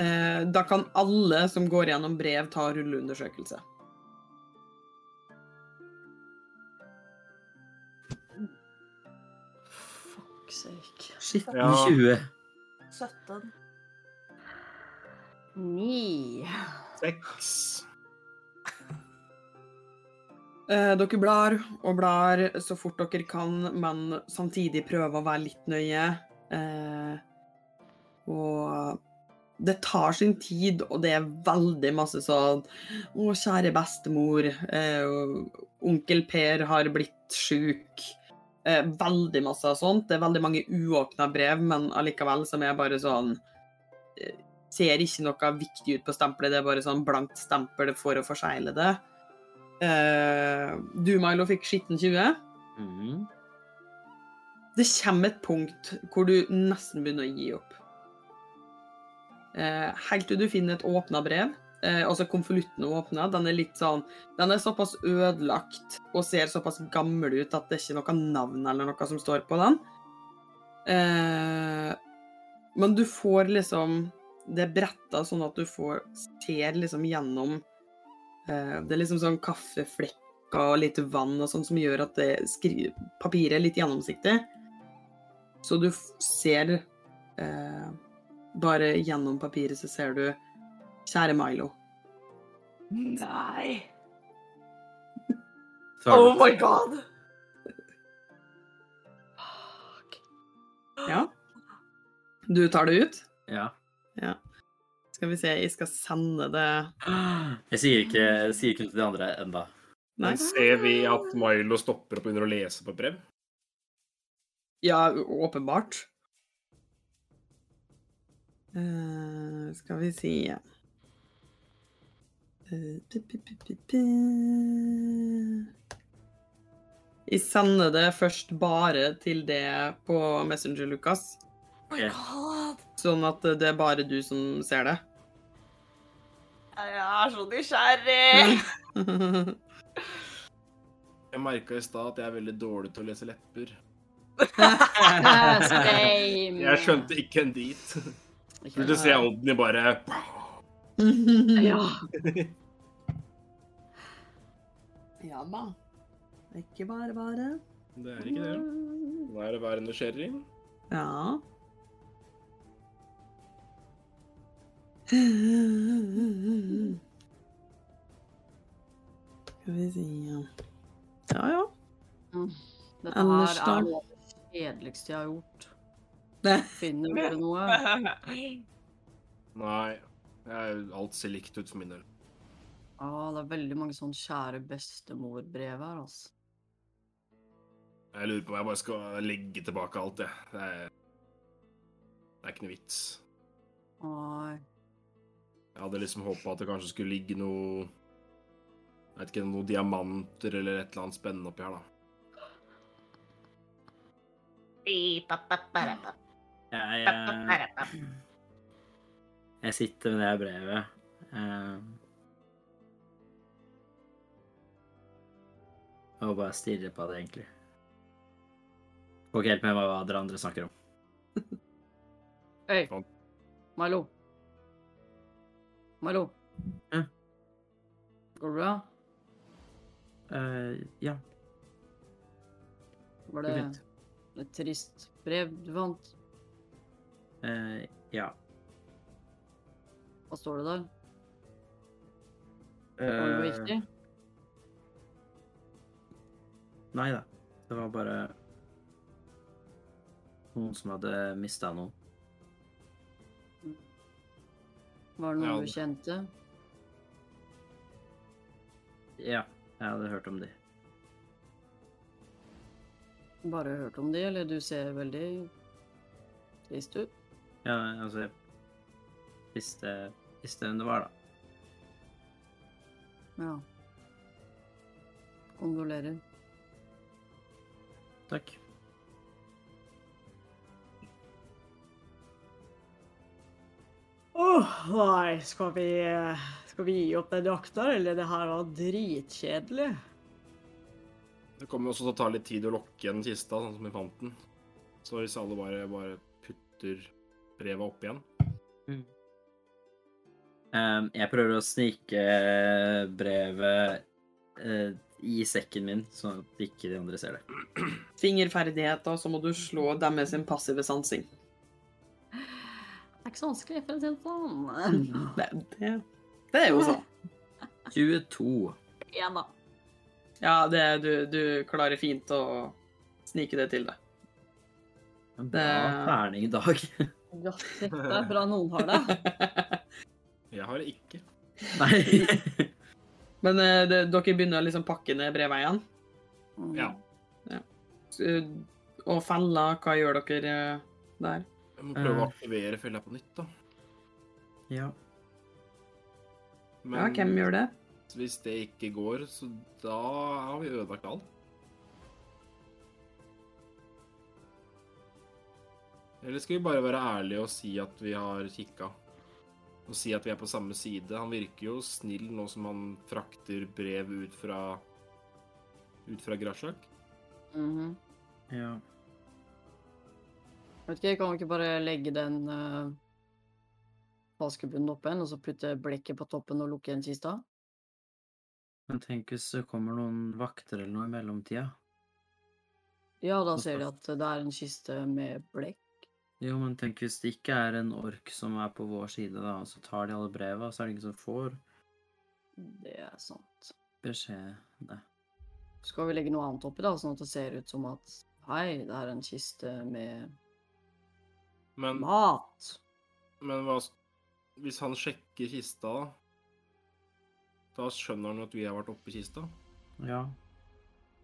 A: Eh, da kan alle som går gjennom brev, ta rulleundersøkelse.
G: Fuck sake.
A: Shit.
C: Ja.
D: 20.
B: 17.
G: Ni.
C: Seks.
A: Eh, dere blar og blar så fort dere kan, men samtidig prøve å være litt nøye. Eh, og det tar sin tid, og det er veldig masse sånn Å, kjære bestemor. Eh, og onkel Per har blitt sjuk. Eh, veldig masse av sånt. Det er veldig mange uåpna brev, men allikevel som er bare sånn eh, Ser ikke noe viktig ut på stempelet, det er bare sånn blankt stempel for å forsegle det. Eh, du, Milo, fikk skitten 20.
D: Mm.
A: Det kommer et punkt hvor du nesten begynner å gi opp. Eh, helt til du finner et åpna brev. Eh, altså konvolutten er åpna. Den er litt sånn Den er såpass ødelagt og ser såpass gammel ut at det er ikke noe navn eller noe som står på den. Eh, men du får liksom Det er bretta sånn at du får ser liksom gjennom eh, Det er liksom sånn kaffeflekker mokka og litt vann og sånn som gjør at det skri papiret er litt gjennomsiktig. Så du f- ser eh, Bare gjennom papiret så ser du Kjære Milo.
B: Nei!
D: Tar
B: Oh
D: du,
B: my god!
A: Ja. Du tar det ut?
D: ja.
A: Skal vi se, jeg skal sende det
D: Jeg sier ikke, jeg sier ikke noe til de andre enda.
A: Nei.
C: Men ser vi at Milo stopper opp og begynner å lese på et brev?
A: Ja, åpenbart. Eh, skal vi si Eh, pi, pi, pi, pi, pi. Jeg sender det først bare til det på Messenger, Lukas.
B: Oh my
D: Ok.
B: god!
A: Sånn at det er bare du som ser det.
B: Jeg er så
A: Eh.
B: nysgjerrig!
C: Jeg merka i stad at jeg er veldig dårlig til å lese lepper.
E: Eh, Same.
C: Jeg skjønte ikke en dit.
E: Ikke
C: Burde se Odny bare
E: Ja.
A: ja da. Ikke bare bare.
C: Det er ikke det. Nå er det være nysgjerrig.
A: Ja. Skal vi si Ja, ja.
E: Dette
A: Anders,
E: her
A: da?
E: er noe av det kjedeligste jeg har gjort.
A: Det.
E: Finner dere noe?
C: Nei. jeg- Alt ser likt ut for min del.
E: Ja, det er veldig mange sånn kjære bestemor-brev her, altså.
C: Jeg lurer på om jeg bare skal legge tilbake alt, jeg. Det er, det er ikke noe vits.
E: Nei.
C: Jeg hadde liksom håpa at det kanskje skulle ligge noe Jeg vet ikke, noen diamanter eller et eller annet spennende oppi her, da.
H: Bi-pa-pa-pa-ra-pa,
D: Jeg, eh,
H: pa-pa-pa-ra-pa.
D: jeg sitter med det brevet. Um, eh, og bare stirrer på det, egentlig. Får ikke helt med meg hva dere andre snakker om.
E: Øy, Milo. Milo.
D: Hæ?
E: Går det bra?
D: Eh, ja,
E: Var
D: det
E: det
D: går fint.
E: et trist brev du fant?
D: Eh, ja.
E: Hva står det der? Var det noe
D: Eh,
E: viktig?
D: Nei da. Det var bare noen som hadde mista noen.
E: Var det
C: Ja,
E: noe
C: det-
E: du kjente?
D: Ja, jeg hadde hørt om de.
E: Bare hørt om de, eller du ser veldig trist ut?
D: Ja, altså jeg visste, visste hvem det var, da.
E: Ja. Kondolerer.
D: Takk.
E: Åh, nei, skal vi, skal vi gi opp den jakta, eller det her var dritkjedelig?
C: Det kommer jo også til å ta litt tid å lokke igjen kista, sånn som vi fant den. Så hvis alle bare, bare putter brevet opp igjen
D: Ehm, jeg prøver å snike eh, brevet eh, i sekken min, sånn at ikke de andre ser det.
A: Fingerferdigheter, så må du slå dem med sin passive sansing.
E: Det er ikke så vanskelig, for å si det sånn.
A: Det, det, det er jo sånn.
D: 22.
E: Ja da.
A: Ja, det, du, du klarer fint å snike det til deg.
D: En bra terning i dag.
E: Ja, dette er bra noen har det.
C: Jeg har det ikke.
D: Nei.
A: Men eh, det, dere begynner å liksom pakke ned brevet igjen.
C: Ja.
A: Eh, Og feller, hva gjør dere eh, der?
C: Jeg må prøve å
D: Eh.
C: aktivere fella på nytt, da.
D: ja.
A: Ja, hvem gjør det?
C: hvis det ikke går, så da har vi ødelagt alt. Eller skal vi bare være ærlige og si at vi har kikka? Og si at vi er på samme side. Han virker jo snill nå som han frakter brev ut fra ut fra Grasjak.
E: Mhm.
D: ja.
E: Vet ikke, kan vi ikke bare legge den uh, vaskebunnen opp igjen, og så putte blekket på toppen og lukke igjen kista?
D: Men tenk hvis det kommer noen vakter eller noe i mellomtida.
E: Ja, da ser de at det er en kiste med blekk.
D: Jo, men tenk hvis det ikke er en ork som er på vår side, da, og så tar de alle breva, så er det ingen som får
E: Det er sant.
D: beskjed Nei.
E: Skal vi legge noe annet oppi, da, sånn at det ser ut som at Hei, det er en kiste med
C: Men,
E: mat.
C: men hva s- Hvis han sjekker kista, da? Da skjønner han jo at vi har vært oppi kista?
D: Ja.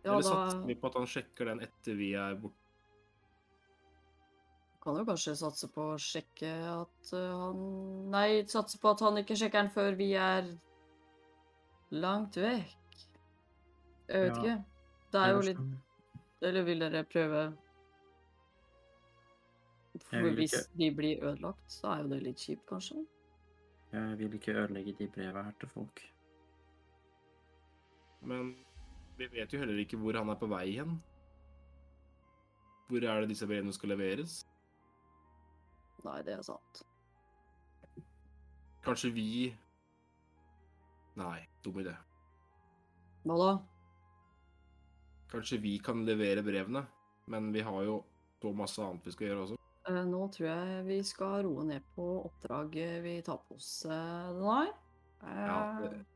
E: Ja,
C: Eller
E: da
C: satser vi på at han sjekker den etter vi er borte?
E: kan du kanskje satse på å sjekke at eh, han Nei, satse på at han ikke sjekker den før vi er langt vekk. Jeg vet
D: Ja,
E: ikke. Det er jo
D: ellers
E: litt
D: kan-
E: Eller vil dere prøve
D: Jeg
E: For
D: vil
E: hvis
D: ikke.
E: de blir ødelagt, så er jo det litt kjipt, kanskje.
D: Jeg vil ikke ødelegge de breva her til folk.
C: Men vi vet jo heller ikke hvor han er på vei hen. Hvor er det disse brevene skal leveres?
E: Nei, det er sant.
C: Kanskje vi Nei, dum idé.
E: Hva da?
C: Kanskje vi kan levere brevene, men vi har jo så masse annet vi skal gjøre også.
E: Eh, Nå tror jeg vi skal roe ned på oppdraget vi tar på oss, eh, Denai.
C: Ja,
E: Eh,
C: det-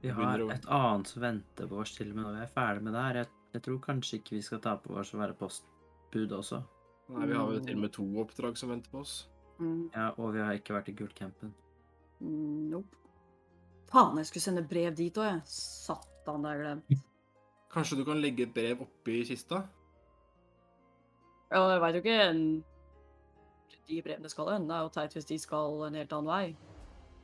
D: Vi
C: Jeg begynner
D: har
C: å-
D: et annet som venter på oss til og med når vi er ferdig med det her. Jeg, jeg tror kanskje ikke vi skal ta på oss å være postbud også.
C: Nei, Vi har jo til og med to oppdrag som venter på oss.
E: mm,
D: Ja, og vi har ikke vært i gulcampen.
E: mm, Nope. Faen, jeg skulle sende brev dit òg, jeg. Satan, det har jeg glemt.
C: Kanskje du kan legge et brev oppi kista?
E: Ja, jeg veit jo ikke en- de brevene skal hen. Det er jo teit hvis de skal en helt annen vei.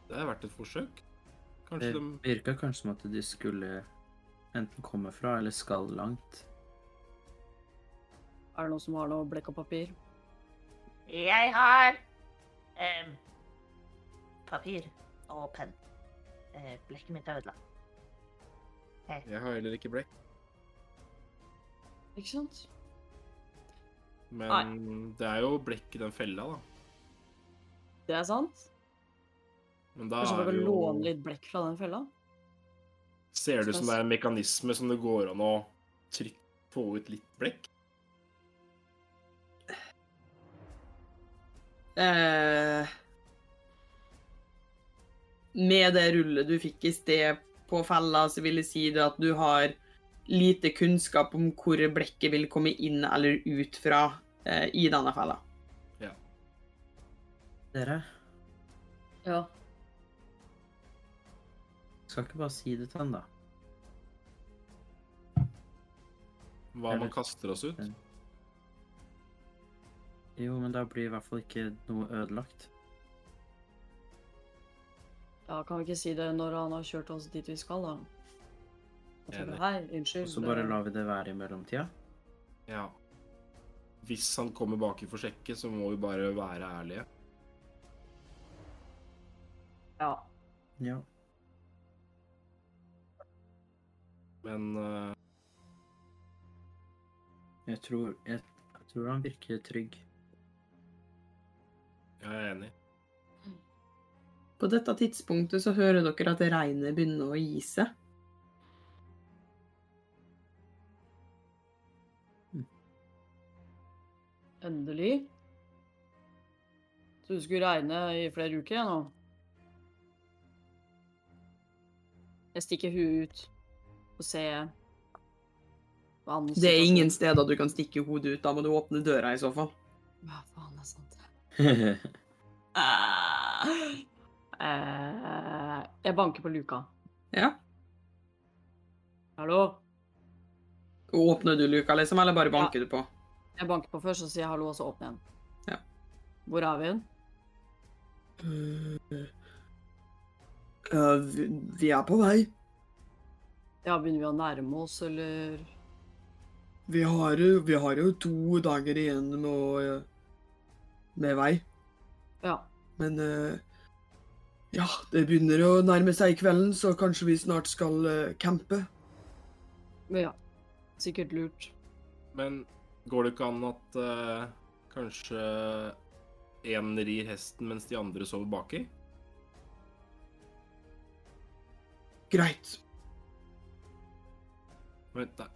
C: Det er verdt et forsøk.
D: Det
C: Kanskje
E: Eh,
C: de
D: virka kanskje som at de skulle enten komme fra eller skal langt.
E: Er det noen som har noe blekk og papir?
B: Jeg har em, papir og penn. Eh, blekket mitt er ødelagt.
C: Jeg har heller ikke blekk,
E: Ikke sant?
C: men det er jo blekk i den fella, da.
E: Det er sant?
C: Men da
E: Kanskje
C: er
E: vi
C: det
E: kan
C: jo
E: låne litt blekk fra den fella?
C: Ser det ut som det er en mekanisme som det går an å trykke få ut litt blekk?
A: Eh, med det rullet du fikk i sted på fella, så vil jeg si det at du har lite kunnskap om hvor blekket vil komme inn eller ut fra eh, i denne fella.
D: Dere,
E: Ja.
D: skal ikke bare si det til han, da.
C: Hva om
D: Eller-
C: man kaster oss ut?
D: Jo, men da blir i hvert fall ikke noe ødelagt.
E: Ja, kan vi ikke si det når han har kjørt oss dit vi skal, da? Og så
C: Enig.
E: bare, Hei, unnskyld.
D: Og så bare
E: eh,
D: lar vi det være i mellomtida.
C: Ja. Hvis han kommer baki for sjekke, så må vi bare være ærlige.
E: Ja.
D: Ja.
C: Men eh,
D: Jeg tror, jeg, jeg tror han virker trygg.
C: jeg er enig.
A: På dette tidspunktet så hører dere at regnet begynner å gi seg.
E: Endelig. Så det skulle regne i flere uker jeg nå. Jeg stikker huet ut og ser hva annet
A: Det er
E: situasjonen-
A: ingen steder du kan stikke hodet ut. Da må du åpne døra i så fall.
E: Ja, faen, det er sant.
D: Hva
E: Eh, jeg banker på luka.
A: Ja.
E: Hallo?
A: Og Åpner du luka, liksom, eller bare banker du på?
E: Jeg banker på først og sier jeg hallo, og så åpner jeg den.
A: Ja.
E: Hvor er vi hen?
A: Eh, vi, er på vei.
E: Ja, begynner vi å nærme oss, eller
A: Vi har, jo to dager igjen med, vei.
E: Ja.
A: Men eh, ja, det begynner å nærme seg kvelden, så kanskje vi snart skal eh, campe.
E: Men ja. Sikkert lurt.
C: Men går det ikke an at eh, kanskje én rir hesten mens de andre sover baki?
A: Greit.
C: Vent, nei.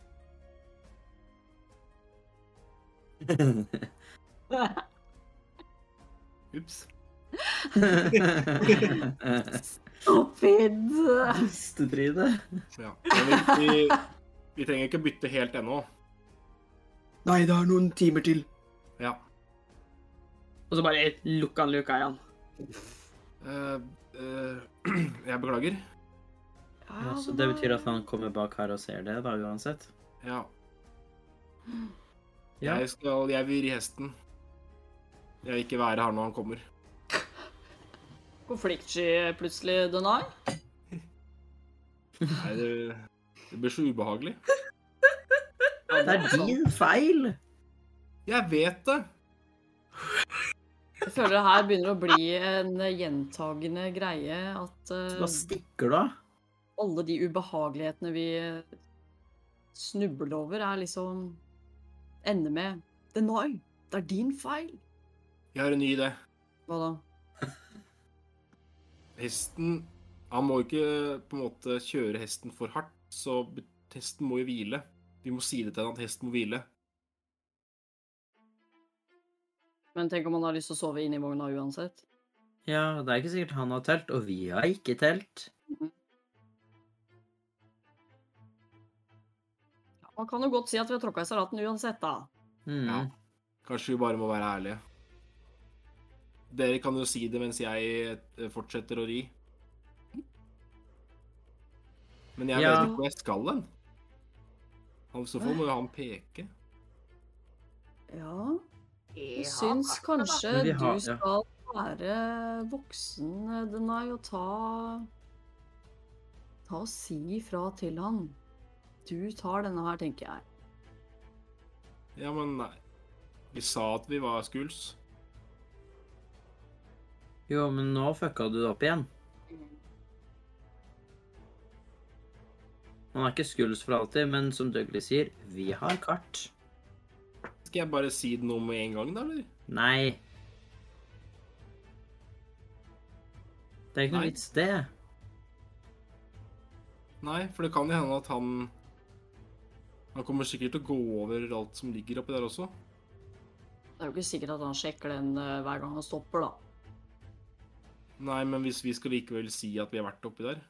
C: Ups.
E: Stupid!
D: Dustetryne.
C: Ja. Men vi, vi, vi trenger ikke bytte helt ennå.
A: Nei, det er noen timer til.
C: Ja.
A: Og så bare lukker han luka igjen.
C: Eh, eh, jeg beklager.
D: Ja, så det betyr at han kommer bak her og ser det, da, uansett.
C: Ja.
D: Ja.
C: Jeg, skal, jeg vil ri hesten. Jeg vil ikke være her når han kommer.
E: Konfliktsky plutselig, Denai.
C: Nei, det, det blir så ubehagelig.
D: Det er sånn. din feil!
C: Jeg vet det!
E: Jeg føler det her begynner å bli en gjentagende greie at eh,
D: Da stikker du av.
E: alle de ubehagelighetene vi eh, snubler over, er liksom Ender med Denai, det er din feil.
C: Jeg har en ny idé.
E: Hva da?
C: Hesten Han må ikke på en måte kjøre hesten for hardt, så be- hesten må jo hvile. Vi må si det til han at hesten må hvile.
E: Men tenk om han har lyst til å sove inne i vogna uansett.
D: Ja, det er ikke sikkert han har telt, og vi har ikke telt.
E: Ja, Man kan jo godt si at vi har tråkka i salaten uansett, da.
D: Mm.
C: Ja. Kanskje vi bare må være ærlige. Dere kan jo si det mens jeg eh, fortsetter å ri. Men jeg
D: Ja.
C: vet ikke hvor jeg skal hen. I så fall må jo han peke.
E: Ja,
B: Jeg
E: jeg syns kanskje
D: Men vi har-
E: du
D: ja.
E: skal være voksen, Denai, og ta Ta og si ifra til han. Du tar denne her, tenker jeg.
C: Ja, men nei. Vi sa at vi var skuls.
D: Jo, men nå fucka du det opp igjen. Han er ikke skuls for alltid, men som Dougley sier, vi har kart.
C: Skal jeg bare si det nå med en gang, da, eller?
D: Nei. Det er ikke
C: Nei.
D: noe vits, det.
C: Nei, for det kan jo hende at han Han kommer sikkert til å gå over alt som ligger oppi der også.
E: Det er jo ikke sikkert at han sjekker den eh, hver gang han stopper, da.
C: Nei, men hvis vi skal likevel si at vi har vært oppi der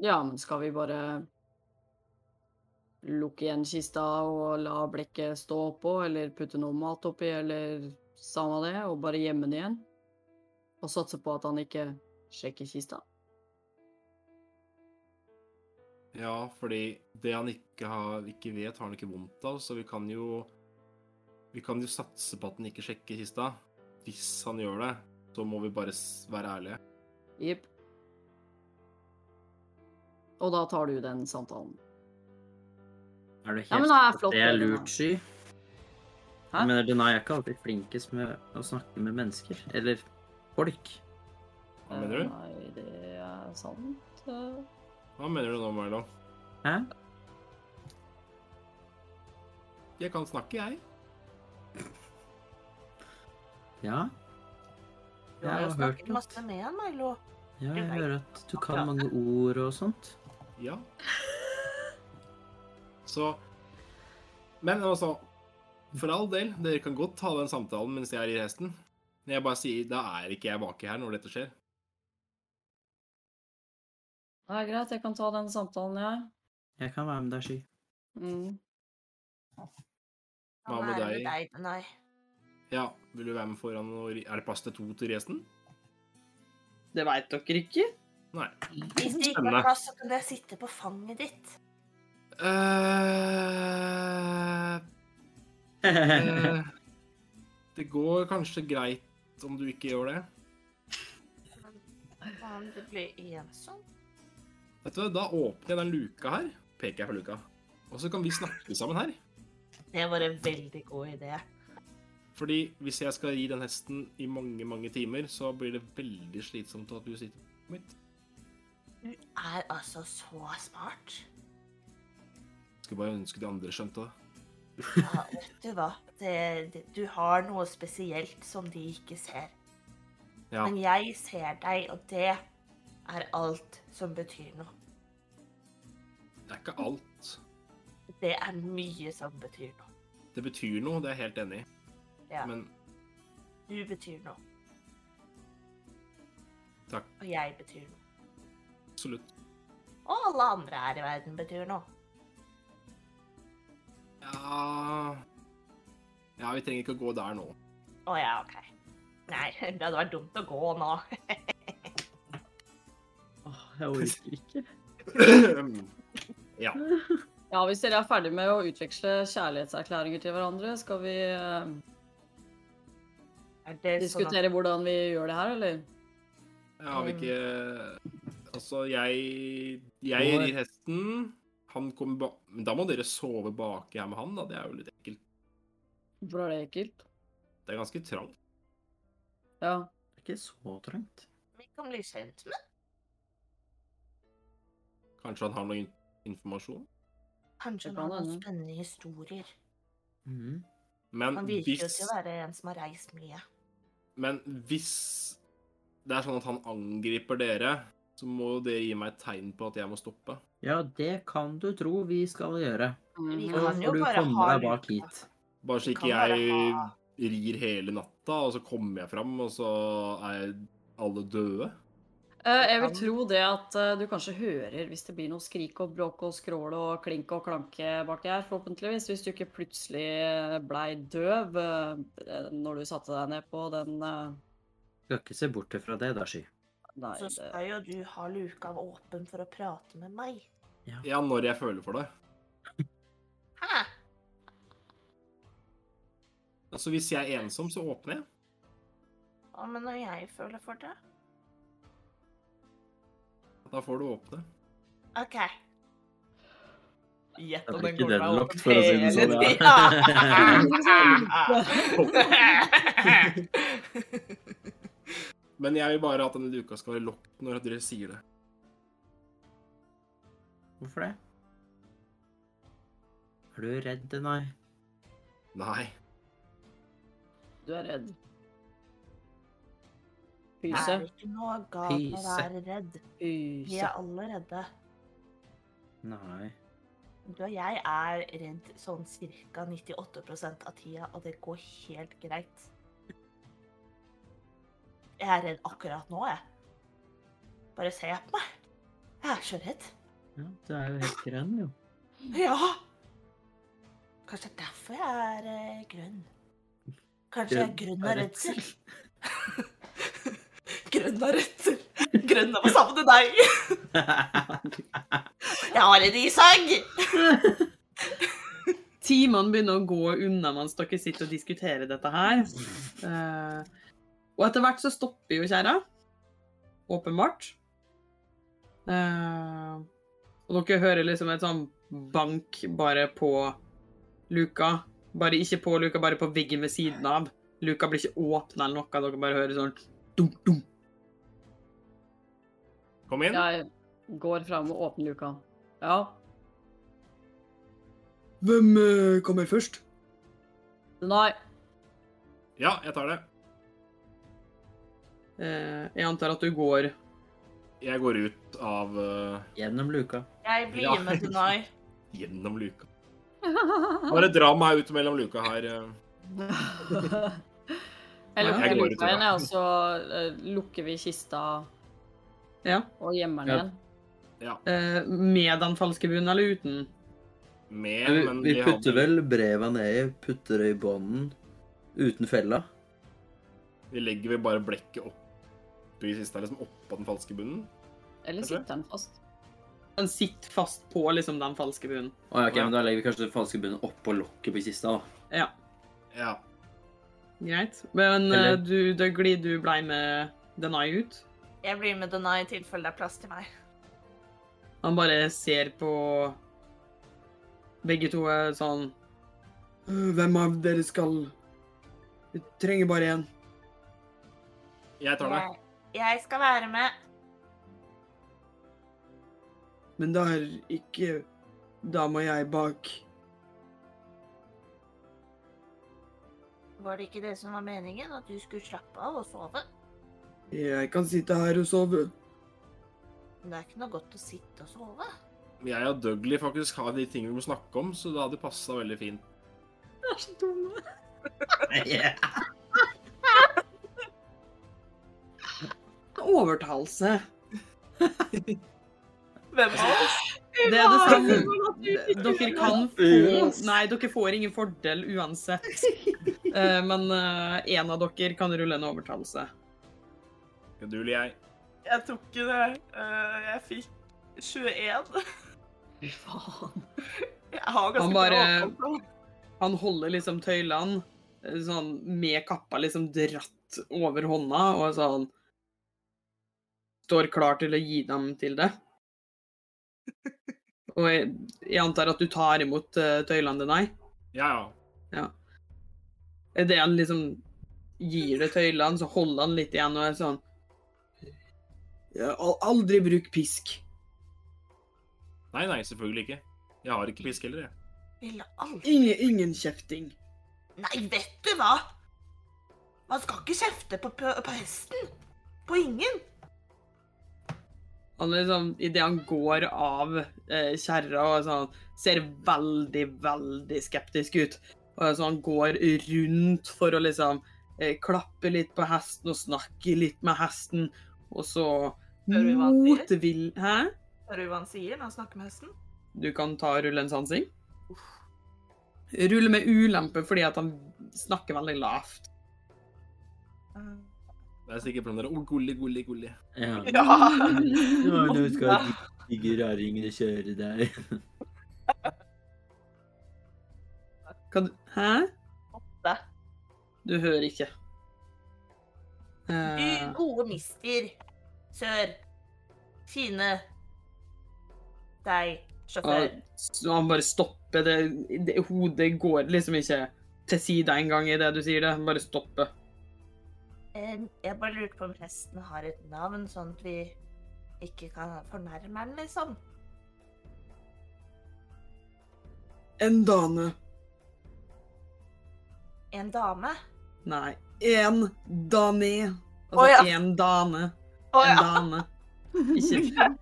E: Ja, men skal vi bare lukke igjen kista og la blekket stå oppå, eller putte noe mat oppi, eller samme det, og bare gjemme den igjen? Og satse på at han ikke sjekker kista?
C: Ja, fordi det han ikke, har, ikke vet, har han ikke vondt av, så vi kan jo Vi kan jo satse på at han ikke sjekker kista. Hvis han gjør det, så må vi bare s- være ærlige.
E: Jepp. Og da tar du den samtalen.
D: Er du helt
E: Ja, men det er flott,
D: det er
E: det, Denai.
D: lurt, Sky?
E: Hæ?
D: Jeg mener, Denai er ikke alltid flinkest med å snakke med mennesker. Eller folk.
C: Hva mener
E: Eh,
C: du?
E: Nei, det er sant. eh.
C: Hva mener du nå, Milo?
D: Hæ?
C: Jeg kan snakke, jeg.
D: Ja,
B: Du har jo
D: Jeg har hørt
B: snakket
D: det.
B: masse med han, Milo.
D: ja jeg
B: Jeg vet
D: hører at du
B: Ja.
D: kan mange ord og sånt.
C: Ja. Så Men altså, for all del, dere kan godt ta den samtalen mens jeg rir hesten. Men jeg bare sier, da er ikke jeg baki her når dette skjer.
E: Det er greit, jeg kan ta den samtalen, jeg.
D: Jeg kan være med deg, Sky.
E: Mm.
C: Hva med
B: Være
C: deg?
B: deg? Nei.
C: Ja, vil du være med foran og ri Er det plass til to til resten?
A: Det veit dere ikke.
C: Nei.
B: Hvis det ikke
C: Spennende.
B: er plass, så kan jeg sitte på fanget ditt.
C: eh eh, det går kanskje greit om du ikke gjør det.
B: Faen, det blir ensomt.
C: Vet du, hva, Da åpner jeg den luka her. Peker jeg på luka. Og så kan vi snakke sammen her.
B: Det var en veldig god idé.
C: Fordi hvis jeg skal ri den hesten i mange, mange timer, så blir det veldig slitsomt at du sitter på mitt.
B: Du er altså så smart.
C: Skulle bare ønske de andre skjønte det.
B: Ja, vet du hva? Det, det, du har noe spesielt som de ikke ser.
C: Ja,
B: Men jeg ser deg, og det er alt som betyr noe.
C: Det er ikke alt.
B: Det er mye som betyr noe.
C: Det betyr noe, det er jeg helt enig i.
B: Ja.
C: Men
B: Du betyr noe,
C: takk,
B: og jeg betyr noe.
C: absolutt.
B: Og alle andre her i verden betyr noe.
C: Ja Ja, vi trenger ikke å gå der nå.
B: Å ja, OK. Nei, det hadde vært dumt å gå nå.
D: Åh, jeg orker ikke.
C: ja.
E: Ja, hvis dere er ferdig med å utveksle kjærlighetserklæringer til hverandre, skal vi eh,
B: Er det sånn at-
E: diskutere hvordan vi gjør det her, eller?
C: Jeg har ikke Altså, jeg Jeg
D: Går.
C: rir hesten. Han kommer bak Men da må dere sove baki her med han, da. Det er jo litt ekkelt.
E: Hvorfor er det ekkelt?
C: Det er ganske trangt.
E: Ja.
D: Det er ikke så trangt.
B: Vi kan bli kjent med
C: Kanskje han har noe in- informasjon?
B: Kanskje
E: Det
B: han har
E: kan
B: noen
E: hende.
B: spennende historier.
D: Mhm.
C: Men
B: Han virker jo
C: hvis
B: til å være en som har reist mye.
C: Men hvis det er sånn at han angriper dere, så må det gi meg et tegn på at jeg må stoppe.
D: Ja, det kan du tro vi skal gjøre.
E: Mm.
B: Vi
D: Så
B: kan jo
D: får du
B: bare
D: komme
B: ha
D: deg bak
B: luka.
D: hit.
C: Bare så
B: Vi
C: ikke
B: kan bare
C: jeg
B: ha-
C: rir hele natta, og så kommer jeg fram, og så er alle døde.
E: Eh, jeg vil tro det at eh, du kanskje hører hvis det blir noe skrik og bråk og skrål og klink og klanke baki her, forhåpentligvis. Hvis du ikke plutselig eh, blei døv eh, når du satte deg ned på den eh,
D: Skal ikke se bort ifra det, da, Sky.
E: Nei,
B: Så
E: det,
B: skal jo du ha luka åpen for å prate med meg.
C: Ja, når jeg føler for det.
B: Hæ?
C: Altså, hvis jeg er ensom, så åpner jeg.
B: Hva med når jeg føler for det?
C: Da får du åpne.
B: OK.
I: Gjett
D: Da
I: om
D: blir
I: den
D: ikke
I: kommer
D: den
I: til å
D: lagt,
I: åpne
D: for å si det
I: hele
D: sånn,
I: tiden.
C: Men jeg vil bare at denne duka skal være lukket når dere sier det.
D: Hvorfor det? Er du redd, Denai?
C: Nei.
E: du er redd.
B: Det
E: Pyse.
B: er ikke noe galt med å være redd. Vi
E: Pyse.
B: er alle redde.
D: Nei.
B: Du og jeg er redd sånn ca. 98 av tida, og det går helt greit. Jeg er redd akkurat nå, jeg. Bare se på meg. Jeg er så redd.
D: Ja, du er jo helt grønn, jo.
B: Ja! Kanskje det er derfor jeg er eh, grønn. Kanskje jeg er grønn av redsel. Grønn av redsel. Grønn av å savne deg. Jeg har en isag!
A: Timene begynner å gå unna mens dere sitter og diskuterer dette her. Eh, og etter hvert så stopper jo kjerra. Åpenbart. Eh, og dere hører liksom et sånn bank bare på luka. Bare ikke på luka, bare på veggen ved siden av. Luka blir ikke åpna eller noe, dere bare hører sånn dum, dum.
C: Kom inn.
E: Jeg går fram og åpner luka. Ja,
A: Hvem eh, kommer først?
E: nei.
C: Ja, jeg tar det.
A: Eh, jeg antar at du går
C: Jeg går ut av eh,
D: Gjennom luka.
B: Jeg
C: Ja.
B: blir med til Noi.
C: gjennom luka.
E: Jeg
C: Bare dra meg ut mellom luka her. eh.
E: lukker
C: Jeg går
E: luka
C: utover.
E: igjen, jeg, og så eh, lukker vi kista
A: ja,
E: og gjemmer
D: Ja.
E: den igjen.
A: eh, med den falske bunnen eller uten?
C: Med,
D: Vi,
C: men
D: vi
C: de hadde-
D: putter vel breva nedi, putter det i bånden, uten fella.
C: Vi legger vel bare blekket opp i siste, liksom oppå den falske bunnen.
E: Eller
C: Kanskje?
E: sitter den fast?
A: Den sitter fast på liksom den falske bunnen.
D: Å ja, ok,
C: Ja.
D: men da legger vi kanskje den falske bunnen oppå lokket på kista, da.
C: Ja.
A: Greit. Men
D: Eller-
A: eh, du, da glir du blei med Denai ut.
B: Jeg blir med Denai i tilfelle det er plass til meg.
A: Han bare ser på begge to er sånn «Øh, Hvem av dere skal Vi trenger bare én.
C: Jeg tar det.
B: Jeg, jeg skal være med.
A: Men da er ikke Da må jeg bak.
B: Var det ikke det som var meningen? At du skulle slappe av og sove?
A: Jeg kan sitte her og sove.
B: Men det er ikke noe godt å sitte og sove.
C: Jeg og Dougley faktisk har de tingene vi må snakke om, så det hadde passa veldig fint.
J: Det er så dumme.
G: Yeah.
A: Overtalelse.
D: Hvem av oss?
A: Det er det samme. Dere kan få Nei, dere får ingen fordel uansett. Eh, Men én av dere kan rulle en overtalelse.
C: Du eller jeg.
D: Jeg tok ikke det. Eh, Jeg fikk 21.
E: Fy faen.
D: Jeg har ganske
A: Han bare-
D: bra overtall.
A: Han holder liksom tøylene eh, sånn med kappa liksom dratt over hånda og er sånn Står klar til å gi dem til det. Og jeg, jeg antar at du tar imot eh, tøylene dine?
C: Ja, ja.
A: Idet han liksom gir det tøylene, så holder han litt igjen og er sånn «Ja, al- Aldri bruk pisk.
C: Nei, nei, selvfølgelig ikke. Jeg har ikke pisk heller, jeg.
B: Ville aldri
A: Ingen, ingen kjefting.
B: Nei, vet du hva? Man skal ikke kjefte på, på, på hesten. På ingen.
A: Han liksom, Idet han går av eh, kjerra og er sånn, ser veldig, veldig skeptisk ut. Og er sånn, går rundt for å liksom eh, klappe litt på hesten og snakke litt med hesten. Og så
D: Hører vi hva han sier?
A: motvill... Hæ?
D: Hører du hva han sier når han snakker med hesten?
A: Du kan ta rulle en sansing. Rulle med ulempe fordi at han snakker veldig lavt.
C: Det er sikkert blant dere. Å, gulli, gulli, gulli.
G: Ja.
D: Ja.
G: Nå, nå skal de digge raringene kjøre deg.
A: Kan du Hæ?
D: Åtte.
A: Du hører ikke.
B: Du
A: Eh,
B: gode mister sør. Fine deg, sjåfør.
A: og så han bare stopper. Det, det, hodet går liksom ikke til sida engang i det du sier det. Han bare stopper.
B: Em, Jeg bare lurte på om hesten har et navn, sånn at vi ikke kan fornærme den, liksom.
A: En dane.
B: En dame.
A: Nei. En dane.
D: Å, ja.
A: Altså en dane.
D: Å
A: En
D: ja.
A: dane. Ikke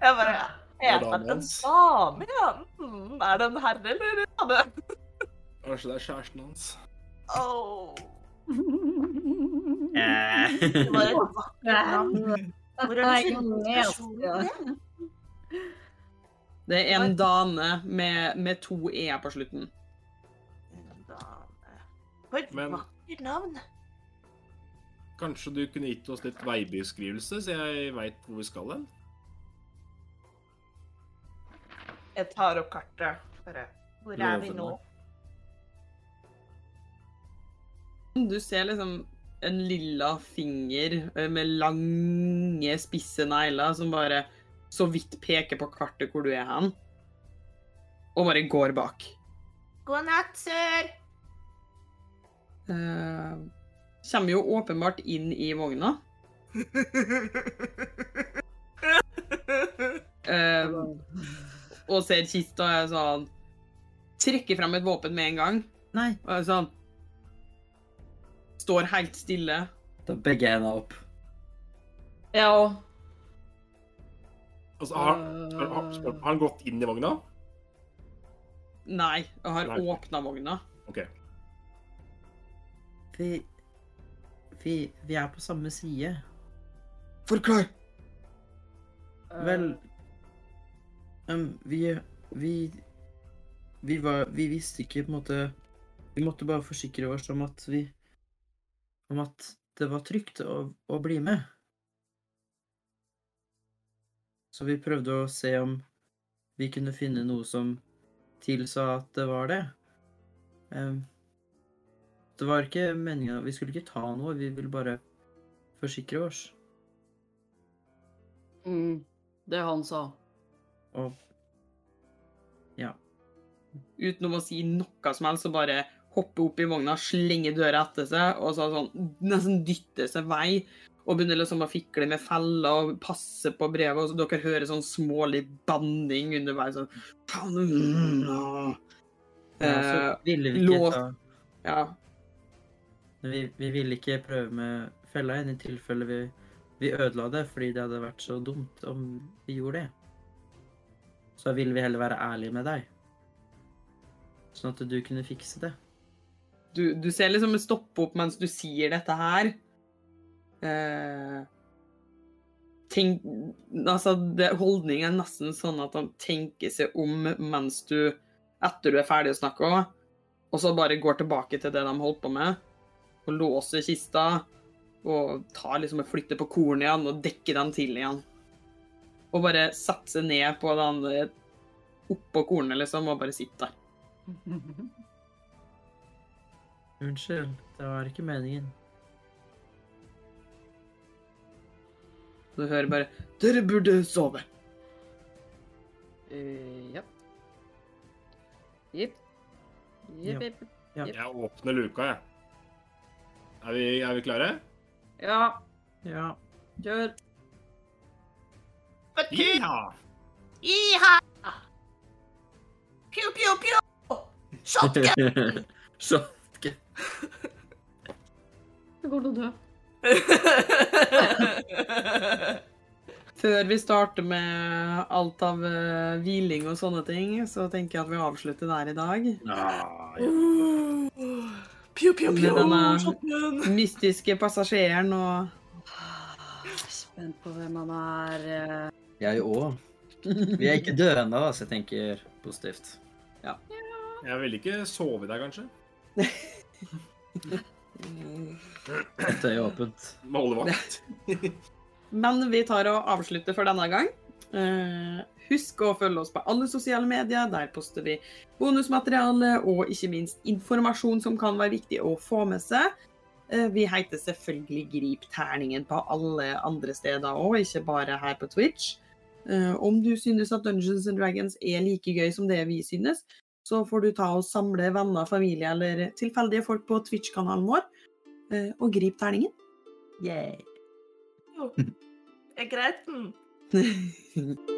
D: Jeg bare
C: er
D: Heter
C: damen
D: den en
C: hans.
D: dame, ja? Mm, Er det en herre eller en dame?
C: Kanskje det er kjæresten hans.
D: Åh.
B: Det var et vakkert navn. Hvordan kjente personen det?
A: Det er en dane med, med to e på slutten.
B: En dame. For et
C: Men-
B: vakkert navn.
C: Kanskje du kunne gitt oss litt veibeskrivelse, så jeg veit hvor vi skal hen?
D: Jeg tar opp kartet. Bare.
B: Hvor er vi nå?
A: Du ser liksom en lilla finger eh, med lange, spisse negler som bare så vidt peker på kartet hvor du er hen, og bare går bak.
B: God natt, sør.
A: Eh, kommer jo åpenbart inn i vogna. Eh, og ser kista og er sånn Trekker frem et våpen med en gang.
G: Nei.
A: Og er sånn Står helt stille.
G: Da begge henda opp.
E: Ja.
C: Altså, har, har, har, har han gått inn i vogna?
A: Nei, og har
C: Nei.
A: åpna vogna.
C: OK.
G: Vi, vi, vi er på samme side.
A: Forklar!
E: Eh.
G: Vel em, Vi Vi vi, var, vi visste ikke på en måte Vi måtte bare forsikre oss om at vi Om at det var trygt å, å bli med. Så vi prøvde å se om vi kunne finne noe som tilsa at det var det. Em, det var ikke meninga Vi skulle ikke ta noe, vi ville bare forsikre oss.
E: Mm, det han sa.
G: Og
A: uten å si noe som helst, så bare hopper opp i vogna, slenger døra etter seg, og så sånn, nesten dytter seg vei, og begynner liksom å fikle med feller og passe på brevet, og så dere hører sånn smålig banning underveis, sånn «Faen, mm, ah».
G: ja, så
A: Eh,
G: ville vi ikke
A: lov-
G: ta
A: ja.
G: Vi, vi ville ikke prøve med fella igjen i tilfelle vi, vi ødela det, fordi det hadde vært så dumt om vi gjorde det.
D: så ville vi heller være ærlige med deg. Sånn at du kunne fikse det.
A: Du, du ser liksom en stoppe opp mens du sier dette her. Eh, tenk, altså, det, holdningen er nesten sånn at han tenker seg om mens du, etter du er ferdig å snakke òg, og så bare går tilbake til det de holdt på med, og låser kista, og tar liksom og flytter på kornet igjen, og dekker den til igjen. Og bare setter seg ned på den eh, oppå kornet, liksom, og bare sitter der.
D: Unnskyld, det var ikke meningen.
A: Du hører bare 'Dere burde sove'.
G: Eh, ja. Jipp.
D: Ja.
G: Jipp, jipp.
C: Jeg åpner luka, jeg. Er vi, er vi klare?
G: Ja,
D: Ja.
G: kjør.
C: Ja!
F: Iha! Pew, pew, pew! Shotgun!
D: Så
G: Det går til å dø.
A: Før vi starter med alt av eh, hviling og sånne ting, så tenker jeg at vi avslutter der i dag.
C: Ja, ja.
B: Pew, pew,
A: Med
B: pew,
A: denne-
B: shotgun.
A: Mystiske passasjeren og
G: Jeg er spent på hvem han er. eh.
D: Jeg òg. Vi er ikke døde ennå, da, så jeg tenker positivt.
C: Jeg ville ikke sove i deg, kanskje?
D: Et øye åpent.
C: Med holdevakt?
A: Men vi tar og avslutter for denne gang. Eh, Husk å følge oss på alle sosiale medier. Der poster vi bonusmateriale og ikke minst informasjon som kan være viktig å få med seg. Eh, Vi heter selvfølgelig Grip terningen på alle andre steder òg, ikke bare her på Twitch. Eh, Om du synes at Dungeons and Dragons er like gøy som det vi synes, så får du ta og samle venner, familie eller tilfeldige folk på Twitch-kanalen vår, eh, og grip terningen.
D: Yay. Mm.
B: Er greit, den.
A: Hei